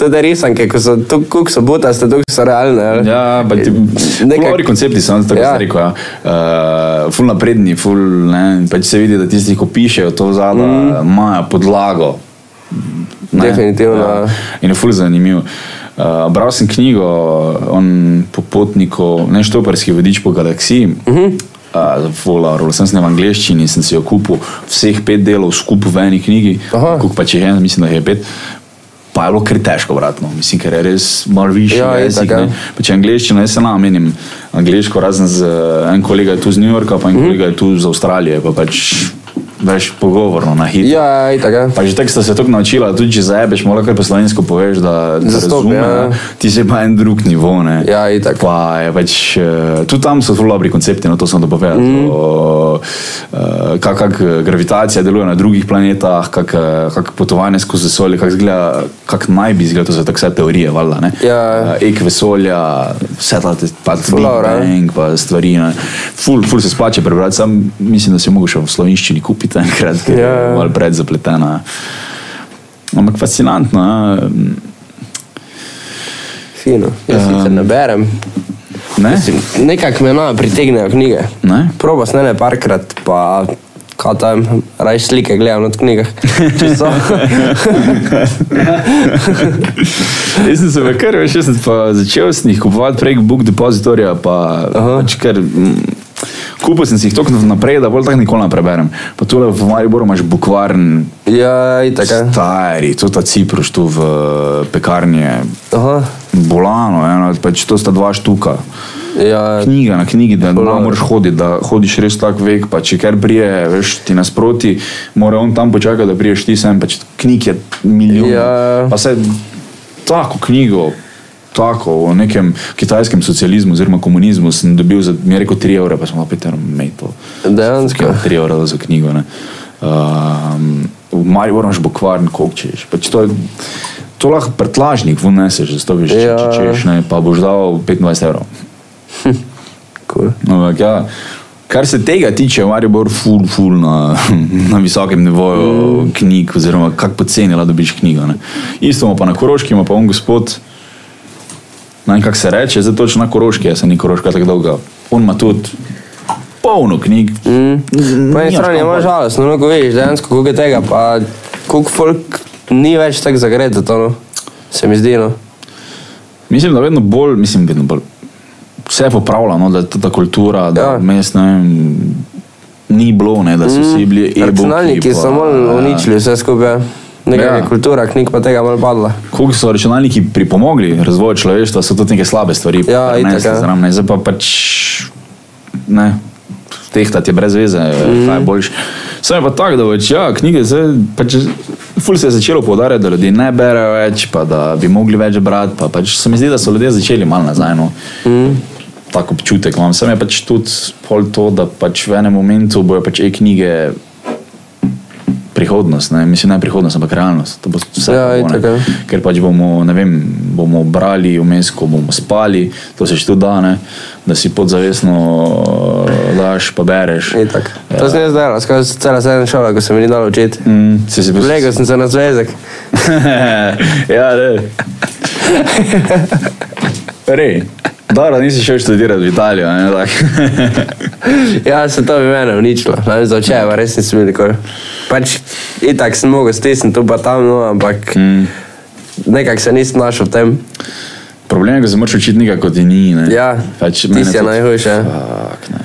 Speaker 4: te risanke, ko so tu kuk so butaste, tu so realne. ali?
Speaker 3: Ja, pa ti
Speaker 4: Nekaj-
Speaker 3: nekaj dobri koncepti so, tako
Speaker 4: Ja.
Speaker 3: ja. rekel. Ja. Uh, ful napredni, ful, ne, pač se vidi, da tisti, ki pišejo to zadnje, mm. imajo podlago. Ne,
Speaker 4: Definitivno, ja.
Speaker 3: Ja. In je ful zanimiv. Uh, bral sem knjigo o popotniku, ne štoparski vodič po galaksiji. Uh -huh. Uh, Fularol, sem se v angleščini, sem si jo kupil vseh pet delov skupaj v eni knjigi,
Speaker 4: Aha.
Speaker 3: kako pa če je en, mislim, da jih je pet, pa je bilo kar težko, vratno, mislim, ker je res malo viš
Speaker 4: Ja,
Speaker 3: ja, jezik.
Speaker 4: itak, ja.
Speaker 3: ne. Pa Če angliščino, jaz se nam menim angliško, razen z eh, en kolega je tu iz New Yorka, pa en mm. kolega je tu iz Avstralije, pa pač veš pogovorno na hitro.
Speaker 4: Ja, itak, ja.
Speaker 3: Pa že tako sta se tako naučila, tudi če zajebeš, malo kar po slovensko poveš, da, da
Speaker 4: Zastop,
Speaker 3: razume,
Speaker 4: ja.
Speaker 3: ne. ti si pa en drug nivo. Ne.
Speaker 4: Ja, itak.
Speaker 3: Pa je pač, eh, tudi tam so zelo dobri koncepti, no to sem dopovedal.
Speaker 4: Mhm.
Speaker 3: Mm. Kako kak eh, gravitacija deluje na drugih planetah, kako kak potovanje skozi vesolje, kako kak naj bi izgledalo, to so tako vse teorije, valjda. ne.
Speaker 4: Ja.
Speaker 3: Eh, Ek vesolja, vse ta te- pa Big
Speaker 4: Laura, ne?
Speaker 3: Bang, pa stvari. ne. Ful, ful se splače prebrati, sam mislim, da si mogoče v slovenščini kupiti enkrat, ker
Speaker 4: Ja,
Speaker 3: je
Speaker 4: ja.
Speaker 3: malo preveč zapletena. Ampak fascinantno. ja.
Speaker 4: Fino. Jaz um, sicer ne berem.
Speaker 3: Ne?
Speaker 4: Nekako me na pritegnejo knjige.
Speaker 3: Ne?
Speaker 4: Proba sem ene parkrat, pa kaj tam, raje slike gledam od knjigah. Čisto.
Speaker 3: Jaz sem se pa kar veš, jaz sem pa začel s njih kupovati prek Book Depositorija, pa pač kar. mm, Kupil sem si jih toliko naprej, da bolj tako nikoli ne preberem. Pa tole v Mariboru imaš bukvaren,
Speaker 4: ja, itak. ja.
Speaker 3: stari, to ta Ciprus tu v eh, pekarni je
Speaker 4: Aha.
Speaker 3: Bolano, eno, pač to sta dva štuka.
Speaker 4: Ja,
Speaker 3: Knjiga na knjigi, da ne
Speaker 4: Bolano.
Speaker 3: moreš hoditi, da hodiš res tak vek, pa če kar prije, veš, ti nasproti, mora on tam počakati, da priješ ti sem, pač knjig je milijon.
Speaker 4: Ja.
Speaker 3: Pa se tako knjigo, tako o nekem kitajskem socializmu oziroma komunizmu sem dobil za, mi je rekel, 3 evre, pa sem lahko Peter Metal.
Speaker 4: dejansko.
Speaker 3: 3 evra za knjigo. ne. Um, v Mariboru imaš bokvarn, koliko češ. Pač to, je- to lahko prtlažnik vneseš, zato veš, če, če
Speaker 4: Ja.
Speaker 3: češ, ne, pa boš dal 25 evrov.
Speaker 4: Cool.
Speaker 3: Ampak, ja, kar se tega tiče, je Maribor ful, ful na, na visokem nivoju mm. knjig, oziroma kako pocenila dobiš knjigo. Ne. Isto ima pa na Koroški, ima pa on gospod, ne vem kako se reče, zdaj točno na Koroški, jaz sem ni Koroška tako dolga. On ima tudi polno knjig. Mm.
Speaker 4: Po eni strani je malo žalostno, no, ko vidiš dejansko koliko je tega, pa koliko folk ni več tako zagret za to, no. se mi zdi. No.
Speaker 3: Mislim, da vedno bolj, mislim, vedno bolj. Vse je popravljeno, da je ta kultura, da
Speaker 4: Ja.
Speaker 3: ja. mest, ne vem, ni bilo, ne, da so vsi bili e-booki,
Speaker 4: Mm. Računalniki
Speaker 3: pa-
Speaker 4: so malo
Speaker 3: ja.
Speaker 4: uničili vse skupaj, nekaj ja.
Speaker 3: Ja.
Speaker 4: kultura, knjig pa tega malo padla.
Speaker 3: Koliko so računalniki pripomogli razvoju človeštva, so tudi neke slabe stvari.
Speaker 4: Ja,
Speaker 3: prinesli
Speaker 4: itak, ja.
Speaker 3: zraven, ne, zdaj pa pač ne. Tehtati je brez veze,
Speaker 4: Mhm.
Speaker 3: mm. kaj je boljš. Sam je pa tako, da več, ja, knjige zdaj, pač, ful se je začelo poudarjati, da ljudje ne berejo več, pa da bi mogli več brati, pa pač se mi zdi, da so ljudje začeli malo nazaj. No.
Speaker 4: Mhm.
Speaker 3: Mm. Tako občutek imam. Sam je pač tudi pol to, da pač v enem momentu bojo pač e-knjige prihodnost, ne? mislim ne prihodnost, ampak realnost. To bo vse
Speaker 4: Ja,
Speaker 3: tako, ne.
Speaker 4: itak, ja.
Speaker 3: Ker pač bomo, ne vem, bomo brali vmes, ko bomo spali, to se še tudi da, ne? da si podzavestno eh, daš, pa bereš. Ja.
Speaker 4: Itak. E, To sem jaz delal, skozi cela sedem šola, ko sem jih dal učiti.
Speaker 3: Mm, si si pos-
Speaker 4: Vlegel sem se na zvezek.
Speaker 3: [laughs] ja, ne. Rej, dobro, nisi šel študirati v Italijo, ne tako. [laughs]
Speaker 4: Ja, se to bi mene uničilo, ne vem za očeva, res nisem bil nikoli. Pač itak sem mogel stisniti tu pa tam, no, ampak
Speaker 3: mm.
Speaker 4: nekako se nisem našel v tem.
Speaker 3: Problem je, ko se moraš učiti nekaj, kot ti ni. Ne. Pač
Speaker 4: Ja, tisto je
Speaker 3: tudi-
Speaker 4: najhujše.
Speaker 3: Fak, ne.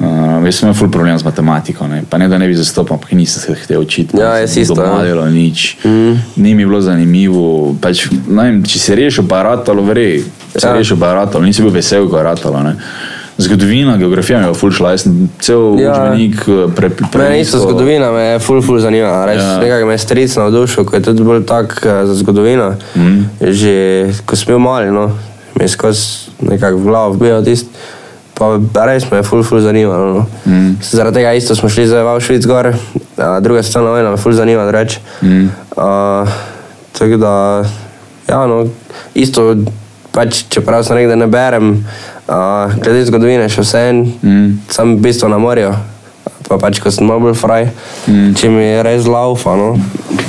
Speaker 3: Uh, jaz sem imel ful problem z matematiko, ne. pa ne da ne bi zastopal, ampak nisem se hotel učiti.
Speaker 4: Ja,
Speaker 3: nisem
Speaker 4: jaz isto,
Speaker 3: Doma
Speaker 4: ja. Mhm.
Speaker 3: delal nič, mm. ni mi bilo zanimivo. Pač, ne vem, če si rešil, pa je ratalo, verjej. Če si
Speaker 4: Ja.
Speaker 3: ja. rešil, pa je ratalo, nisem bil vesel, ko je ratalo. Ne. Zgodovina, geografija mi je bila ful šla, jaz sem cel
Speaker 4: Ja.
Speaker 3: ja. učbenik prepisal.
Speaker 4: Mene isto zgodovina me je ful, ful zanima. Res,
Speaker 3: Ja.
Speaker 4: ja. Nekaj me je stric navdušil, ko je tudi bolj tak eh, za zgodovino. Mm. Že ko sem bil mali, no, mi je skozi nekako v glavo bil tisti. Pa res me je ful, ful zanimalo. No. Mm. Zaradi tega isto smo šli zdaj v Avšvic gor, eh, druga svetovna vojna me ful zanima, da reč. Mm. Uh, tako da, ja, no, isto, pač, čeprav se nekdaj ne berem, uh, glede zgodovine še vseeno,
Speaker 3: Mhm.
Speaker 4: mm. sem v bistvu na morju. Pa pač, ko sem malo bolj fraj, mm. če mi je res laufa. No.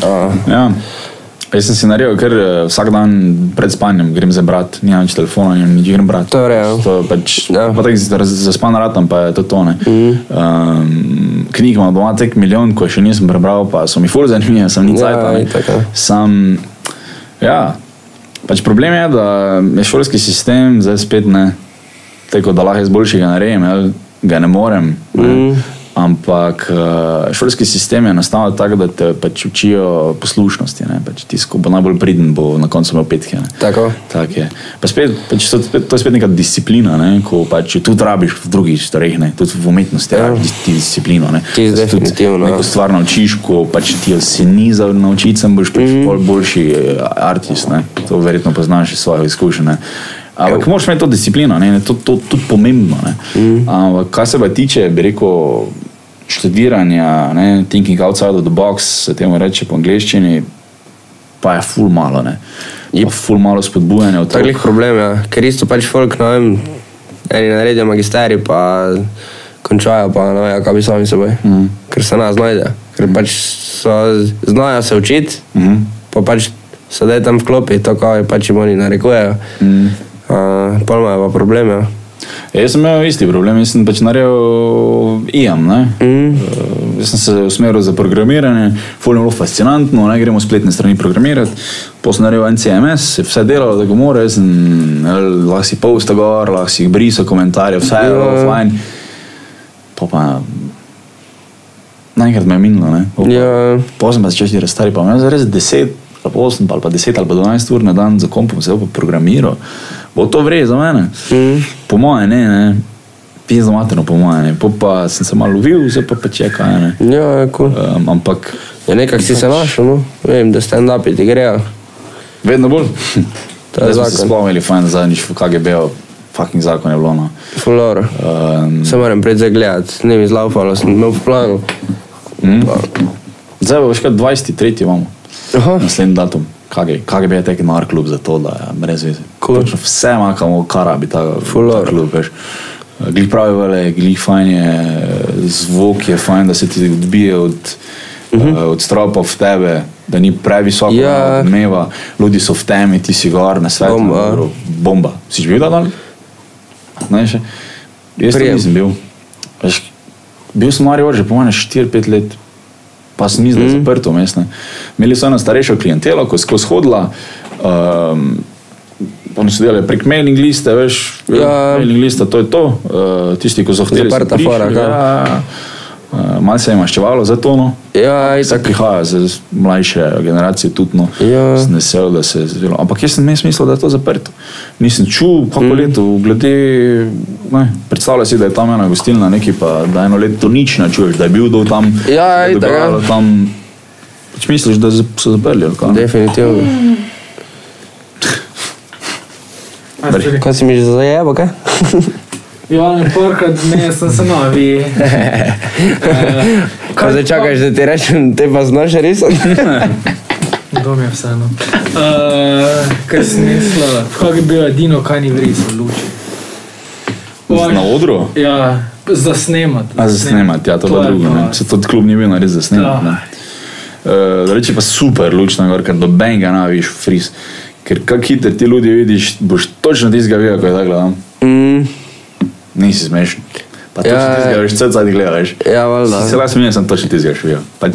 Speaker 4: Uh,
Speaker 3: Ja. Jaz sem si naredil, ker eh, vsak dan pred spanjem grem za brat, nimam več telefona, nimam nič grem brat.
Speaker 4: To je v redu.
Speaker 3: To je pač, ja.
Speaker 4: Ja. Mhm.
Speaker 3: pa tako za- zaspan ratam, pa je to tone. Mm. Um, knjig imam doma tek milijon, ko še nisem prebral, pa so mi ful zanimive, sem ni
Speaker 4: Ja,
Speaker 3: cajta. ne.
Speaker 4: itak, ja.
Speaker 3: Sam, ja, pač problem je, da je šolski sistem zdaj spet ne, tako da lahko jaz boljšega naredim, jel, ga ne morem. Ne. Mm. Ampak eh, šolski sistem je nastal tako, da te pač učijo poslušnosti. ne, Pač Tisko bo najbolj priden, bo na koncu imel petke. ne.
Speaker 4: Tako.
Speaker 3: Tako je. Pa spet, pač to, spet, to je spet neka disciplina, ne? ko pač tudi rabiš v drugih stvareh, ne, tudi v umetnosti ja. rabiš dis- ti disciplino. Ne?
Speaker 4: Čisto
Speaker 3: Da se tudi
Speaker 4: definitivno, ja.
Speaker 3: Neko stvar naučiš, ko pač ti jo se ni za naučiti, sem boš pač mm. bolj boljši eh, artist. Ne? To verjetno poznaš iz svojih izkušenj. ne. Ampak moraš imeti to disciplino, ne? to je tudi pomembno. Mm. Ampak kar se pa tiče, bi rekel, študiranja, ne? thinking outside of the box, se temu reče po angleščini, pa je ful malo. Ne? Je ful malo spodbujanja od
Speaker 4: to je lih problem, ja. ker isto pač folk, ne vem, eni naredijo magisterij, pa končajo, pa ne vejo, kaj bi sami s seboj. Mm. Ker se nas znajde, ker mm. pač so, znajo se učiti,
Speaker 3: Mhm.
Speaker 4: mm. pa pač se da tam vklopi to, kar pač jim oni narekujejo. Mm. Uh, Pol imajo pa probleme. Ja.
Speaker 3: E, Jaz sem imel isti problem, jaz sem pač naredil IAM. Mm. Jaz sem se usmeril za programiranje, fulno je bilo fascinantno, ne gremo spletne strani programirati. Potem sem naredil NCMS, je vse delalo, da ga mora, jaz sem eh, lahko si posta gor, lahko si jih brisal, komentarje, vse je bilo
Speaker 4: Ja.
Speaker 3: fajn. Pa pa naenkrat me je minilo, ne. Pol pa-
Speaker 4: Ja.
Speaker 3: Pozem pa začel študirati stari, pa imam jaz res 10, ali pa 8, ali pa 10, ali pa 12 ur na dan za kompom, se bo pa programiral. Bo to vre za mene? Mm. Po moje ne, ne. Pizno materno, po moje ne. Po pa sem se malo lovil, zdaj pa pa čeka, ne.
Speaker 4: Ja, je cool.
Speaker 3: Um, ampak
Speaker 4: ja, nekako si se našel, no. vem, da stand-upi ti grejo.
Speaker 3: vedno [laughs] bolj.
Speaker 4: To
Speaker 3: Zdaj
Speaker 4: je
Speaker 3: smo se
Speaker 4: zakon.
Speaker 3: spomnili, fajn zadnjič v KGB-u, fucking zakon je bilo. No.
Speaker 4: Fuloro.
Speaker 3: Um,
Speaker 4: Se moram pred zagledati, ne mi zlaupalo, sem imel v planu.
Speaker 3: mm. Zdaj pa še 23. imamo.
Speaker 4: Aha,
Speaker 3: Naslednji datum, KG, KGB je tekel na klub za to, da je brez veze.
Speaker 4: Cool.
Speaker 3: Točno Vse ima, kam kara bi ta,
Speaker 4: Full
Speaker 3: ta
Speaker 4: or.
Speaker 3: klub, veš. Glih pravi vele, glih fajn je, zvok je fajn, da se ti odbije od, uh -huh. od stropa v tebe, da ni previsoko
Speaker 4: Mhm. Ja.
Speaker 3: yeah. dneva, ljudi so v temi, ti si gor na svetu.
Speaker 4: Bomba.
Speaker 3: Bomba. Bomba. Si že bil ta dan? Ne, še. Jaz
Speaker 4: Prijem.
Speaker 3: Prijem. nisem bil. Veš, bil sem Marijo že po mojem 4-5 let, pa sem mislil, da
Speaker 4: Mhm.
Speaker 3: je mm. zaprto mestne. Imeli so eno starejšo klientelo, ko je skozi hodila. Um, Oni so delali prek mailing liste, veš,
Speaker 4: Ja.
Speaker 3: mailing lista, to je to. Uh, tisti, ki so hoteli, so
Speaker 4: Zaprta
Speaker 3: prišli,
Speaker 4: fora, kaj.
Speaker 3: ja. Uh, Malo se je maščevalo za to. No.
Speaker 4: ja,
Speaker 3: Zdaj
Speaker 4: itak.
Speaker 3: prihaja z mlajše generacije tudi, no,
Speaker 4: Ja.
Speaker 3: sem vesel, da se je zelo. Ampak jaz sem imel smisel, da je to zaprto. Nisem čutil, kako mm. leto, glede, ne, predstavljaj si, da je tam ena gostilna, neki pa da eno leto nič ne čuješ, da je bil dol tam,
Speaker 4: Ja,
Speaker 3: da je
Speaker 4: itak, ja.
Speaker 3: dogajalo tam. Pač misliš, da z- so zaprli, ali kaj?
Speaker 4: Definitivno.
Speaker 5: Aj, sorry.
Speaker 4: Kaj si mi že zajebo, kaj?
Speaker 5: Ja, ne parkrat, ne, sem se novi.
Speaker 4: Kaj zdaj čakaš, da ti rečem, te pa znaš risati?
Speaker 5: Dom je vseeno. Eh, Uh, kaj si mislila? Kaj bi bilo edino, kaj ni vrisal luči? pol-
Speaker 3: Na odru?
Speaker 5: Ja, zasnemati.
Speaker 3: A za snemati, ja, to, to pa drugo.
Speaker 5: pa-
Speaker 3: Ne. Se tudi klub ni bil narediti za snemati.
Speaker 5: Da.
Speaker 3: ne. Eh, Reči pa super, lučna gor, ker doben ga naviš, fris. Ker kak hiter ti ljudi vidiš, boš točno tistega videl, ko je tako gledam.
Speaker 4: Mm,
Speaker 3: Nisi smešen. Pa točno
Speaker 4: Ja,
Speaker 3: ja, tistega, veš, vse zadnji gledaš.
Speaker 4: ja, valjda.
Speaker 3: Si Se lahko smeješ, sem točno tistega še videl. Pač,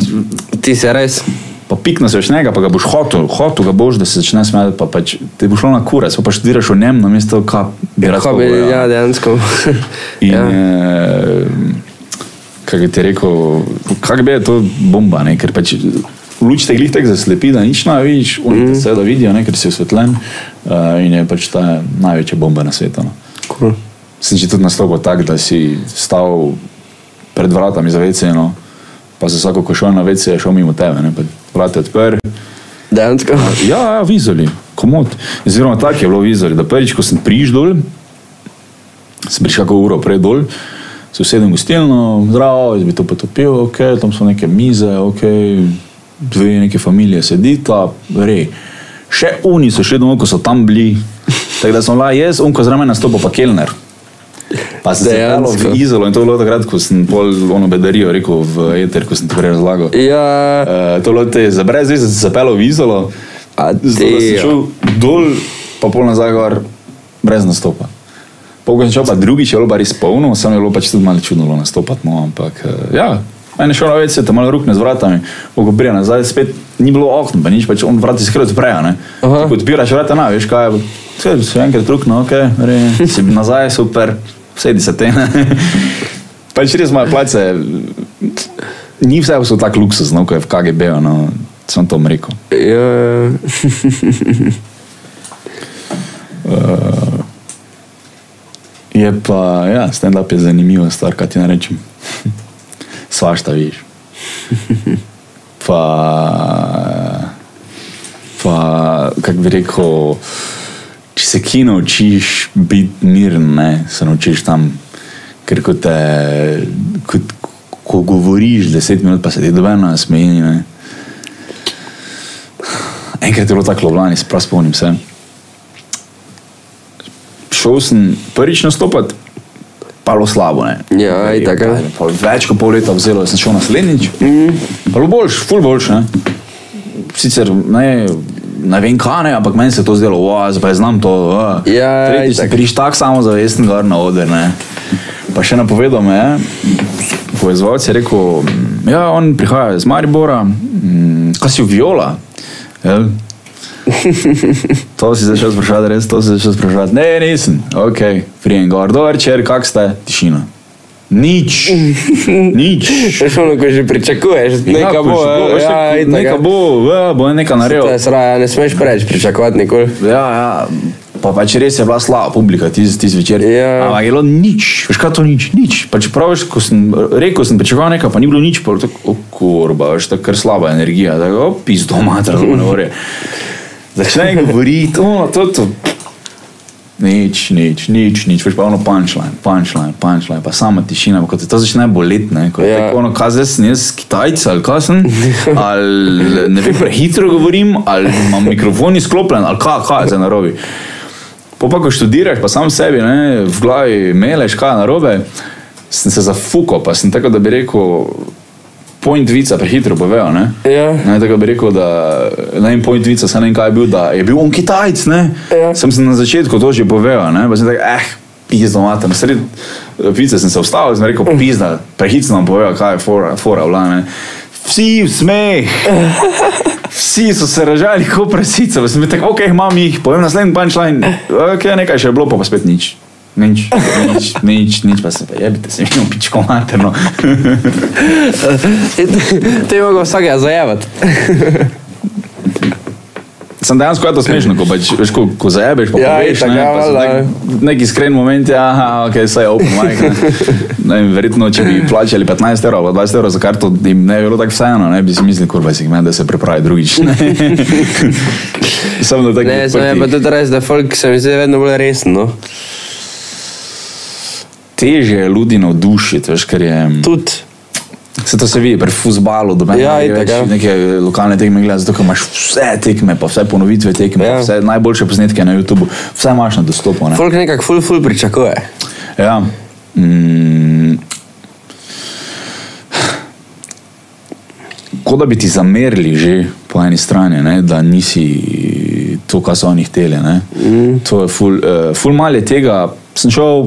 Speaker 4: Ti si res.
Speaker 3: pa pikno sešnega, pa ga boš hotel, hotel ga boš, da se začne smejati, pa pač ti bo šlo na kurac, pa, pa študiraš o njem, namesto kap, bi rad
Speaker 4: Kaj bi,
Speaker 3: pogledal.
Speaker 4: ja, dejansko.
Speaker 3: In,
Speaker 4: ja.
Speaker 3: ja. kaj bi ti rekel, kak bi je to bomba, ne? ker pač luč te glih tako zaslepi, da nič ne vidiš, oni
Speaker 4: Mhm.
Speaker 3: mm. te seveda vidijo, ne? ker si osvetljen uh, in je pač ta največja bomba na svetu. No.
Speaker 4: Cool.
Speaker 3: Sem že tudi nastopil tako, da si stal pred vratami za WC, no? pa za vsako, ko šel na WC, je šel mimo tebe, ne? pa vrate odprl.
Speaker 4: Dejansko.
Speaker 3: Ja, ja vizoli, komod. Oziroma, tako je bilo vizoli. Da prvič, ko sem prišel dol, sem prišel kako uro prej dol, so sedem gostilno, zdravo, jaz bi to potopil, ok, tam so neke mize, ok, dve neke familije sedita, re. Še oni so šli domov, ko so tam bili. Tako da sem bila jaz, on ko zraven nastopil pa Kelner. Pa se je dalo
Speaker 4: Dejansko.
Speaker 3: v Izolo in to je bilo takrat, ko sem pol ono bedarijo rekel v eter, ko sem to prej razlagal.
Speaker 4: Ja,
Speaker 3: Eh, to je bilo te za brez veze, se zapelo v izolo,
Speaker 4: A
Speaker 3: zato da si
Speaker 4: ti,
Speaker 3: šel dol, pa pol nazaj gor, brez nastopa. Pogosto šel pa drugič, je bilo pa res polno, samo je bilo pač tudi malo čudno bilo nastopati, no, ampak eh, ja. En je šel na več, se tam malo rukne z vratami, ogobrija nazaj, spet ni bilo okna, pa nič, pač on vrati skrat odpreja, ne. Ko odpiraš vrata, na, veš kaj, je, skrat se enkrat rukne, ok, re, si nazaj, super, sedi se te, ne. [laughs] Pač res moje place, ni vse so tako luksuzno, kot je v KGB-u, no, sem to rekel.
Speaker 4: ja,
Speaker 3: Eh, Je pa, ja, stand-up je zanimiva stvar, kaj ti rečem. Svašta viš. Pa, pa kako bi rekel, če se kje naučiš biti miren, ne, se naučiš tam, ker ko, te, ko, ko govoriš deset minut, pa se ti dobeno smeji. ne. Enkrat je bilo tako v Ljubljani, se prav spomnim se šel sem prvič nastopati, pa bilo slabo. Ne.
Speaker 4: Ja,
Speaker 3: Ej,
Speaker 4: itak, ja.
Speaker 3: kaj, pol Več kot pol leta vzelo, jaz sem šel naslednjič. Mm.
Speaker 4: Mhm.
Speaker 3: Pa bilo boljš, ful boljš. Ne. Sicer ne, ne vem kaj, ne, ampak meni se je to zdelo, wow, zdaj pa jaz znam to. Uh.
Speaker 4: Ja,
Speaker 3: Tretjič sem
Speaker 4: itak.
Speaker 3: prišel tako samozavesten gor na oder. Ne. Pa še napovedal me je, povezovalec je rekel, "Mm, ja, on prihaja iz Maribora, mm, kaj si viola. Jel? [laughs] To si začel sprašovati, res to si začel sprašovati. Ne, nisem, ok, prijem gor, dober čer, kak ste, tišina. Nič, nič.
Speaker 4: še šlo, ko že pričakuješ,
Speaker 3: Ja,
Speaker 4: nekaj bo,
Speaker 3: ko že veš,
Speaker 4: ja, itak,
Speaker 3: neka
Speaker 4: ja.
Speaker 3: bo, ja, bo neka
Speaker 4: To
Speaker 3: naredila.
Speaker 4: je sraja, ne smeš preveč pričakovati nikoli.
Speaker 3: Ja, ja. Pa pač res je bila slaba publika tisti tis večer.
Speaker 4: Ja.
Speaker 3: Ampak je bilo nič, veš kaj to nič, nič. Pa čeprav veš, ko sem rekel, sem pričakoval nekaj, pa ni bilo nič, pa je bilo tako, o kurba, veš, tako kar slaba energija, tako, o, pizdo mater, to ne
Speaker 4: [laughs]
Speaker 3: more. Začne govoriti, ono, to, to. Nič, nič, nič, nič, veš pa ono punčline, punčline, punčline, pa sama tišina, pa ko te to začne boleti, ne, ko je
Speaker 4: Ja.
Speaker 3: ja. tako ono, kaj zdaj sem jaz Kitajc ali kaj sem, ali ne vem, prehitro govorim, ali imam mikrofon izklopljen, ali kaj, kaj je zdaj narobi. Po pa, ko študiraš, pa sam sebi ne, v glavi meleš, kaj je narobe, sem se zafukal, pa sem tako, da bi rekel, point vica prehitro povejo, ne.
Speaker 4: Ja.
Speaker 3: Ne, tako bi rekel, da na en point vica, sem ne vem kaj je bil, da je bil on Kitajc, ne?
Speaker 4: Ja.
Speaker 3: Sem se na začetku to že povedal, ne? Pa sem tak, eh, pizdo matam, sred pice sem se ustavil, sem rekel, pizda, prehitno nam povedal, kaj je fora, fora bila, ne? Vsi v smeh, vsi so se ražali kot prasice, pa sem bil tak, ok, imam jih, povem naslednji punchline, ok, nekaj še je bilo, pa, pa spet nič. Nič, nič, nič, nič, pa se pa jebite, se mi je pičko materno.
Speaker 4: Te je mogel vsakega zajevati.
Speaker 3: Sem dejansko je to smešno, ko, pač, veš, ko, ko zajebeš, pa
Speaker 4: Ja,
Speaker 3: poveš,
Speaker 4: itak,
Speaker 3: ne,
Speaker 4: ja,
Speaker 3: pa se
Speaker 4: valjda.
Speaker 3: tak- nek iskren moment, ja, aha, ok, saj je open mic. Ne.
Speaker 4: [laughs]
Speaker 3: Ne, vem, verjetno, če bi plačali 15 evrov ali 20 evrov za karto, jim ne bi bilo tako vseeno, ne bi si mislili, kurva, si jih meni, da se pripravi drugič.
Speaker 4: [laughs]
Speaker 3: ne. Samo da tako
Speaker 4: Ne, sem je pa
Speaker 3: odprtih.
Speaker 4: tudi res, da folk se mi zdi vedno bolj resen. No.
Speaker 3: teže je ljudi navdušiti, veš, ker je...
Speaker 4: Tudi.
Speaker 3: Se to se vidi pri futbalu, da imaš
Speaker 4: Ja, itak,
Speaker 3: več
Speaker 4: ja.
Speaker 3: neke lokalne tekme, gledaš, zato ker imaš vse tekme, pa vse ponovitve tekme,
Speaker 4: Ja.
Speaker 3: ja. vse najboljše posnetke na YouTubu, vse imaš na dostopu. ne.
Speaker 4: Folk nekako ful ful pričakuje.
Speaker 3: Ja. Mm. Kot da bi ti zamerili že po eni strani, ne, da nisi to, kar so oni hteli. ne. To je ful, uh, ful malo je tega. Sem šel,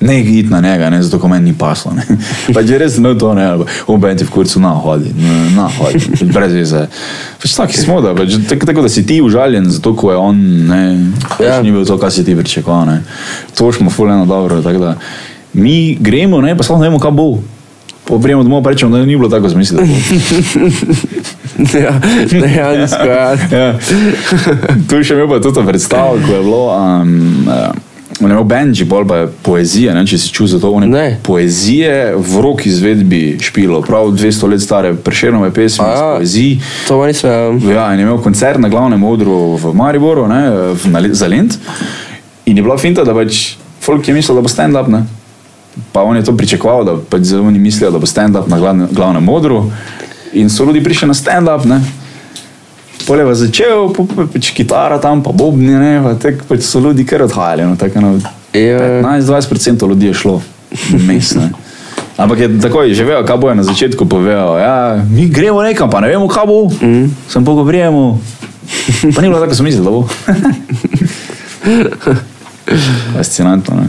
Speaker 3: Ne id na njega, ne, zato ko meni ni paslo. ne. [laughs] Pač je res no to, ne, ali pa, on benti v kurcu na hodi, ne, na hodi, pač brez veze. Pač taki smo, da, pač, tako, tako da si ti užaljen, zato ko je on, ne, pač
Speaker 4: Ja.
Speaker 3: ja. ni bil to, kar si ti pričakoval. ne. To smo fuleno dobro, tako da mi gremo, ne, pa sploh ne vemo, kaj bo. Popremo domov pa rečemo, da ni bilo tako zmisleno.
Speaker 4: ja, dejansko. [laughs] Ja.
Speaker 3: [laughs] ja. Tu je še imel pa to predstavo, ko je bilo. Um, uh, ne, Benji, bolj pa je poezija, ne, če si čutil za to. on je
Speaker 4: Ne.
Speaker 3: Poezije v rok izvedbi špilo, prav 200 let stare preširne pesmi,
Speaker 4: A ja.
Speaker 3: ja. poezij.
Speaker 4: To pa nisem.
Speaker 3: Ja, in je imel koncert na glavnem odru v Mariboru, ne, v, na, Le- za Lent. In je bila finta, da pač folk je mislil, da bo stand-up. ne. Pa on je to pričakoval, da pač zelo oni mislijo, da bo stand-up na glavne- glavnem odru. In so ljudje prišli na stand-up. ne. Pol je pa začel, pa pa pač kitara tam, pa bobni, ne, pa tek, pač so ljudi kar odhajali. No, tako, no,
Speaker 4: Ja.
Speaker 3: 15-20% ljudi je šlo, mestne. Ampak je tako, že vejo, kaj bojo na začetku povedali. Ja, mi gremo nekam, pa ne vemo, kaj bo. Mm. Sem pogovorjemo. Pa ni bilo tako, kot sem mislil, da bo. Fascinantno. Ne?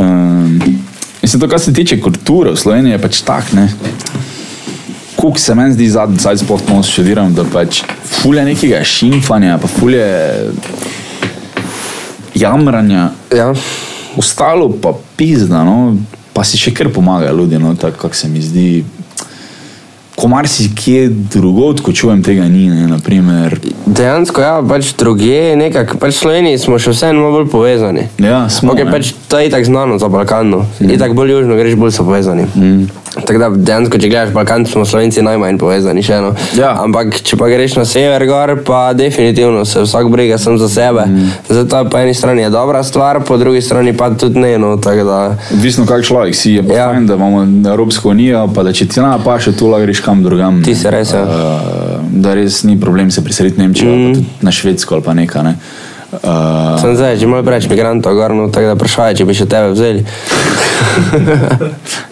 Speaker 3: Um, mislim, to, kar se tiče kulture v Sloveniji, je pač tak. Ne? Kuk se meni zdi zadnji, zdaj sploh malo študiram, da pač fulje nekega šimfanja, pa fulje jamranja,
Speaker 4: Ja.
Speaker 3: ostalo pa pizda, no? pa si še kar pomaga ljudem, no? tako kako se mi zdi. Ko marsikje drugod, ko čujem tega ni, ne? naprimer.
Speaker 4: Dejansko, ja, pač drugje, nekako, pač v Sloveniji smo še vseeno malo bolj povezani.
Speaker 3: Ja, smo.
Speaker 4: Okay,
Speaker 3: ne.
Speaker 4: pač to je tako znano za Balkan. Mm. Itak bolj južno greš, bolj so povezani. Mm. Tako da dejansko, če gledaš Balkan, smo Slovenci najmanj povezani. Še, no.
Speaker 3: Ja.
Speaker 4: Ampak če pa greš na sever gor, pa definitivno se vsak briga sam za sebe. Mm. Zato po eni strani je dobra stvar, po drugi strani pa tudi ne. No, tako da,
Speaker 3: Odvisno, kak človek si je.
Speaker 4: Ja.
Speaker 3: Ja. Fajn, da imamo Evropsko unijo, pa da če ti na paše, tu lahko greš kam drugam.
Speaker 4: Ti se res, ja.
Speaker 3: Uh, da res ni problem se preseliti v Nemčijo, mm. tudi na Švedsko ali pa nekaj. Ne. Uh,
Speaker 4: sem zdaj že malo preveč migrantov gor, no, tako da vprašaj, če bi še tebe vzeli.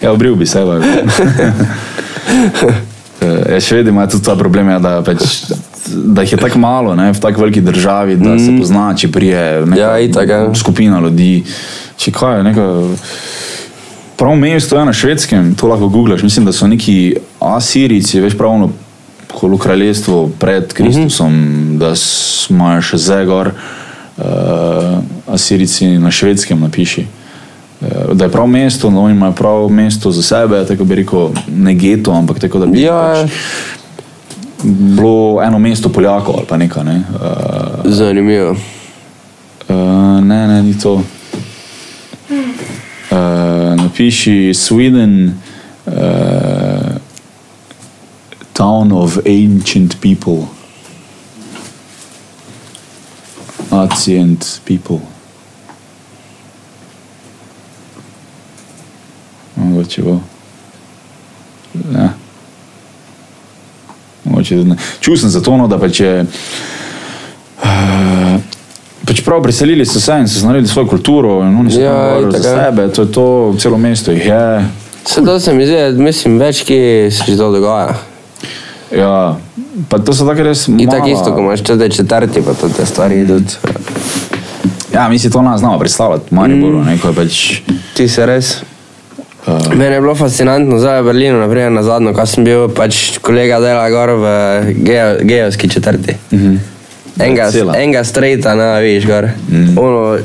Speaker 3: ja, obril bi se. ampak-
Speaker 4: [laughs]
Speaker 3: Eh, Ja, Švedi imajo tudi ta problem, ja, da, pač, da jih je tako malo ne, v tako veliki državi, da mm. se pozna, če prije neka
Speaker 4: Ja, itak, ja.
Speaker 3: skupina ljudi. Če kaj, neka, prav mesto je na švedskem, to lahko googlaš. Mislim, da so neki Asirici, veš pravno, holo kraljestvo
Speaker 4: Mhm.
Speaker 3: pred Kristusom, mm -hmm. da s- imajo še zegor. Uh, Asirici na švedskem napiši. Eh, Da je prav mesto, no, oni imajo prav mesto za sebe, tako bi rekel, ne geto, ampak tako da bi
Speaker 4: Ja,
Speaker 3: pač bilo eno mesto Poljakov ali pa nekaj. Ne? Uh,
Speaker 4: zanimivo.
Speaker 3: uh, ne, ne, ni to. Uh, napiši Sweden, uh, town of ancient people. Ancient people. Mogoče bo. Ja. Mogoče tudi ne. Čutil sem zato, no, da pač je. eh, Pač prav preselili so se in so naredili svojo kulturo, in oni so
Speaker 4: Ja,
Speaker 3: ja, za
Speaker 4: itak, ja.
Speaker 3: sebe, to je to, celo mesto jih je.
Speaker 4: Se to se mi zdi, mislim, več, ki se že to dogaja.
Speaker 3: Ja, pa to so tako res.
Speaker 4: In tako
Speaker 3: mala-
Speaker 4: isto, ko imaš tudi četrti, pa tudi te stvari idут.
Speaker 3: Ja, mi si to nas znamo predstavljati, Mariboru, mm. neko je pač.
Speaker 4: Ti se res. Uh. Mene je bilo fascinantno, zdaj v Berlinu, naprimer, na zadnjo, ko sem bil, pač kolega dela gor v geo, geovski četrti. Uh -huh. Enga,
Speaker 3: Cela.
Speaker 4: enga strejta, ne veš, gor. Mm. Ono,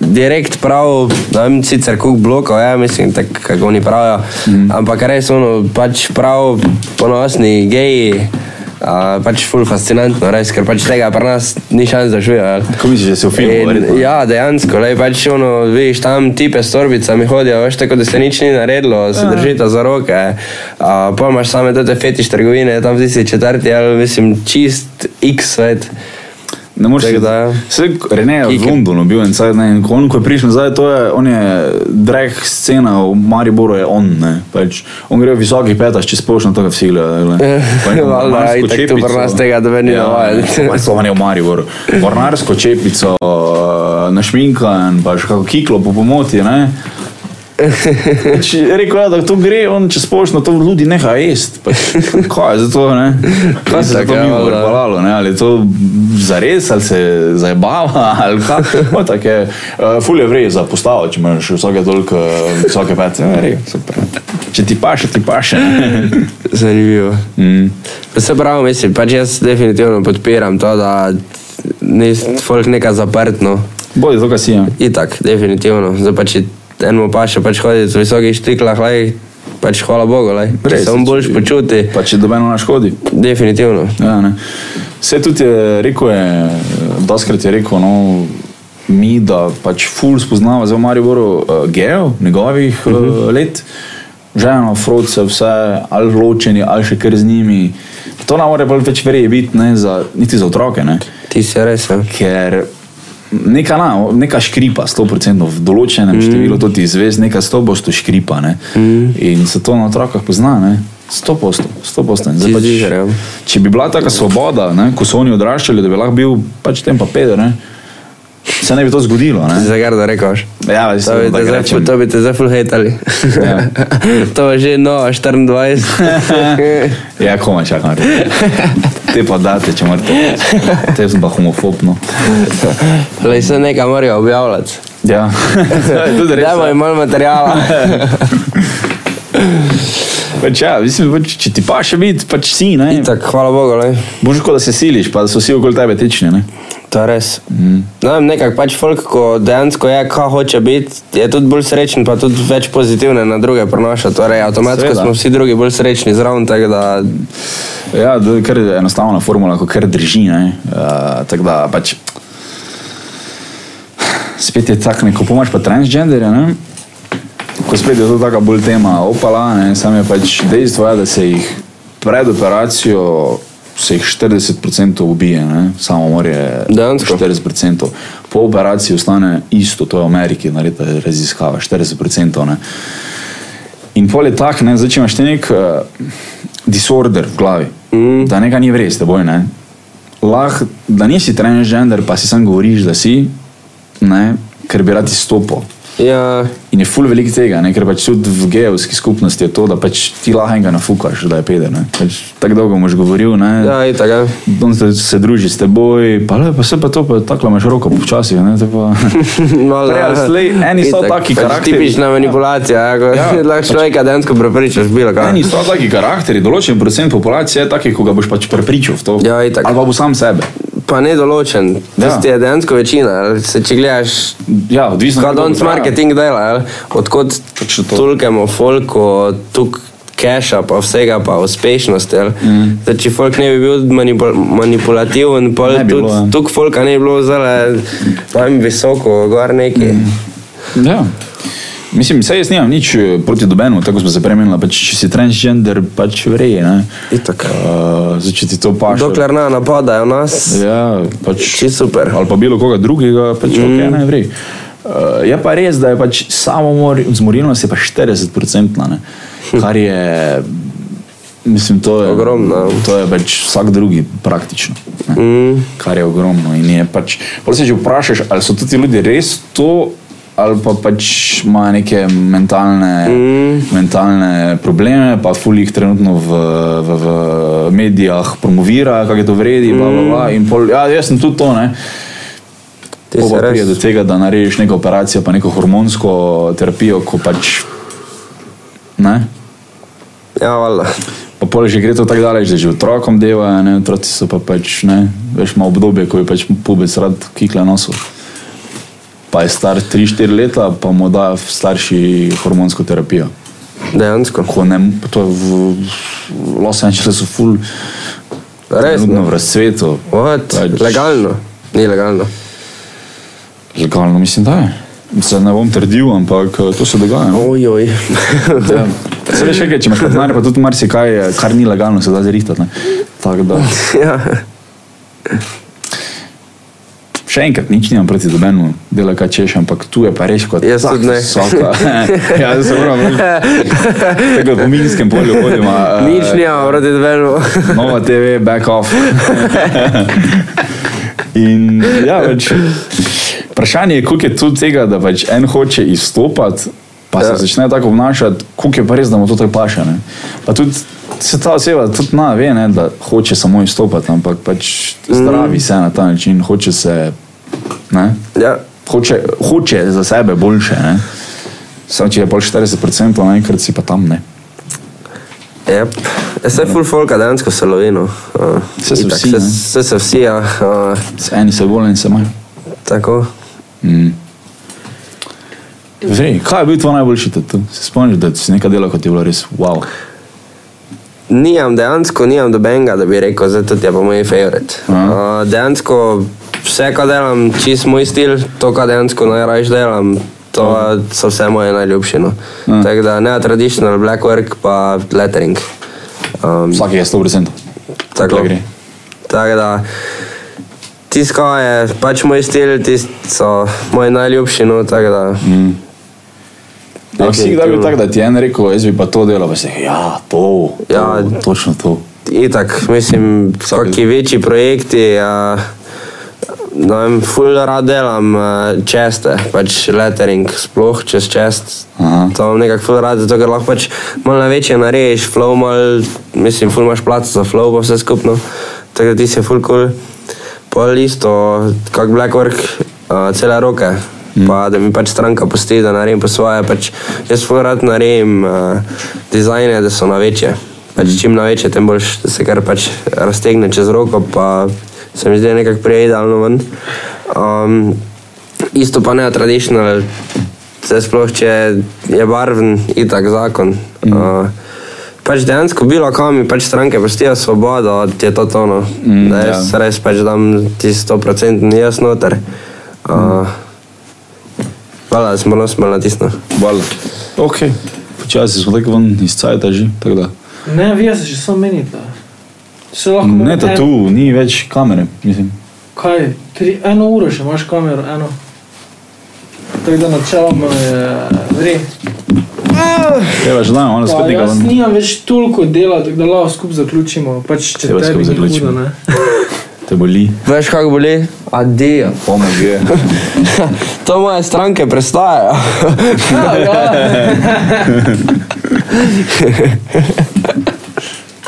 Speaker 4: direkt prav, ne vem sicer koliko blokov, ja, mislim, tako kako oni pravijo, mm. ampak res ono, pač prav ponosni geji. Uh, pač ful fascinantno, res, ker pač tega pri nas ni šans, da živijo.
Speaker 1: Kako misliš, da se v filmu verjetno?
Speaker 4: In, ja, dejansko, lej, pač ono, vidiš tam tipe s torbicami hodijo, veš tako, da se nič ni naredilo, se držite za roke. A, pa imaš same te fetiš trgovine, tam v tisti četrti, ali mislim, čist x svet.
Speaker 3: Ne moreš
Speaker 4: Tako da, ja.
Speaker 3: Se, Rene je v
Speaker 4: Kiker.
Speaker 3: Londonu bil en cajt, ne, in ko on, ko je prišel nazaj, to je, on je drag scena v Mariboru, je on, ne, pač, on gre v visokih petah, če splošno tega vsi gledajo. [laughs]
Speaker 4: Valjda, itak tu pri nas tega noben
Speaker 3: Ja,
Speaker 4: ni navajen.
Speaker 3: Slovenijo v Mariboru. Mornarsko čepico, eh, našminkan, pa še kako kiklo po pomoti, ne. Pač, Rekel je, da to gre, on če splošno to ljudi neha jesti. Pač, kaj je zato, ne? Kaj se je
Speaker 4: Itak,
Speaker 3: to
Speaker 4: ja,
Speaker 3: mimo
Speaker 4: valjda.
Speaker 3: vrbalalo, ne? Ali je to zares, ali se zabava, [laughs] ali kaj? No, tako je. Uh, ful je vrej za postavo, če imaš vsake toliko eh, visoke pece. Ne, re, super. Če ti paše, ti paše. [laughs]
Speaker 4: Zanimivo.
Speaker 3: Mm.
Speaker 4: Vse prav, mislim, pač jaz definitivno podpiram to, da ni folk neka zaprtno.
Speaker 3: Bodi to, kar si ja. je.
Speaker 4: Itak, definitivno. Zdaj pa če enemu paše, pač hoditi v visokih štiklah, lej, pač hvala Bogu, lej. Če
Speaker 3: Res,
Speaker 4: se on
Speaker 3: če-
Speaker 4: boljš počuti,
Speaker 3: Pa če dobeno na škodi.
Speaker 4: definitivno.
Speaker 3: Ja, ne. Vse tudi je rekel, je, doskrat je rekel, no, mi, da pač ful spoznava za Mariboru uh, gejo njegovih uh -huh. uh, let, žena, froce, vse, ali ločeni, ali še kar z njimi. To nam mora bolj več verjeti biti, ne, za, niti za otroke, ne.
Speaker 4: Ti si res. Ja.
Speaker 3: ker neka, na, neka škripa, 100% v določenem mm. številu, to ti izveš, neka 100% škripa. Ne. Mm. In se to na otrokah pozna, ne. 100%, 100%. Zdaj,
Speaker 4: Ti
Speaker 3: pač,
Speaker 4: ziger, ja.
Speaker 3: če bi bila taka svoboda, ne, ko so oni odraščali, da bi lahko bil pač tem pa peder, ne, se ne bi to zgodilo. Ne.
Speaker 4: Zakaj da rekaš?
Speaker 3: Ja,
Speaker 4: To bi
Speaker 3: mislim,
Speaker 4: te
Speaker 3: da
Speaker 4: zdaj ful-
Speaker 3: rečem.
Speaker 4: To bi te zdaj ful hejtali.
Speaker 3: Ja.
Speaker 4: [laughs] to je že no,
Speaker 3: [laughs]
Speaker 4: 24.
Speaker 3: Ja, komaj čakam. [laughs] re. Te pa date, če morate. Te sem pa no. homofobno.
Speaker 4: Lej se nekaj morajo objavljati.
Speaker 3: [laughs] Ja, tudi res.
Speaker 4: Dajmo
Speaker 3: ja.
Speaker 4: jim
Speaker 3: [laughs]
Speaker 4: malo materijala.
Speaker 3: Pač, ja, mislim, pač, če ti pa še biti, pač si. Ne?
Speaker 4: Itak, hvala Bogu, lej.
Speaker 3: Bože, kot da se siliš, pa da so vsi okoli tebe tečni. Ne?
Speaker 4: To je res.
Speaker 3: Mm.
Speaker 4: Ne vem, nekako pač folk, ko dejansko je, kaj hoče biti, je tudi bolj srečen, pa tudi več pozitivne na druge prenaša. Torej, avtomatsko
Speaker 3: Seveda.
Speaker 4: smo vsi drugi bolj srečni zraven, tako da
Speaker 3: Ja, to je kar enostavna formula, ko kar drži. ne. Uh, tako da pač. Spet je tako, ne, ko pomaš pa transgenderje, ne? ko spet je to taka bolj tema opala, ne? sam je pač dejstvo, je, da se jih pred operacijo se jih 40% ubije, ne? samo morje
Speaker 4: Dejansko?
Speaker 3: 40%. Po operaciji ostane isto, to je v Ameriki narejena raziskava, 40%. Ne? In pol je tak, ne, zdaj, če imaš ti nek uh, disorder v glavi, mm.
Speaker 4: mhm.
Speaker 3: da nekaj ni vres, teboj ne. Lahko, da nisi transgender, pa si sam govoriš, da si, ne, ker bi rad izstopil.
Speaker 4: ja,
Speaker 3: In je ful velik tega, ne, ker pač tudi v gejovski skupnosti je to, da pač ti lahko enega nafukaš, da je peder. ne. Pač, tako dolgo boš govoril, ne.
Speaker 4: ja itak. Ja.
Speaker 3: On se, se druži s teboj, pa, le, pa se pa to, pa tako imaš roko počasi. Ne, te pa... [laughs]
Speaker 4: Malo,
Speaker 3: Prej ali slej, eni so taki
Speaker 4: karakterji.
Speaker 3: karakterji.
Speaker 4: pač Tipična manipulacija, ja, ko
Speaker 3: Ja,
Speaker 4: ja, [laughs] lahko človeka dejansko prepričaš, bilo kaj.
Speaker 3: Meni Ja, so taki karakteri, določen procent populacije je taki, ko ga boš pač prepričal v to.
Speaker 4: Ja, itak.
Speaker 3: Ali pa bo sam sebe.
Speaker 4: Pa nedoločen,
Speaker 3: Ja.
Speaker 4: tisti je dejansko večina. ali Se, če gledaš,
Speaker 3: Ja, odvisno.
Speaker 4: kaj
Speaker 3: kako
Speaker 4: danes
Speaker 3: bo trajalo.
Speaker 4: marketing dela, ali? odkot
Speaker 3: Točno to.
Speaker 4: tolkemo folko, tuk keša, pa vsega, pa uspešnost. Mm. Zdaj, če folk ne bi bil manipul manipulativen, pa
Speaker 3: Ne bi
Speaker 4: tudi
Speaker 3: bilo, ja.
Speaker 4: tuk folka ne bi bilo zelo tam visoko, gor neki. Mm.
Speaker 3: Ja. Mislim, saj jaz nimam nič eh, proti dobenemu, tako smo se premenili, pač, če si transgender, pač vreje, ne.
Speaker 4: Itak. ja.
Speaker 3: Uh, zdaj, če ti to paše.
Speaker 4: Dokler ne napadajo nas.
Speaker 3: Ja, pač.
Speaker 4: Čisto super. Mhm.
Speaker 3: Ali pa bilo koga drugega, pač mm. ok, ne vreje. Uh, je pa res, da je pač samomor, zmorilnost je pa 40-odstotna, ne. kar je, mislim, to je
Speaker 4: Ogromno. ja.
Speaker 3: To je pač vsak drugi praktično. ne.
Speaker 4: Mm.
Speaker 3: kar je ogromno. In je pač, pol se že vprašaš, ali so to ti ljudje res to, ali pa pač imajo neke mentalne, mm. mentalne probleme, pa fulj jih trenutno v, v, v medijih promovira, kako je to vredi, bla, bla,
Speaker 4: Mm.
Speaker 3: bla. in pol, ja, jaz sem tudi to, ne.
Speaker 4: Ti
Speaker 3: Pol
Speaker 4: si
Speaker 3: Pa
Speaker 4: res-
Speaker 3: pride do tega, da narediš neko operacijo, pa neko hormonsko terapijo, ko pač, ne,
Speaker 4: Ja, valjda.
Speaker 3: Pa pol že gre to tako daleč, da že otrokom delajo, ne, otroci so pa pač, ne, veš, ima obdobje, ko je pač pubec rad kikla nosil. Pa je star 3-4 leta, pa mu da starši hormonsko terapijo.
Speaker 4: Dejansko.
Speaker 3: Ko ne, to je v Los Angelesu ful,
Speaker 4: Res? no.
Speaker 3: Trenutno v razcvetu.
Speaker 4: What?
Speaker 3: Pač-
Speaker 4: Legalno. Ni legalno.
Speaker 3: Legalno mislim, da je. Se ne bom trdil, ampak eh, to se dogaja.
Speaker 4: Ojoj.
Speaker 3: Ja. Se veš, kaj, je, če imaš pa denar, pa tudi marsikaj, eh, kar ni legalno, se da zrihtati. ne. Tako da,
Speaker 4: [laughs] ja.
Speaker 3: še enkrat, nič nimam proti dobenemu, dela kaj češ, ampak tu je pa reš kot
Speaker 4: Jaz tudi ne.
Speaker 3: Vsaka. [laughs] ja, zdaj se moram reči. Tako da po minskem polju hodimo. eh,
Speaker 4: [laughs] Nič nimam, vrati dveno.
Speaker 3: Nova TV, back off. [laughs] In ja, več. Vprašanje je, koliko je tu tega, da pač en hoče izstopati, pa se
Speaker 4: Ja.
Speaker 3: ja. začne tako obnašati, koliko je pa res, da mu to trepaše. Ne? Pa tudi se ta oseba tudi na ve, ne, da hoče samo izstopati, ampak pač
Speaker 4: Mm.
Speaker 3: zdravi se na ta način, hoče se. Ne?
Speaker 4: [laughs] ja.
Speaker 3: Hoče, hoče za sebe boljše. Ne? Samo če je pol 40%, naenkrat si pa tam ne.
Speaker 4: Yep. Vse je Ja, full folka dejansko selovino. Uh,
Speaker 3: Saj so vsi, ne?
Speaker 4: Vse se vsi, ja. Uh,
Speaker 3: Se Eni se bolj in se manj.
Speaker 4: tako.
Speaker 3: Mm. Zdaj, kaj je bil tvoj najboljši tatu? Se spomniš, da si nekaj dela, kot je bilo res wow.
Speaker 4: Nijam dejansko, nijam dobenega, da bi rekel, zdaj tudi je pa moj favorit.
Speaker 3: Aha.
Speaker 4: Uh, dejansko vse, kar delam, čist moj stil, to, kar dejansko najraje delam, to so vse moje najljubše. No.
Speaker 3: Ja.
Speaker 4: Tako da ne traditional black work, pa lettering. Um,
Speaker 3: Vsak je 100%.
Speaker 4: Tako
Speaker 3: gre.
Speaker 4: Tako da, tisto je pač moj stil, tisto so moji najljubši. No, tako da,
Speaker 3: Mm. Ampak si kdaj bil
Speaker 4: Definitivno.
Speaker 3: tak, da ti je en rekel, jaz bi pa to delal, pa si rekel, ja, to, to
Speaker 4: Ja.
Speaker 3: točno to.
Speaker 4: itak, mislim, kakšni večji projekti. Uh, Ne vem, ful rad delam eh, česte, pač lettering, sploh čez čest.
Speaker 3: Aha.
Speaker 4: To imam nekako ful rad, zato ker lahko pač malo na večje narediš, flow mal, mislim, ful imaš plac za flow, pa vse skupno. Tako da ti se ful kul. Cool. Pol isto, kak Blackwork, uh, cele roke. Mm. Pa da mi pač stranka pusti, da naredim po svoje. Pač jaz ful rad naredim uh, dizajne, da so na večje. Pač mm. čim na večje, tem boljš, da se kar pač raztegne čez roko, pa se mi zdi nekako prej idealno ven. Um, isto pa ne traditional, se sploh če je barven, itak zakon. Mm. Uh, Pač dejansko bilo kam, pač stranke pustijo svobodo, ti je to tono.
Speaker 3: Mm,
Speaker 4: Mm, da jaz
Speaker 3: ja.
Speaker 4: ja. res pač dam ti 100% jaz noter. Uh, Hvala, da smo nas malo natisnili.
Speaker 3: Val. Ok. Počasi smo tako ven iz cajta že, tako da.
Speaker 5: Ne, vi se že samo menite. Se lahko
Speaker 3: Ne,
Speaker 5: moram en-
Speaker 3: tatu, ni več kamere, mislim.
Speaker 5: Kaj, tri, eno uro še imaš kamero, eno. Tako da načeloma je vre.
Speaker 3: Treba že dan, ona
Speaker 5: Pa
Speaker 3: spet nekaj
Speaker 5: Jaz
Speaker 3: ven.
Speaker 5: nimam več toliko dela, tako da lahko skupaj zaključimo. Pač če
Speaker 3: Dajva skupaj
Speaker 5: tebi ni
Speaker 3: zaključimo.
Speaker 5: hudo, ne.
Speaker 3: Te boli.
Speaker 4: Veš, kako boli? Adijo.
Speaker 3: Pomog je.
Speaker 4: [laughs] To moje stranke [laughs] prestajajo.
Speaker 5: Ja, ja.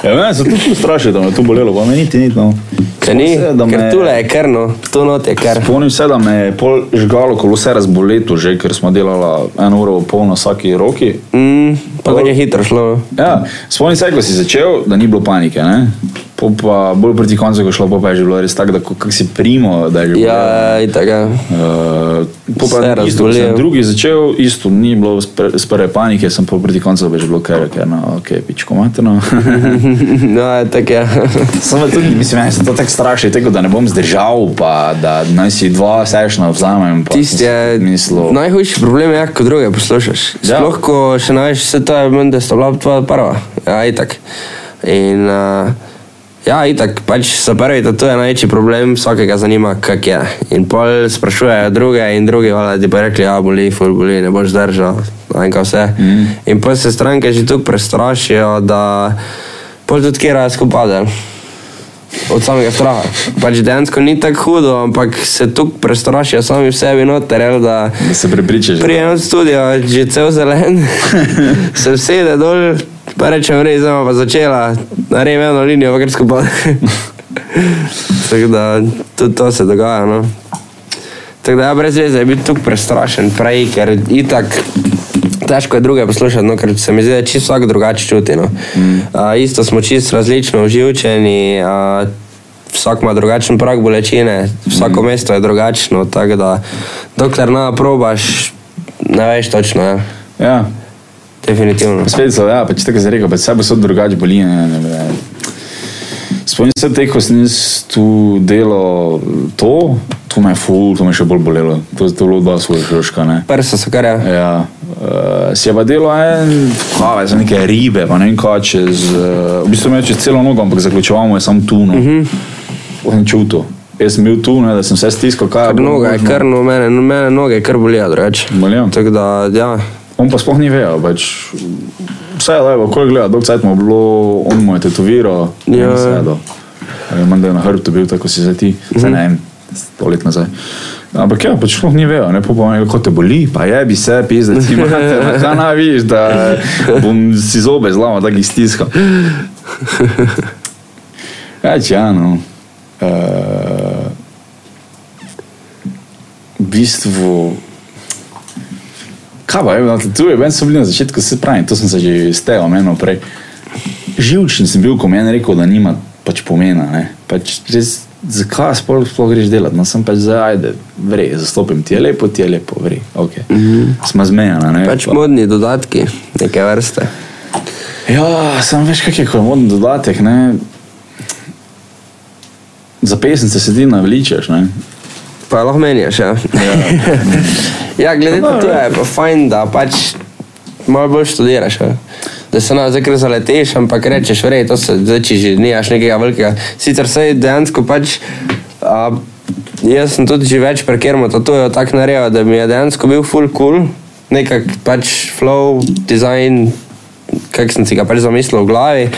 Speaker 3: Ja, mene se tudi straši, da me je to bolelo, pa meni ti ni tam.
Speaker 4: Ker ni,
Speaker 3: Vse, da
Speaker 4: ker
Speaker 3: me-
Speaker 4: tule je krno, tu not je krno.
Speaker 3: Spomnim se, da me je pol žgalo, ko vse razboleto, že ker smo delali eno uro in pol na vsaki roki.
Speaker 4: Mm, pa kot je hitro šlo. no.
Speaker 3: Ja, spomnim se, ko si začel, da ni bilo panike. Ne? Po pa bolj proti koncu, ko je šlo, pa, pa je že bilo res tako, da ko- kako si primo, da je že bilo.
Speaker 4: Ja, itak. ja. [laughs]
Speaker 3: Uh, po
Speaker 4: Se
Speaker 3: pa isto, ko sem
Speaker 4: razbolel.
Speaker 3: drugi začel, isto ni bilo s pr- s prve panike, sem pa proti koncu pa je že bilo kar, ker no, ok, pičko materno. [laughs]
Speaker 4: No, tako je. [laughs]
Speaker 3: Samo tudi, mislim, meni se to tako straši, tako da ne bom zdržal, pa da naj si dva sešna vzamem. pa
Speaker 4: Tisti
Speaker 3: sem
Speaker 4: je
Speaker 3: si mislil-
Speaker 4: najhujši problem, je, ko druge poslušaš.
Speaker 3: Ja.
Speaker 4: Ja. Sploh ko še ne veš, vse to je meni, da sta bila tvoja prva. Ja, itak. In, uh, ja, itak, pač se pravi, da to je največji problem, vsakega zanima, kak je. In pol sprašujejo druge in drugi, valjda, ti pa rekli, ja, boli, ful boli, ne boš držal, enka vse. Mm. In pol se stranke že tu prestrašijo, da pol tudi kera skupade. od samega straha. Pač dejansko ni tako hudo, ampak se tu prestrašijo sami v sebi noter, jel, da
Speaker 3: Da se prepričaš. da-
Speaker 4: prijem od studia, že cel zelen, se usede dol, pa rečem, rej, zdaj bova pa začela, naredim eno linijo, pa kar skupaj. [laughs] tako da tudi to se dogaja. No. Tako da ja, brez veze je biti tu prestrašen prej, ker itak. Težko je druge poslušati, no, ker se mi zdi, da čisto vsak drugače čuti. No. Mm. Uh, isto smo čisto različno uživčeni, uh, vsak ima drugačen prag bolečine, vsako mm. mesto je drugačno. Tako da, dokler ne probaš, ne veš točno. Ja.
Speaker 3: Ja,
Speaker 4: Definitivno.
Speaker 3: spet so, ja, pač tako se reko, pač vse bo so drugače boli. ne, ne, ne. svojim srcu, ko sem jaz tu delal to, to me je ful, to me je še bolj bolelo. To je to je bilo dva svojih krožka. Ne.
Speaker 4: Prsa so kar je.
Speaker 3: Ja, uh, si je pa delo en, kaj za neke ribe, pa ne vem kaj čez, uh, v bistvu me je čez celo nogo, ampak zaključovamo je samo tu. No. Uh
Speaker 4: Mhm.
Speaker 3: -huh. Sem čutil, jaz sem bil tu, ne, da sem vse stiskal, kaj je
Speaker 4: Kar
Speaker 3: bilo
Speaker 4: noga je,
Speaker 3: možno.
Speaker 4: kar no, mene, no, mene noge kar bolijo, drugače.
Speaker 3: Bolijo?
Speaker 4: Tako da, ja.
Speaker 3: On pa sploh ni vedel, pač, vse je levo, koliko gleda, dolgo cajt mu je bilo, on mu je tetoviral, ne
Speaker 4: Ja.
Speaker 3: vem, vse je Ja, do. Manj da je na hrbtu bil, tako si zdaj ti, zdaj ne vem, sto let nazaj. Ampak ja, pač sploh ni vedel, ne popolnoma, kako te boli, pa je bi se pisal, da ti imaš, da na viš, da bom si zobe zlama, da jih stiskal. Ja, ja, no. Uh, v bistvu. Kaj pa je bilo tu, je meni so bili na začetku, se pravi, to sem se že stejo omenil prej. Živčen sem bil, ko mi je en rekel, da nima pač pomena. Ne. Pač res, zakaj sploh, sploh greš delati? No, sem pač za ajde, vrej, zastopim ti je lepo, ti je lepo, vrej. Okay. Mm -hmm. Sma zmejana, ne.
Speaker 4: Pač
Speaker 3: pa-
Speaker 4: modni dodatki, neke vrste.
Speaker 3: Ja, sam veš, kak je, ko je moden dodatek, ne. Za pesnice sedi na veličeš, ne.
Speaker 4: Pa lahko meniš, ja. [laughs] ja, glede na to, je pa fajn, da pač malo bolj študiraš. Ja. Da se nam zdaj kar zaletiš, ampak rečeš, verjej, to se zdaj če že nimaš nekega velikega. Sicer se dejansko pač. A, jaz sem tudi že več prekermo tatujev tako naredil, da mi je dejansko bil full cool, nekak pač flow, design, kak sem si ga pač zamislil v glavi,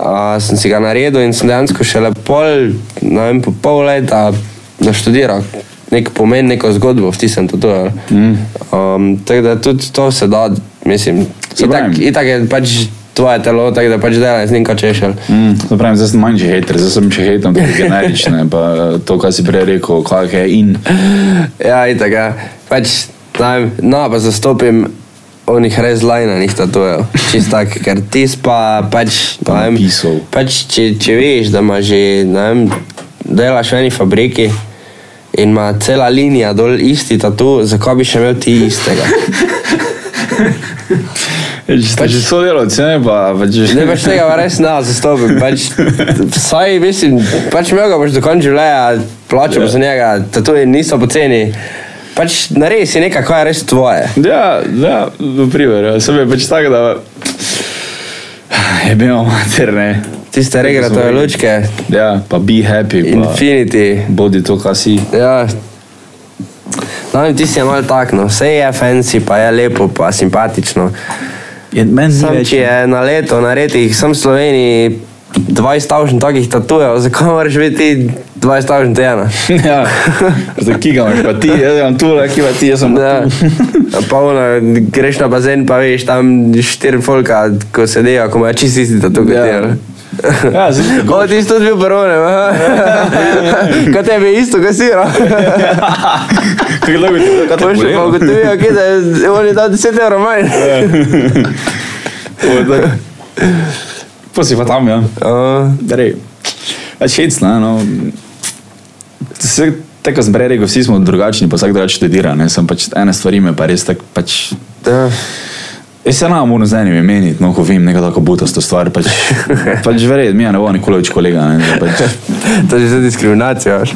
Speaker 4: uh, sem si ga naredil in sem dejansko šele pol, ne vem, po pol leta naštudiral nek pomen, neko zgodbo vtisnem tudi. Mm. Um, tako da tudi to se da, mislim,
Speaker 3: Se
Speaker 4: itak,
Speaker 3: pravim.
Speaker 4: itak je pač tvoje telo, tako da pač delaš z njim, kaj češ. ali.
Speaker 3: Mm, to pravim, zdaj sem manjši hater, zdaj sem še hater, [laughs] da je generične, pa eh, to, kar si prej rekel, kak je in.
Speaker 4: Ja, itak, ja. pač, ne vem, no pa zastopim. Onih res lajnanih tatujev, čisto tako, ker ti pa pač.
Speaker 3: Pa
Speaker 4: ne vem,
Speaker 3: napisov.
Speaker 4: Pač, če, če veš, da imaš že, ne vem, delaš v eni fabriki in ima cela linija dol isti tatu, zakaj bi še imel ti istega?
Speaker 3: Pač, že sodelavci, ne pa, pač,
Speaker 4: Ne veš tega, pa res ne, zastopim. Pač, vsaj, mislim, pač imel ga boš do konca življenja, plačal yeah. za njega, tatuji niso poceni. Pač naredi si nekaj, kar je res tvoje.
Speaker 3: [laughs] Ja, ja, v primeru, sem je pač tak, da je bil materne.
Speaker 4: Tiste regratove lučke,
Speaker 3: Ja, pa be happy, pa
Speaker 4: Infinity.
Speaker 3: bodi to, kar si.
Speaker 4: Ja. No, in ti si je malo takno, vse je fancy, pa je lepo, pa simpatično.
Speaker 3: Meni
Speaker 4: Sam, če je na leto narediti, sem v Sloveniji 20.000 takih tatujev, zakaj moraš biti 20.000 tega?
Speaker 3: [laughs] Ja, za kiga imaš pa ti, jaz imam tu, le kiva ti, jaz sem
Speaker 4: Ja,
Speaker 3: tu.
Speaker 4: pa ono, greš na bazen, pa veš tam štiri folka, ko sedijo, ko imajo čisti isti tatuaž.
Speaker 3: Ja.
Speaker 4: Ja.
Speaker 3: Ja, zdaj [laughs] je
Speaker 4: O, ti si tudi bil prvone, kot tebi je isto, kaj si.
Speaker 3: Kako dolgo ti to
Speaker 4: To še pa
Speaker 3: ja.
Speaker 4: ugotovijo, okej, da je- on je dal 10 evrov manj.
Speaker 3: Pa si pa tam, ja.
Speaker 4: Ja.
Speaker 3: Rej, več hecna, no. Vse, tako kot sem prej rekel, vsi smo drugačni, pa vsak drugače študira, ne. Sem pač, ene stvari me pa res tako pač
Speaker 4: Ja.
Speaker 3: Jaz se nam moram z enim imeniti, no, ko vem neko tako butasto stvar, pač, pač verjetno mi je ne bo nikoli več kolega. Ne, da pač,
Speaker 4: To je že za diskriminacijo. veš.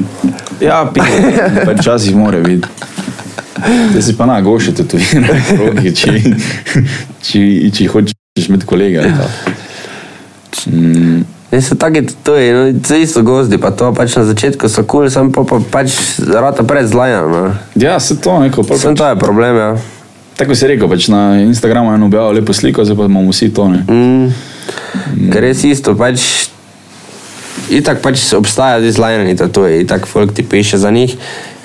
Speaker 3: ja, pika, pač včasih mora biti. Te si pa na goši tetovirane roki, če, če, če hočeš imeti kolega. Ja.
Speaker 4: Ne so taki tatuji, no, to isto gozdi, pa to pač na začetku so kul, cool, sem pa, pa pač rata pred zlajan. No.
Speaker 3: Ja, se to neko. pol
Speaker 4: Sem
Speaker 3: Pač,
Speaker 4: to je problem, ja.
Speaker 3: tako si rekel, pač na Instagramu je eno objavil lepo sliko, zdaj pa imamo vsi to. Ne.
Speaker 4: Mm. Ker res isto, pač itak pač obstajajo ti zlajani tatuji, itak folk ti piše za njih.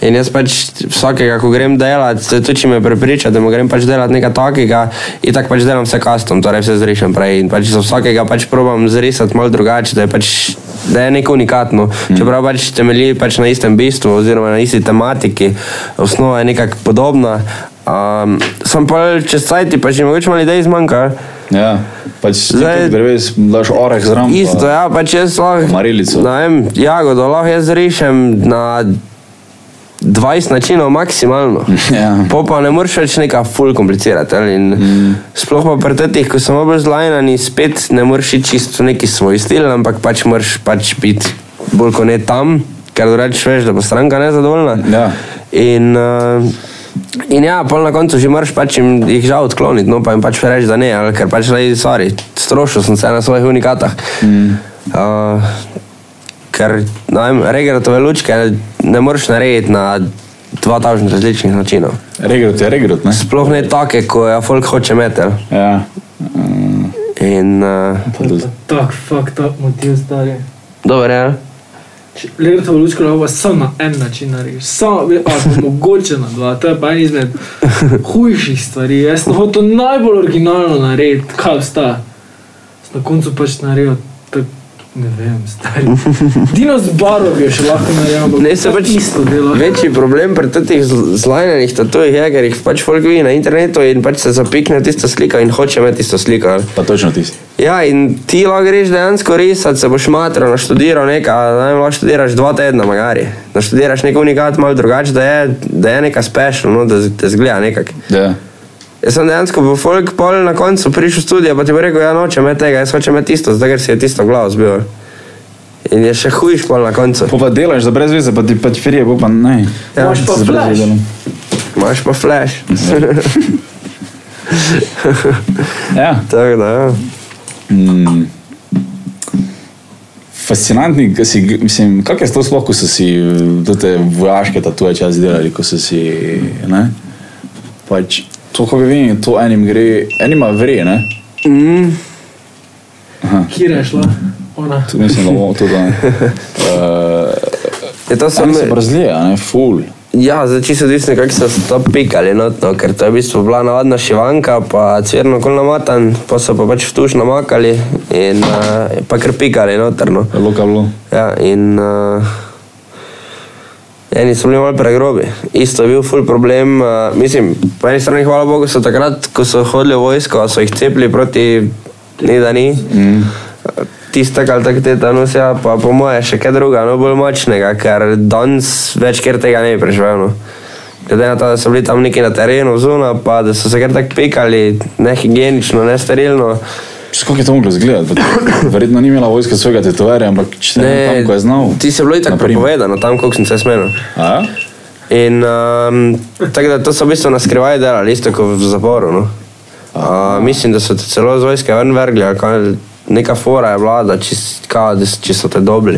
Speaker 4: In jaz pač vsakega, ko grem delat, se tudi če me prepriča, da mu grem pač delat nekaj takega, in tako pač delam vse custom, torej vse zrišem prej. In pač za vsakega pač probam zrisati malo drugače, da je pač da je neko unikatno. Mm. Čeprav pač temelji pač na istem bistvu oziroma na isti tematiki, osnova je nekako podobna. Um, sem pa čez cajt, pa že mogoče malo idej zmanjka.
Speaker 3: Ja, pač
Speaker 4: Zdaj-
Speaker 3: zdaj dreves, daš oreh zraven. pa-
Speaker 4: Isto, ja, pač jaz lahko.
Speaker 3: Marelico.
Speaker 4: Ne vem, jagodo lahko jaz rišem na 20 načinov maksimalno.
Speaker 3: [laughs] Ja.
Speaker 4: Po pa ne moreš več neka ful komplicirati. ali, In, mm. Sploh pa pri tetih, ko sem bolj zlajnan, spet ne moreš iti čisto v neki svoj stil, ampak pač moraš pač biti bolj kot ne tam, ker drugače veš, da bo stranka nezadovoljna.
Speaker 3: Ja.
Speaker 4: In, uh, in ja, pol na koncu že moraš pač jim jih žal odkloniti, no pa jim pač reči, da ne, ali ker pač reži, sorry, strošil sem se na svojih unikatah. Mm. Uh, ker ne vem, regratove lučke ne moreš narediti na 2000 različnih načinov.
Speaker 3: Regrot je regrot, ne?
Speaker 4: Sploh ne take, ko je folk hoče metel.
Speaker 3: Ja.
Speaker 4: In uh,
Speaker 5: Tako, fuck, tako motiv stari.
Speaker 4: dobro, ja.
Speaker 5: Lepo to lučko lahko samo na en način narediš, samo ve- ali pa mogoče na dva, to je pa en izmed hujših stvari. Jaz sem hotel najbolj originalno narediti, kaj obstaja. Sem Na koncu pač naredil, tak, ne vem, stari. Dino z barov je še lahko naredil, ampak
Speaker 4: Ne, se
Speaker 5: to je
Speaker 4: pač
Speaker 5: isto delo.
Speaker 4: Večji problem pri teh zlajnenih tatovih je, ker jih pač folk vidi na internetu in pač se zapikne tista slika in hoče imeti tisto sliko. ali.
Speaker 3: Pa točno tisti.
Speaker 4: Ja, in ti lahko greš dejansko risati, se boš matro naštudiral nekaj, ne vem, lahko študiraš dva tedna, magari. Naštudiraš nek unikat malo drugače, da je, da je neka special, no, da, z- da zgleda nekako.
Speaker 3: Ja.
Speaker 4: Jaz sem dejansko po folk pol na koncu prišel v studio, pa ti bo rekel, ja nočem imeti tega, jaz hočem imeti tisto, zdaj ker si je tisto glavo zbil. In je še hujš pol na koncu.
Speaker 3: Po pa delaš za brez veze, pa ti pač firje, bo pa ne.
Speaker 4: Ja.
Speaker 5: Imaš pa
Speaker 3: Za brez
Speaker 5: flash.
Speaker 3: veze delam.
Speaker 4: Imaš pa flash. [laughs]
Speaker 3: Ja.
Speaker 4: Tako da, ja.
Speaker 3: Mm. Fascinantni, kaj si, mislim, kak je to sploh, ko so si eh, te vojaške tatuje čas delali, ko so si, ne? Pač, to, ko vidim, to enim gre, enima vre, ne?
Speaker 4: Mm,
Speaker 5: Kira je šla, ona.
Speaker 3: To mislim, da bomo to da
Speaker 4: [laughs]
Speaker 3: ne. Uh,
Speaker 4: je to
Speaker 3: Tam
Speaker 4: sem,
Speaker 3: se brazlija, ne, ful.
Speaker 4: ja, zdaj čisto odvisno, kako so se to pikali notno, ker to je v bistvu bila navadna šivanka, pa cvirno kol namatan, pa so pa pač v tuš namakali in uh, pa kar pikali notrno.
Speaker 3: Loka bilo.
Speaker 4: Ja, in uh, eni so bili malo pregrobi. Isto je bil ful problem. Uh, mislim, po eni strani hvala Bogu so takrat, ko so hodili v vojsko, so jih cepili proti ni da ni. Mm. Tista ali tako te tanus, ja, pa po moje še kaj druga, no bolj močnega, ker danes več kjer tega ne bi preživel. No. Glede na to, da so bili tam neki na terenu zunaj, pa da so se kar tako pikali, nehigienično, nesterilno.
Speaker 3: Kako je to moglo izgledati? Verjetno ni imela vojska svojega tetovarja, ampak če ne, tam, ko je znal.
Speaker 4: ti se bilo itak
Speaker 3: na primer.
Speaker 4: prepovedano, tam koliko sem se smenil.
Speaker 3: A ja?
Speaker 4: In um, tako da to so v bistvu na skrivaj delali, isto kot v zaporu. No. Uh, mislim, da so te celo z vojske ven vrgli, ali kaj, neka fora je bila, da čist- kao, da s- če so te dobili.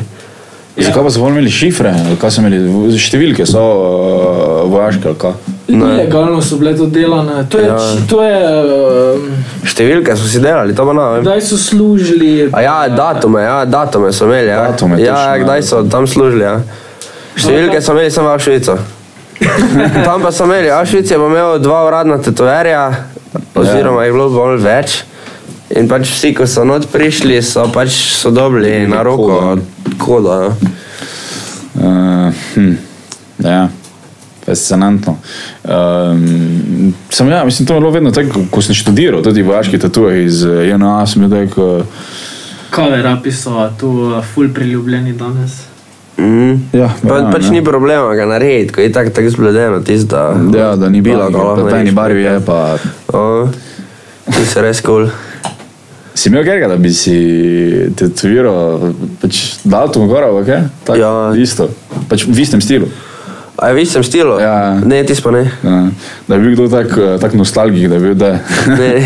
Speaker 3: Zakaj pa so bolj imeli šifre, ali kaj so imeli, številke so uh, vojaške, ali kaj?
Speaker 5: Ilegalno so bile to delane. To je,
Speaker 4: Ja.
Speaker 5: či- to je, um,
Speaker 4: Številke so si delali, to pa ne vem.
Speaker 5: kdaj so služili.
Speaker 4: A ja, datume, ja, datume so imeli. Ja,
Speaker 3: Datume, točno,
Speaker 4: ja, ja
Speaker 3: ja.
Speaker 4: kdaj so tam služili. Ja. Številke so imeli samo v
Speaker 3: [laughs]
Speaker 4: Švico. Tam pa so imeli, a Švic je pa imel dva uradna tetoverja,
Speaker 3: Ja.
Speaker 4: oziroma jih je bilo bolj več. In pač vsi, ko so not prišli, so pač so dobili na roko kodo. Ja.
Speaker 3: Uh, hm, ja, fascinantno. Um, sem, ja, mislim, to je bilo vedno tako, ko sem študiral, tudi vojaški tatuje iz eh, JNA, sem bil tako, eh,
Speaker 5: Cover upi so tu uh, ful priljubljeni danes.
Speaker 4: Mm.
Speaker 3: ja,
Speaker 4: Pa,
Speaker 3: ja,
Speaker 4: pač
Speaker 3: ne.
Speaker 4: ni problema ga narediti, ko je tako tak zbledeno tisto.
Speaker 3: Ja, da ni bilo,
Speaker 4: Bilo, ga lahko
Speaker 3: da je
Speaker 4: narediš.
Speaker 3: eni barvi je pa.
Speaker 4: O, To se res kul. Cool.
Speaker 3: Si imel kaj, da bi si tetoviral, pač datum gor, ali kaj? Tak,
Speaker 4: Ja.
Speaker 3: Isto, pač v istem stilu.
Speaker 4: A je v istem stilu?
Speaker 3: Ja.
Speaker 4: Ne, ti pa ne.
Speaker 3: Ja, Da je bil kdo tako tak nostalgik, da je bil,
Speaker 4: [laughs]
Speaker 3: da [laughs]
Speaker 4: ne.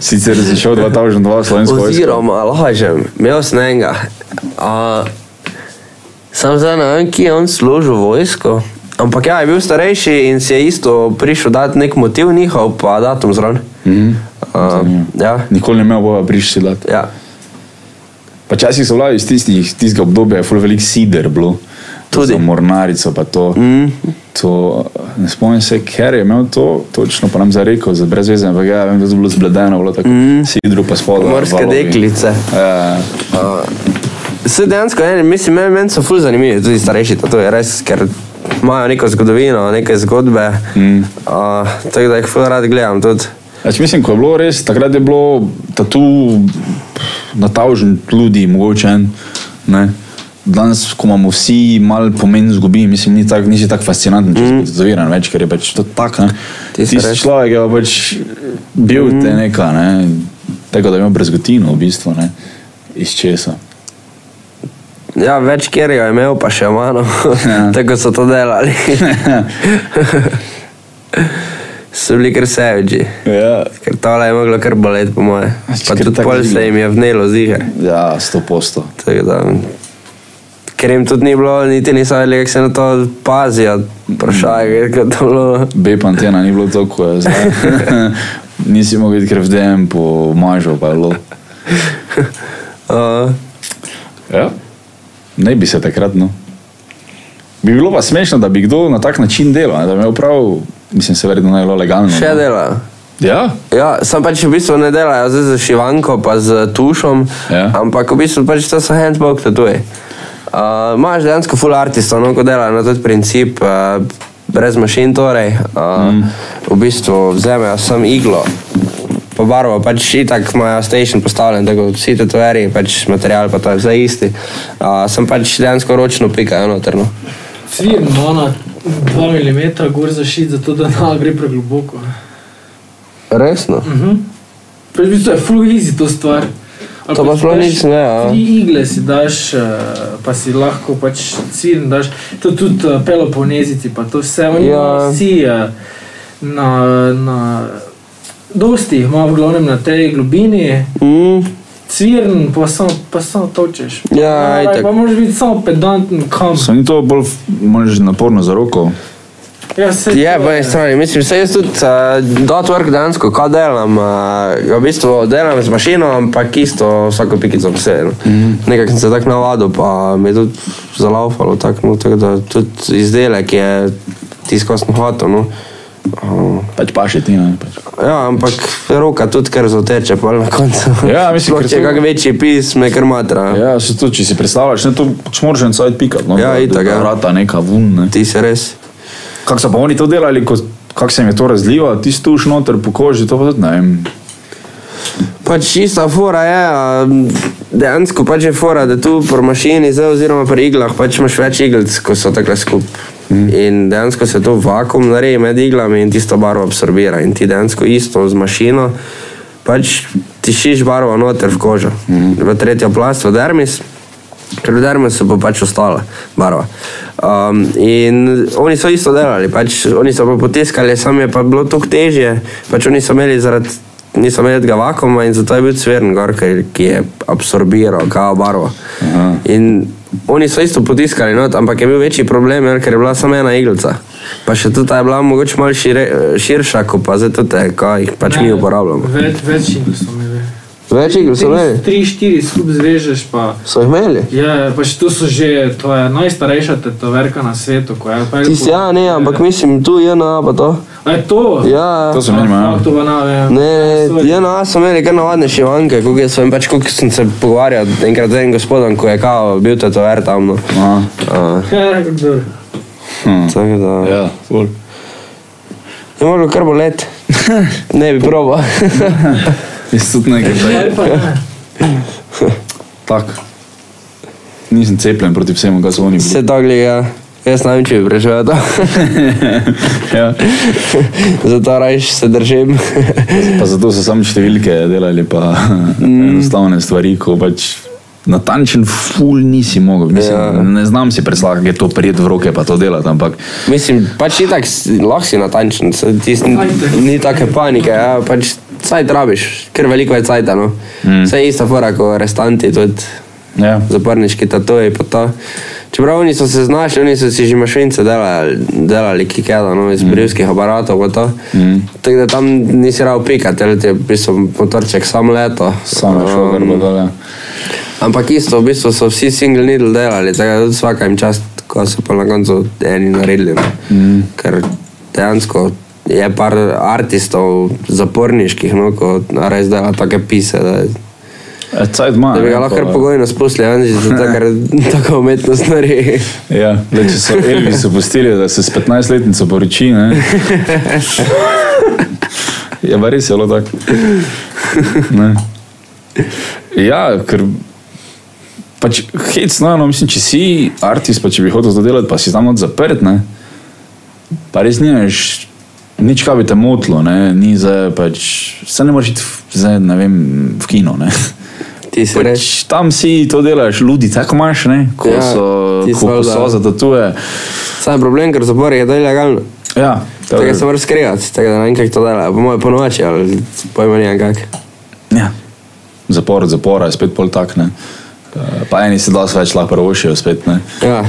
Speaker 3: sicer si šel 2002 slovensko vojsko.
Speaker 4: Oziroma, lažem, imel sem enega. A, sam zdaj ne vem, kje je on služil vojsko. Ampak ja, je bil starejši in si je isto prišel dati nek motiv njihov, pa datum zraven.
Speaker 3: Mhm.
Speaker 4: A,
Speaker 3: Zanimivo.
Speaker 4: ja,
Speaker 3: Nikoli ne imel boja prišli dat.
Speaker 4: ja.
Speaker 3: Pa časih so vladi iz tistih, tistega obdobja je ful velik sider bilo.
Speaker 4: Tudi.
Speaker 3: Za mornarico pa to.
Speaker 4: Mm.
Speaker 3: to ne spomnim se, ker je imel to, točno pa nam zarekel, za brez veze, ampak ja, vem, da je to bilo zbledeno, bilo tako mm. sidru pa spodaj.
Speaker 4: Morske
Speaker 3: valovi.
Speaker 4: Mhm. deklice.
Speaker 3: Ja,
Speaker 4: Se dejansko, eni, mislim, meni, meni so ful zanimivi, tudi starejši, to je res, ker imajo neko zgodovino, neke zgodbe. Mm. A, tako da jih ful rad gledam tudi.
Speaker 3: Znači, mislim, ko je bilo res, takrat je bilo tatu na tavžen ljudi, mogoče en. Ne? danes, ko imamo vsi malo pomen izgubi, mislim, ni tak, nisi tako fascinanten, če si zaviran več, ker je pač to tako.
Speaker 4: Ti si
Speaker 3: Tisti
Speaker 4: res-
Speaker 3: človek je pa pač bil mm. te neka, ne? tako da ima brezgotino v bistvu, ne? iz česa.
Speaker 4: Ja, več kjer je imel, pa še malo.
Speaker 3: Ja.
Speaker 4: [laughs] Tako so to
Speaker 3: [laughs]
Speaker 4: delali. so bili kar seviči.
Speaker 3: Ja,
Speaker 4: Ker tole je moglo kar boleti, po moje. Pa
Speaker 3: Ker
Speaker 4: tudi
Speaker 3: tako
Speaker 4: pol
Speaker 3: žiga.
Speaker 4: se jim je vnelo zihar.
Speaker 3: ja sto posto.
Speaker 4: Tako da, Ker jim tudi ni bilo, niti niso vedeli, kako se na to pazijo. Vprašaj, kako je to bilo.
Speaker 3: Bep antena ni bilo to, ko je zdaj. [laughs] Nisi mogel iti krvdem po mažo, pa je bilo.
Speaker 4: Uh,
Speaker 3: Ja. Ne bi se takrat, no. Bi bilo pa smešno, da bi kdo na tak način delal, ne, da bi imel prav, mislim, se verjetno najbolj legalno.
Speaker 4: še
Speaker 3: ne.
Speaker 4: delajo.
Speaker 3: Ja,
Speaker 4: Ja, sam pač v bistvu ne delajo zdaj z šivanko, pa z tušom,
Speaker 3: Ja.
Speaker 4: ampak v bistvu pač to so handbook tatuje. Uh, Máš dejansko full artistov, no ko delajo na ta princip, uh, brez mašin torej. Uh, mm. V bistvu vzamejo sem iglo, pobarvajo, pač itak imajo station postavljen, tako kot vsi tatoveri, pač material pa to je vse isti. Uh, sem pač dejansko ročno pikajo no. notrno.
Speaker 5: Vsi imamo na 2 mm gor zašit, zato da ne gre pregloboko.
Speaker 4: Resno?
Speaker 5: Mhm. Pač v bistvu je full easy to stvar. Ali
Speaker 4: To pa
Speaker 5: si
Speaker 4: sploh
Speaker 5: daš
Speaker 4: nič ne, a?
Speaker 5: Tri igle si daš, eh, pa si lahko pač cilj daš. To tudi eh, peloponeziti, pa to vse oni
Speaker 4: Ja.
Speaker 5: ja. vsi eh, na, na dosti jih ima v glavnem na tej globini.
Speaker 4: Mm.
Speaker 5: Cvirn, pa samo, pa samo točeš.
Speaker 4: Ja, itak.
Speaker 5: Naraj, pa moraš biti samo pedanten, kam.
Speaker 3: samo ni to bolj, moraš naporno za roko.
Speaker 5: Ja, se
Speaker 4: Je, po eni strani, mislim, se jaz tudi uh, dotvork dejansko, ko delam, uh, v bistvu delam z mašino, ampak isto vsako pikico posebej. No. Mm
Speaker 3: Mhm.
Speaker 4: -hmm. Nekako sem se tako navadil, pa mi je tudi zalaufalo, tako, no, tako da tudi izdelek je tiskal sem hotel. No. Uh,
Speaker 3: Pač paše ti, ne. Pač.
Speaker 4: ja, ampak roka tudi kar zoteče, pa na koncu.
Speaker 3: Ja, mislim,
Speaker 4: Sploh,
Speaker 3: ker
Speaker 4: če je
Speaker 3: to-
Speaker 4: kak večji pis, me kar matra. Ja.
Speaker 3: Ja, se to, če si predstavljaš, ne, to pač moraš en sajt pikat, no.
Speaker 4: Ja,
Speaker 3: da-
Speaker 4: itak,
Speaker 3: da
Speaker 4: ja.
Speaker 3: Vrata neka vun, ne.
Speaker 4: Ti se res.
Speaker 3: Kako so pa oni to delali, ko, kako se jim je to razlilo, ti stuš noter po koži, to pa tudi ne vem.
Speaker 4: Pač čista fora je, a, dejansko pač je fora, da tu pri mašini, zdaj, oziroma pri iglah, pač imaš več iglic, ko so takole skupaj. Mm. In dejansko se to vakum naredi med iglami in tisto barvo absorbira. In ti dejansko isto z mašino, pač tišiš barvo noter v kožo, mm. v tretjo plast, v dermis. Ker v dermisu bo pač ostala barva. Um, in oni so isto delali, pač, oni so pa potiskali, samo je pa bilo toliko težje, pač oni so imeli zaradi nisem imel tega vakuma in zato je bil cvrn gor, ker- ki je absorbiral kao barvo.
Speaker 3: Aha.
Speaker 4: In oni so isto potiskali, not, ampak je bil večji problem, jer, ker je bila samo ena iglica. Pa še tudi ta je bila mogoče malo šire, širša, kot pa zdaj te, ko jih pač mi uporabljamo.
Speaker 5: Več, več igl so imeli.
Speaker 4: Več igl so imeli,
Speaker 5: 3-4 skupaj zvežeš, pa
Speaker 4: so jih imeli.
Speaker 5: je, pač tu so že, to je najstarejša tetoverka na svetu, ko je pa
Speaker 4: Tisti, ja, ne, ampak mislim, tu je na, pa to.
Speaker 5: A je to?
Speaker 4: Ja,
Speaker 3: To so meni, ja.
Speaker 5: To pa ne vem.
Speaker 4: Ne,
Speaker 5: Sorry.
Speaker 4: ja, no, so imeli kar navadne šivanke, kako jaz sem pač, kako sem se pogovarjal enkrat z enim gospodom, ko je kao bil tetover tam. No.
Speaker 3: Aha.
Speaker 4: Uh,
Speaker 5: Ja, kdo?
Speaker 4: tako da.
Speaker 3: Ja, ful.
Speaker 4: Je moglo kar
Speaker 3: [laughs]
Speaker 4: bolet. Ne bi proba. [laughs]
Speaker 3: Jaz tudi nekaj. tako.
Speaker 5: Ali pa ne.
Speaker 3: Tak. Nisem cepljen proti vsemu, kar so oni bili.
Speaker 4: Vse dogli ga. Jaz ne vem, če bi preživel to. [laughs]
Speaker 3: Ja.
Speaker 4: Zato rajš se držim. [laughs]
Speaker 3: Pa zato so samo številke delali, pa mm. [laughs] enostavne stvari, ko pač natančen ful nisi mogel. Mislim,
Speaker 4: Ja.
Speaker 3: ja. Ne znam si predstavljati, kako je to prijet v roke, pa to delati, ampak
Speaker 4: Mislim, pač itak si- lahko si natančen, saj tis, ni, ni take panike, ja, pač cajt rabiš, ker veliko je cajta. No. Mm. Vse je ista fora kot restanti, tudi
Speaker 3: ja.
Speaker 4: zaporniški tatoji. pa to. Čeprav oni so se znašli, oni so si že mašince delali, delali kikeda, no, iz brivskih aparatov. pa to. Tako da tam nisi rado pikati, ali ti je v bistvu motorček sam leto.
Speaker 3: samo šlo, ja. kar
Speaker 4: no.
Speaker 3: bo dole.
Speaker 4: Ampak isto, v bistvu so vsi single needle delali, tako da tudi vsaka jim čast, ko so pa na koncu eni naredili. No. Mm. Ker dejansko je par artistov zaporniških, no, ko res dela take pise. Da,
Speaker 3: E, cajt ima.
Speaker 4: da bi
Speaker 3: ne,
Speaker 4: ga lahko
Speaker 3: pa-
Speaker 4: kar pogojno spustili, ven že zato, ker [laughs] tako umetnost naredi.
Speaker 3: Ja, le, če so Elvis opustili, da se s 15-letnico poroči, ne. Je pa res je bilo tako. Ne. Ja, ker Ja, Pač, hec, no, no, mislim, če si artist, pa če bi hotel to delati, pa si tam not zaprt, ne, pa res nimaš nič, kaj bi te motilo, ne, ni za pač, se ne moreš iti v- zdaj, ne vem, v kino, ne.
Speaker 4: Ti si reč.
Speaker 3: Pač, tam si to delaš, ljudi, tako imaš, ne, ko
Speaker 4: Ja,
Speaker 3: so,
Speaker 4: ti
Speaker 3: ko, ko
Speaker 4: valjda-
Speaker 3: so za tatuje.
Speaker 4: Sam je problem, ker zapor je to ilegalno.
Speaker 3: Ja, to je-
Speaker 4: Tega se moraš skrivati, tako da ne vem, kako to dela. Po mojem ponoči, ali pojma ne vem kak.
Speaker 3: Ja. Zapor od zapora je spet pol tak. Ne? Eh, Pa eni se dosti več lahko prvošijo, spet ne.
Speaker 4: Ja,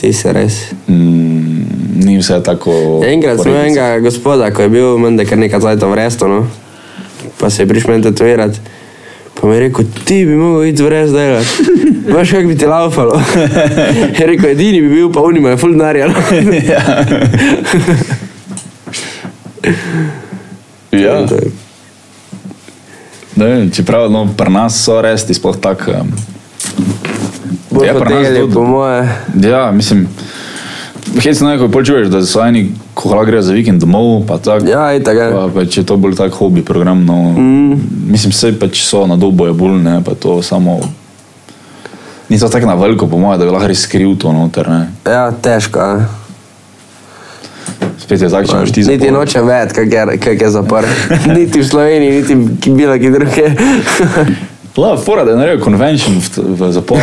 Speaker 4: ti si res. Ja,
Speaker 3: Mm, ni vse tako.
Speaker 4: Enkrat smo
Speaker 3: porednico. [laughs]
Speaker 4: enega gospoda, ko je bil menda kar nekaj cajt v restu, no. pa se je prišel meni tetovirati. Pa mi je rekel, ti bi mogel iti v
Speaker 3: [laughs]
Speaker 4: res delati. Veš, kako bi ti laufalo. je rekel, edini bi bil, pa unima je full denarja. no."
Speaker 3: Ja,
Speaker 4: To je-
Speaker 3: ne, čeprav no, pri nas so resti sploh tako. em,
Speaker 4: Bolj
Speaker 3: Ja, pri nas
Speaker 4: potegnili,
Speaker 3: tudi.
Speaker 4: po moje.
Speaker 3: Ja, mislim. Hecno je, ko pol čuješ, da so eni, ko lahko grejo za vikend domov, pa tako.
Speaker 4: Ja, itak. ja.
Speaker 3: Pa, pač je to bolj tak hobi program. No, mm. Mislim, vse pač so na dobo je bolj, ne pa to samo. Ni to tako na veliko, po mojem, da bi lahko res skril to noter. Ne.
Speaker 4: Ja, težko. a.
Speaker 3: Spet je tako, če imaš ti
Speaker 4: Niti
Speaker 3: zapor.
Speaker 4: nočem vedeti, kak je, kak je zapor.
Speaker 3: [laughs]
Speaker 4: niti v Sloveniji, niti ki- bilo ki druge. [laughs]
Speaker 3: La, fora, da je naredil konvencion v, t- v zaporu.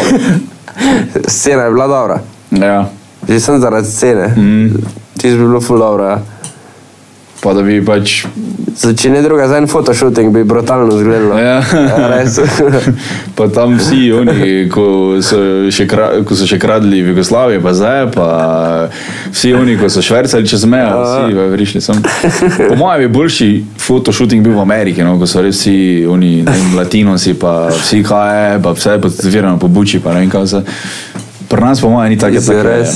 Speaker 4: [laughs] Scena je bila dobra.
Speaker 3: ja.
Speaker 4: Že sem zaradi scene. Mm. Ti si bilo ful dobro. Ja.
Speaker 3: Pa da bi pač.
Speaker 4: Zdaj, Če ne druga, za en fotoshooting bi brutalno izgledalo.
Speaker 3: Ja.
Speaker 4: ja res.
Speaker 3: [laughs] pa tam vsi oni, ko so še, kra, ko so še kradli v Jugoslaviji, pa zdaj, pa vsi oni, ko so švercali čez mejo,
Speaker 4: Ja.
Speaker 3: vsi prišli sem. Po mojem je boljši fotoshooting bil v Ameriki, no, ko so res vsi oni, ne vem, latinosi, pa vsi kaj je, pa vse je potvirano po buči, pa ne vem kaj vse. Pri nas po mojem ni tako,
Speaker 4: Mislim, res.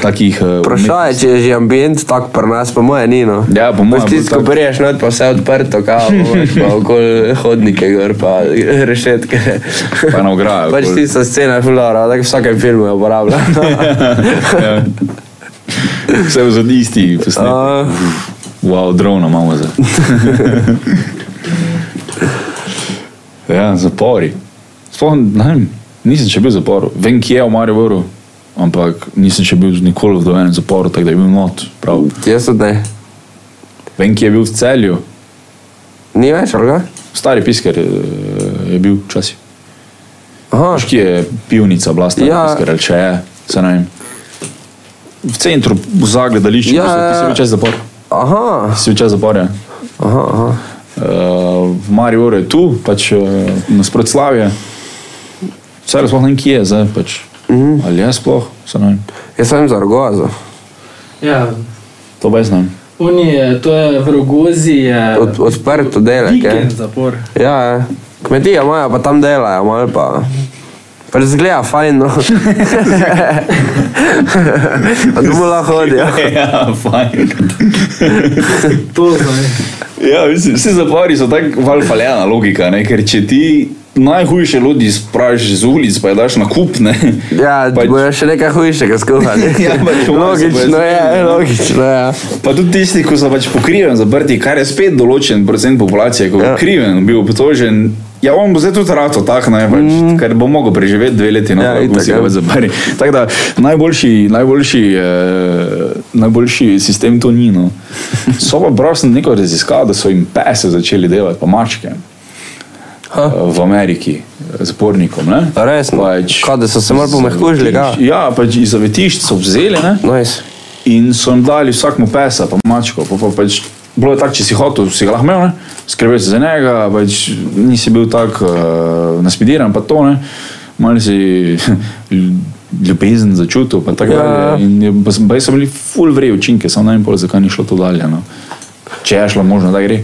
Speaker 3: Takih eh,
Speaker 4: Vprašanje je, če je že ambient tak pri nas, po moje ni. No.
Speaker 3: Ja, po moje
Speaker 4: Pač Tisti,
Speaker 3: bo
Speaker 4: ko
Speaker 3: tako.
Speaker 4: priješ not, pa vse odprto,
Speaker 3: [laughs]
Speaker 4: kao, imaš pa okoli hodnike, gor pa [laughs] rešetke.
Speaker 3: Pa na ograjo,
Speaker 4: Pač
Speaker 3: okoli.
Speaker 4: tista scena je ful dobro, tako v vsakem filmu jo uporablja.
Speaker 3: [laughs]
Speaker 4: No,
Speaker 3: Ja. Vse v zadnji isti posnetek.
Speaker 4: A,
Speaker 3: [laughs] Wow, drona imamo zdaj. ja, zapori. Sploh ne vem, nisem še bil v zaporu. Vem, kje je v Mariboru, ampak nisem še bil nikoli v dojenem zaporu, tako da je bil not. Prav.
Speaker 4: Jaz tudi ne.
Speaker 3: Vem, kje je bil v celju,
Speaker 4: Ni več, ali ga?
Speaker 3: stari piskar eh, je bil včasih.
Speaker 4: Aha,
Speaker 3: Paš, kje je pivnica, blasta,
Speaker 4: Ja.
Speaker 3: ja. piskar ali če je, se ne vem. V centru, za gledališče,
Speaker 4: Ja,
Speaker 3: ja, ti si
Speaker 4: ja.
Speaker 3: bil čas zapor.
Speaker 4: aha,
Speaker 3: Ti si bil čas zapor, ja.
Speaker 4: aha. aha.
Speaker 3: Uh, v Mariboru je tu, pač uh, nasprot slavje. Vse sploh ne vem, kje je zdaj. Pač. Mm. Ali je sploh, se ne vem.
Speaker 4: Jaz sem za rogozo.
Speaker 5: Ja,
Speaker 3: To brez nam.
Speaker 5: Oni je, to je v Rogozi, je
Speaker 4: Od, odprto delek. je.
Speaker 5: vikend zapor.
Speaker 4: Ja, ja. kmetija imajo, pa tam delajo, malo pa. Pa zgleda fajn, no. Pa domu lahko hodijo.
Speaker 3: [laughs] ja, fajn.
Speaker 5: To zdaj.
Speaker 3: ja, mislim, vsi zapori so tako valfaljena logika, ne? ker če ti najhujše ljudi spraviš z ulic, pa je daš na kup, ne.
Speaker 4: Ja,
Speaker 3: Pač.
Speaker 4: bojo še nekaj hujšega skuhali.
Speaker 3: Ja, pač malo se
Speaker 4: [laughs] logično
Speaker 3: bojo
Speaker 4: je, logično ja. je.
Speaker 3: Pa tudi tisti, ki so pač pokriven, zaprti, kar je spet določen procent populacije, ki je
Speaker 4: Ja.
Speaker 3: ja. kriven, bil obtožen. Ja, on bo zdaj tudi rato tak, ne, pač, mm. ker bo mogel preživeti dve leti, no,
Speaker 4: Ja,
Speaker 3: ja,
Speaker 4: itak,
Speaker 3: tako
Speaker 4: ja.
Speaker 3: da se zapari. Tako da najboljši, najboljši, eh, najboljši sistem to ni.
Speaker 4: [laughs]
Speaker 3: No. So pa prav sem neko raziskal, da so jim pese začeli delati, pa mačke
Speaker 4: Ha.
Speaker 3: eh, v Ameriki, eh, zapornikom. Ne?
Speaker 4: A res, no?
Speaker 3: Pač,
Speaker 4: Kaj, da so se malo pomehkužili, ga? No,
Speaker 3: Ja, pač iz zavetišč so vzeli, ne?
Speaker 4: Nice.
Speaker 3: In so jim dali vsakmu pesa, pa mačko. Pa, pa pač, bilo je tako, če si hotel, si ga lahko imel, ne? skrbel si za njega, pač, nisi bil tako uh, naspidiran, pa to ne. Malo si [laughs] ljubezen začutil, pa tako
Speaker 4: Ja.
Speaker 3: dalje. In je- pa so- baje so bili full vrej učinke, samo ne vem, pol, zakaj ni šlo to dalje. No. Če je šlo, možno da
Speaker 4: [laughs]
Speaker 3: gre.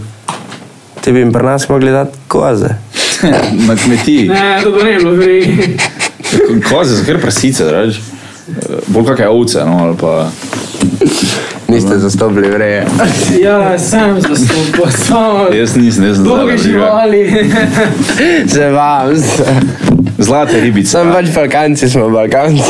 Speaker 4: Ti bi jim pri nas mogli dati koze.
Speaker 3: Na kmetiji,
Speaker 5: Ne, to pa ne bilo gre.
Speaker 3: koze so kar prasice, reč. Bolj kakšne ovce, no, ali pa
Speaker 4: Niste zastopili vreje.
Speaker 5: Ja, sam zastopal, samo
Speaker 3: jaz nisem, jaz nisem.
Speaker 5: dolge živali.
Speaker 4: [laughs]
Speaker 5: [laughs]
Speaker 4: Se vam. se-
Speaker 3: Zlate ribice.
Speaker 4: Sem pač Balkanci, smo Balkanci.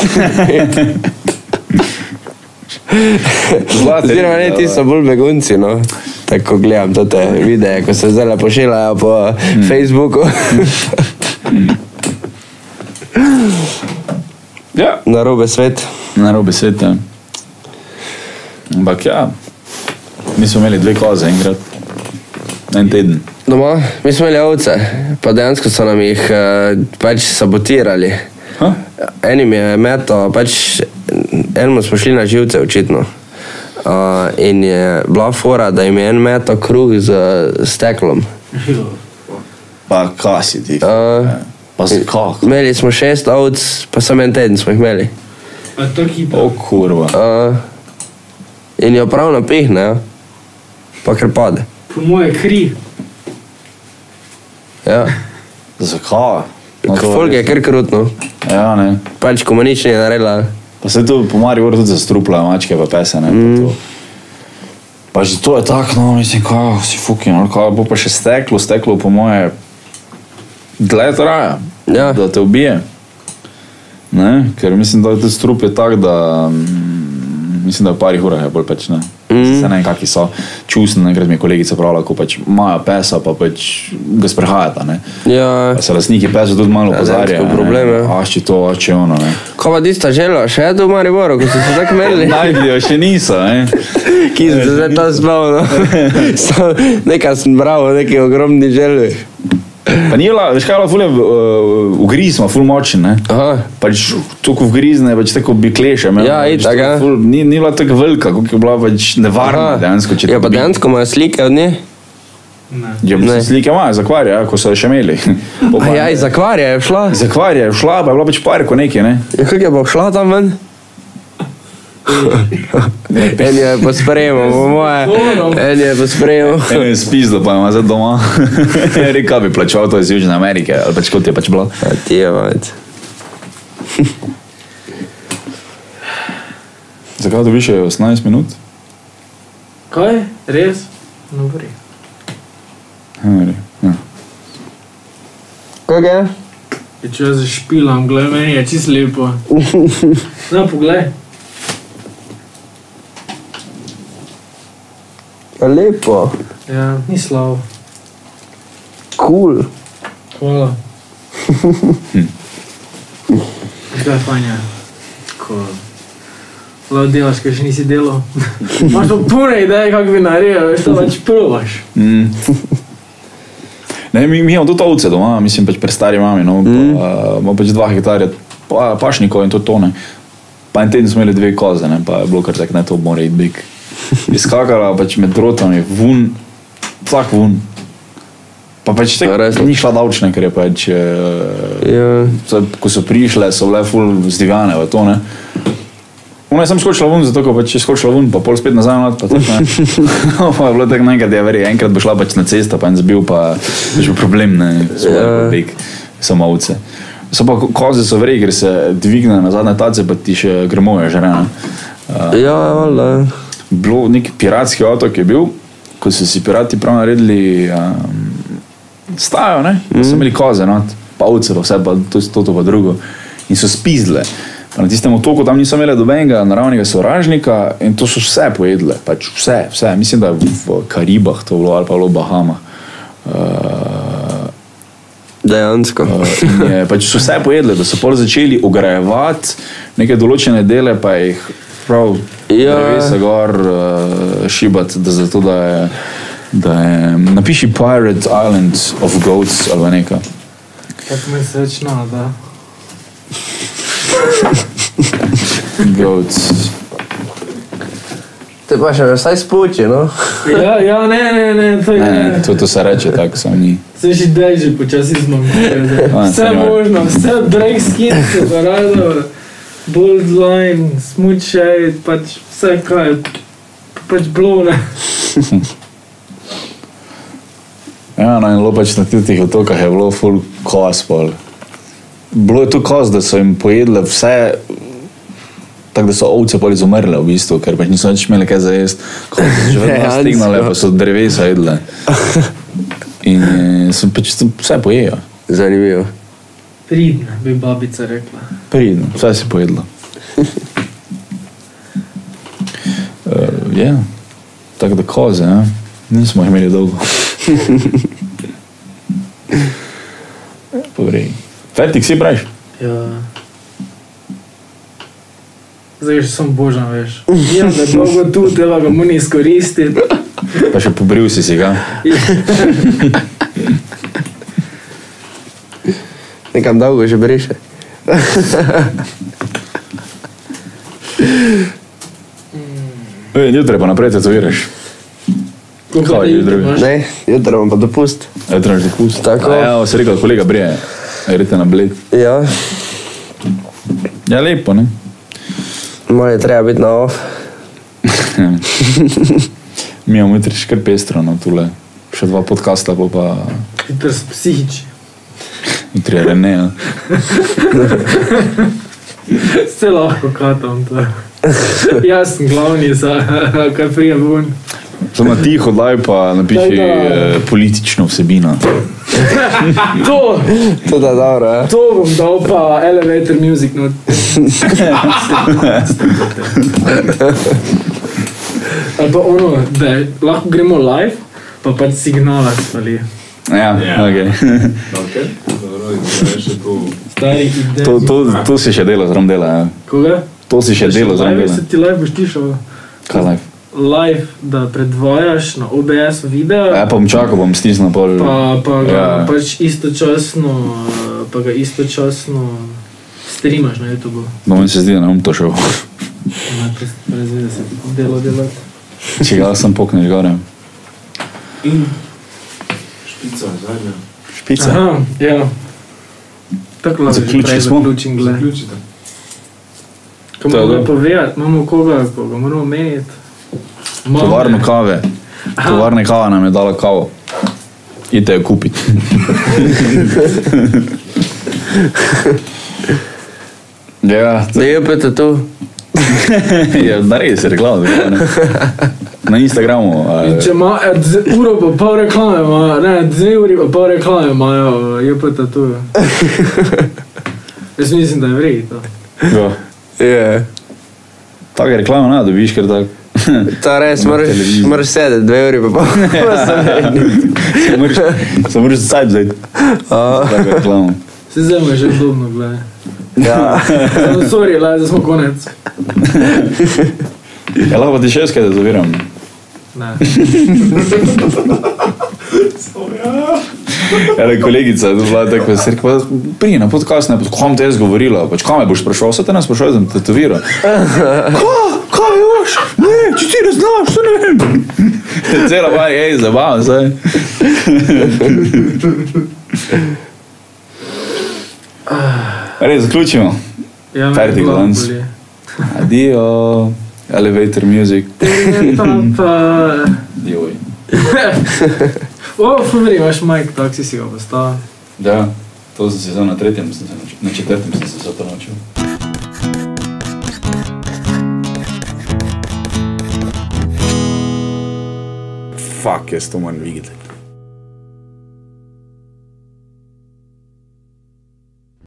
Speaker 4: [laughs]
Speaker 3: Zlate
Speaker 4: Oziroma, ne,
Speaker 3: ribice,
Speaker 4: ti so bolj begunci. No. Tako gledam te videe, Hmm. ko se zdaj pošiljajo po mm. Facebooku.
Speaker 3: Ja,
Speaker 4: [laughs] na robe svet.
Speaker 3: na robe sveta. Ampak ja, mi smo imeli dve koze enkrat, en teden.
Speaker 4: Doma, mi smo imeli ovce, pa dejansko so nam jih eh, pač sabotirali.
Speaker 3: Ha?
Speaker 4: Enim je meto, pač enemu smo šli na živce, očitno. Uh, in je bila fora, da jim je en meto kruh z steklom.
Speaker 3: Pa kasi ti.
Speaker 4: Uh,
Speaker 3: Pa si kako?
Speaker 4: imeli smo šest ovc, pa samo en teden smo jih imeli.
Speaker 5: A to kipa.
Speaker 3: O kurva.
Speaker 4: Uh, in jo prav napihnejo, pa ker pade.
Speaker 5: Po moje kri.
Speaker 4: Ja.
Speaker 3: Zakaj? No, to
Speaker 4: Folk je
Speaker 3: res.
Speaker 4: kar krutno,
Speaker 3: Ja, ne.
Speaker 4: pač komunični je naredila.
Speaker 3: Pa se tu po Mariju tudi zastrupla mačke, pa pese. Ne, mm.
Speaker 4: Mhm.
Speaker 3: pa, to. pa že to je tako, no, mislim, kako si fucking, no, kaj bo pa še steklo, steklo po moje, dlje traja,
Speaker 4: Ja.
Speaker 3: da te ubije. Ne? Ker mislim, da te strup je tak, da mm, mislim, da v parih urah je bolj pač ne.
Speaker 4: Mhm.
Speaker 3: Mm. Se ne vem, kakšni so čusni, enkrat mi je kolegica pravila, ko pač imajo pesa, pa pač ga sprehajata. ne.
Speaker 4: Ja.
Speaker 3: Pa se lastniki pesa tudi malo
Speaker 4: Ja,
Speaker 3: opozarjajo.
Speaker 4: dejansko problem, ja.
Speaker 3: Ašči to, ašči ono. Ne.
Speaker 4: Ko pa tista žela, še do Maribora, ko so se tako
Speaker 3: [laughs]
Speaker 4: merili.
Speaker 3: Najdijo, še niso. Eh?
Speaker 4: Ki se zdaj
Speaker 3: [laughs]
Speaker 4: ta zbavno. Nekaj sem bral, neki ogromni želvi.
Speaker 3: Pa ni bila, veš kaj, bila fulje, uh, ugriz smo, ful močen. Ne?
Speaker 4: Aha,
Speaker 3: Pač tako vgrizne, pač tako bi kleše. imel,
Speaker 4: Ja,
Speaker 3: pač
Speaker 4: itak,
Speaker 3: tako
Speaker 4: ja.
Speaker 3: ful- Ni, ni bila tako velika, kot je bila pač nevarna
Speaker 4: aha.
Speaker 3: Aha. dejansko. če te
Speaker 4: Ja, pa
Speaker 3: bi-
Speaker 4: dejansko imajo slike od nje.
Speaker 5: Ne.
Speaker 3: Ja, mislim,
Speaker 4: Ne.
Speaker 3: slike imajo, zakvarja, ja, ko so jo še [laughs] imeli. Po pa-
Speaker 4: Ja, iz akvarija je šla.
Speaker 3: Zakvarja je šla, pa je bila pač v parku nekje, ne?
Speaker 4: Ja, kako je pa šla tam ven? [laughs] En je pa sprejemal, po moje. En je pa sprejemal.
Speaker 3: [laughs] Eno je spisal, pa ima zdaj [laughs] doma. Reka bi plačal to iz Južne Amerike, ali pač kot je pač bila.
Speaker 4: A ti je vajt.
Speaker 3: Zakaj dobiš še 18 minut?
Speaker 5: Kaj? Res? No, gre.
Speaker 3: Ja, ne, ja.
Speaker 4: Kako je?
Speaker 5: Je če jaz zašpilam, gledaj, meni je čist
Speaker 3: [laughs]
Speaker 5: lepo. No, poglej.
Speaker 4: Pa Lepo,
Speaker 5: Ja, ni slabo.
Speaker 4: kul. Cool.
Speaker 5: Hvala.
Speaker 3: Hm.
Speaker 5: Kaj fanja? Ko lahko delaš, kaj še nisi
Speaker 3: [laughs]
Speaker 5: delal. Imaš pa pune ideje, kako bi naredil, veš, to pač probaš.
Speaker 3: Mm. Ne, mi, mi imamo tudi ovce doma, mislim, pač prestari mami. No, mm. pa, imamo pač dva hektarja pa, pašnikov in to tone. Pa en teden smo imeli dve koze, ne, pa je bilo kar tako, ne, to mora iti [laughs] bik. Izkakala pač med rotami, vun, vsak vun. Pa pač te,
Speaker 4: Ja, res.
Speaker 3: ni šla davčna, ker je pač, eh,
Speaker 4: Ja.
Speaker 3: so- ko so prišle, so bile ful zdivjane v to, ne. Ona je sem skočila ven, zato ker pač je skočila ven, pa pol spet nazaj, not, pa tako ne. [laughs] pa je bilo tako nekaj, da je verjetno enkrat bo šla pač na cesto, pa en zbil, pa je že bil problem, ne,
Speaker 4: Ja.
Speaker 3: zelo velik, samo ovce. So pa ko- koze so verjetno, ker se dvigne na zadnje tace, pa ti še grmoje že rano.
Speaker 4: Ja, valjda.
Speaker 3: Bilo nek piratski otok je bil, ko so si pirati prav naredili um, stajo, ne, mm. so imeli koze, not, pa ovce, pa vse, pa to, to, to pa drugo. In so spizle. Pa na tistem otoku tam niso imeli dobenega naravnega sovražnika in to so vse pojedle, pač vse, vse. Mislim, da je v v Karibah to bilo ali pa v Bahamah. Uh,
Speaker 4: Dejansko.
Speaker 3: In Je, pač so vse pojedle, da so pol začeli ugrajevati neke določene dele, pa jih prav
Speaker 4: Ja.
Speaker 3: drevesa gor uh, šibati, da zato da je, da je napiši Pirate Island of Goats ali pa nekaj.
Speaker 5: Tako mi se več nada.
Speaker 3: Goats.
Speaker 4: Te pa še vsaj spuči, no?
Speaker 5: Ja, ja, ne, ne, ne, to je.
Speaker 3: Ne, ne, to, to se reče tako, samo ni.
Speaker 5: Se že daj, že počasi zmanjkuje. zdaj.
Speaker 3: A,
Speaker 5: Vse
Speaker 3: zanimivo.
Speaker 5: možno, vse drag skin, se parado, bold line, smučaj, pač vse kaj, pač blone.
Speaker 3: Ja, no in lopač na tistih otokah je bilo full kospol. Bilo je tu kos, da so jim pojedle vse, tako da so ovce pol izumrle v bistvu, ker pač niso več imeli kaj za jesti. Ko so že vedno
Speaker 4: Dejansko.
Speaker 3: stignale, pa so drevesa jedle. In eh, so pač tu vse pojejo.
Speaker 4: Zanimivo.
Speaker 5: Pridna, bi babica rekla.
Speaker 3: Pridno, vse si [laughs] pojedlo. Uh, ja, tako da koze, ja. nismo jih imeli dolgo. Povrej. Fertik si praviš?
Speaker 5: Ja. Zdaj že sem božan, veš. Ja, da je dolgo tu, treba ga mu ne izkoristiti.
Speaker 3: Pa še pobril si si ga.
Speaker 4: Nekam dolgo že briše.
Speaker 3: Ej, jutri pa naprej tetoviraš.
Speaker 5: Kako
Speaker 3: Kaj,
Speaker 5: je jutri?
Speaker 3: drugi?
Speaker 5: imaš?
Speaker 4: Ne, jutri bom pa dopust.
Speaker 3: Ej, trenaš dopust.
Speaker 4: Tako.
Speaker 3: Ja, se rekel, kolega brije. Grite na bled.
Speaker 4: Ja,
Speaker 3: Ja, lepo, ne?
Speaker 4: malo je treba biti na off.
Speaker 3: Mi imamo jutri še kar pestro, no, tule. Še dva podcasta, pa pa
Speaker 5: Jutri si psihični.
Speaker 3: jutri je Rene. ja.
Speaker 5: Se lahko katam to. Jaz sem glavni za [laughs] kar prijem ven.
Speaker 3: Samo na tiho daj pa napiši
Speaker 5: Daj, daj.
Speaker 3: eh, politično vsebino.
Speaker 5: To,
Speaker 4: To da dobro, ja.
Speaker 5: to bom dal pa elevator music not. Ali pa ono, da je- lahko gremo live, pa pač signala stvari.
Speaker 3: Ja,
Speaker 2: Ja.
Speaker 3: okay.
Speaker 2: Okay. Dobro, in zdaj še to.
Speaker 5: Stari ideje.
Speaker 3: [laughs] to, to, to si še delo zraven dela. Ja.
Speaker 5: Koga?
Speaker 3: To si še delo zraven
Speaker 5: Live,
Speaker 3: dela.
Speaker 5: se ti live boš ti šel.
Speaker 3: Kaj live?
Speaker 5: Live, da predvajaš na OBS video.
Speaker 3: Ja, pa bom čakal, bom stisnil pol.
Speaker 5: pa, pa ga
Speaker 3: Ja.
Speaker 5: ja. pač istočasno, eh, pa ga istočasno streamaš na YouTubu.
Speaker 3: No, meni se zdi, da ne bom to šel.
Speaker 5: Najprej brez veze se delo delati.
Speaker 3: Če ga sem poknil, gore.
Speaker 5: In
Speaker 2: Špica, zadnja.
Speaker 3: Špica.
Speaker 5: Aha, ja. Tako lahko že
Speaker 3: Zaključili
Speaker 5: prej
Speaker 3: smo.
Speaker 5: zaključim, glej.
Speaker 2: Zaključite.
Speaker 5: Ko
Speaker 3: To je
Speaker 5: moramo
Speaker 3: dobro.
Speaker 5: povedati, imamo koga, koga moramo meniti.
Speaker 3: Tovarno kave.
Speaker 5: Aha.
Speaker 3: Tovarna kava nam je dala kavo. Idite jo kupiti. ja,
Speaker 4: Da je opet tu.
Speaker 3: je, naredi se reklamo. Na Instagramu. eh,
Speaker 5: In Če ima eh, dve- uro pa pol reklame, ima, ne, dve uri pa pol reklame imajo, je pa tatu.
Speaker 3: [laughs]
Speaker 5: Jaz mislim, da je vrej to.
Speaker 3: ja.
Speaker 4: Je.
Speaker 3: Take reklame ne no, dobiš, ker tako. [laughs]
Speaker 4: To res, moraš-
Speaker 3: televiziji.
Speaker 4: moraš sedeti dve uri pa [laughs] pol.
Speaker 3: Se moraš- Se moraš sajt zdaj. Tako reklamo.
Speaker 5: Se zdaj mu je že udobno, gledaj.
Speaker 4: Ja,
Speaker 5: No, sorry, le, zdaj smo konec.
Speaker 3: Ja, lahko pa ti še jaz kaj da zaviram.
Speaker 5: Ne.
Speaker 3: Ena kolegica je bila tako vesela, pa pridi na podcast, ne, pa kam te jaz govorila, pač kam me boš sprašoval, vse te nas sprašoval, sem tetoviral. Ko, kaj boš, ne, če ti ne znaš, se ne vem. Cela pa je, hej, zabavam se. [laughs] Res, zaključimo.
Speaker 5: Ja, me
Speaker 3: Ferdi
Speaker 5: glava
Speaker 3: konc.
Speaker 5: boli.
Speaker 3: Adijo, elevator music.
Speaker 5: Pa,
Speaker 3: Joj.
Speaker 5: [laughs] o, fumri, imaš majk, tak si si ga postavil.
Speaker 3: Da, to sem se zdaj na tretjem, sem se naučil- na četrtem sem se zato naučil.
Speaker 2: Fuck, jaz to moram videti.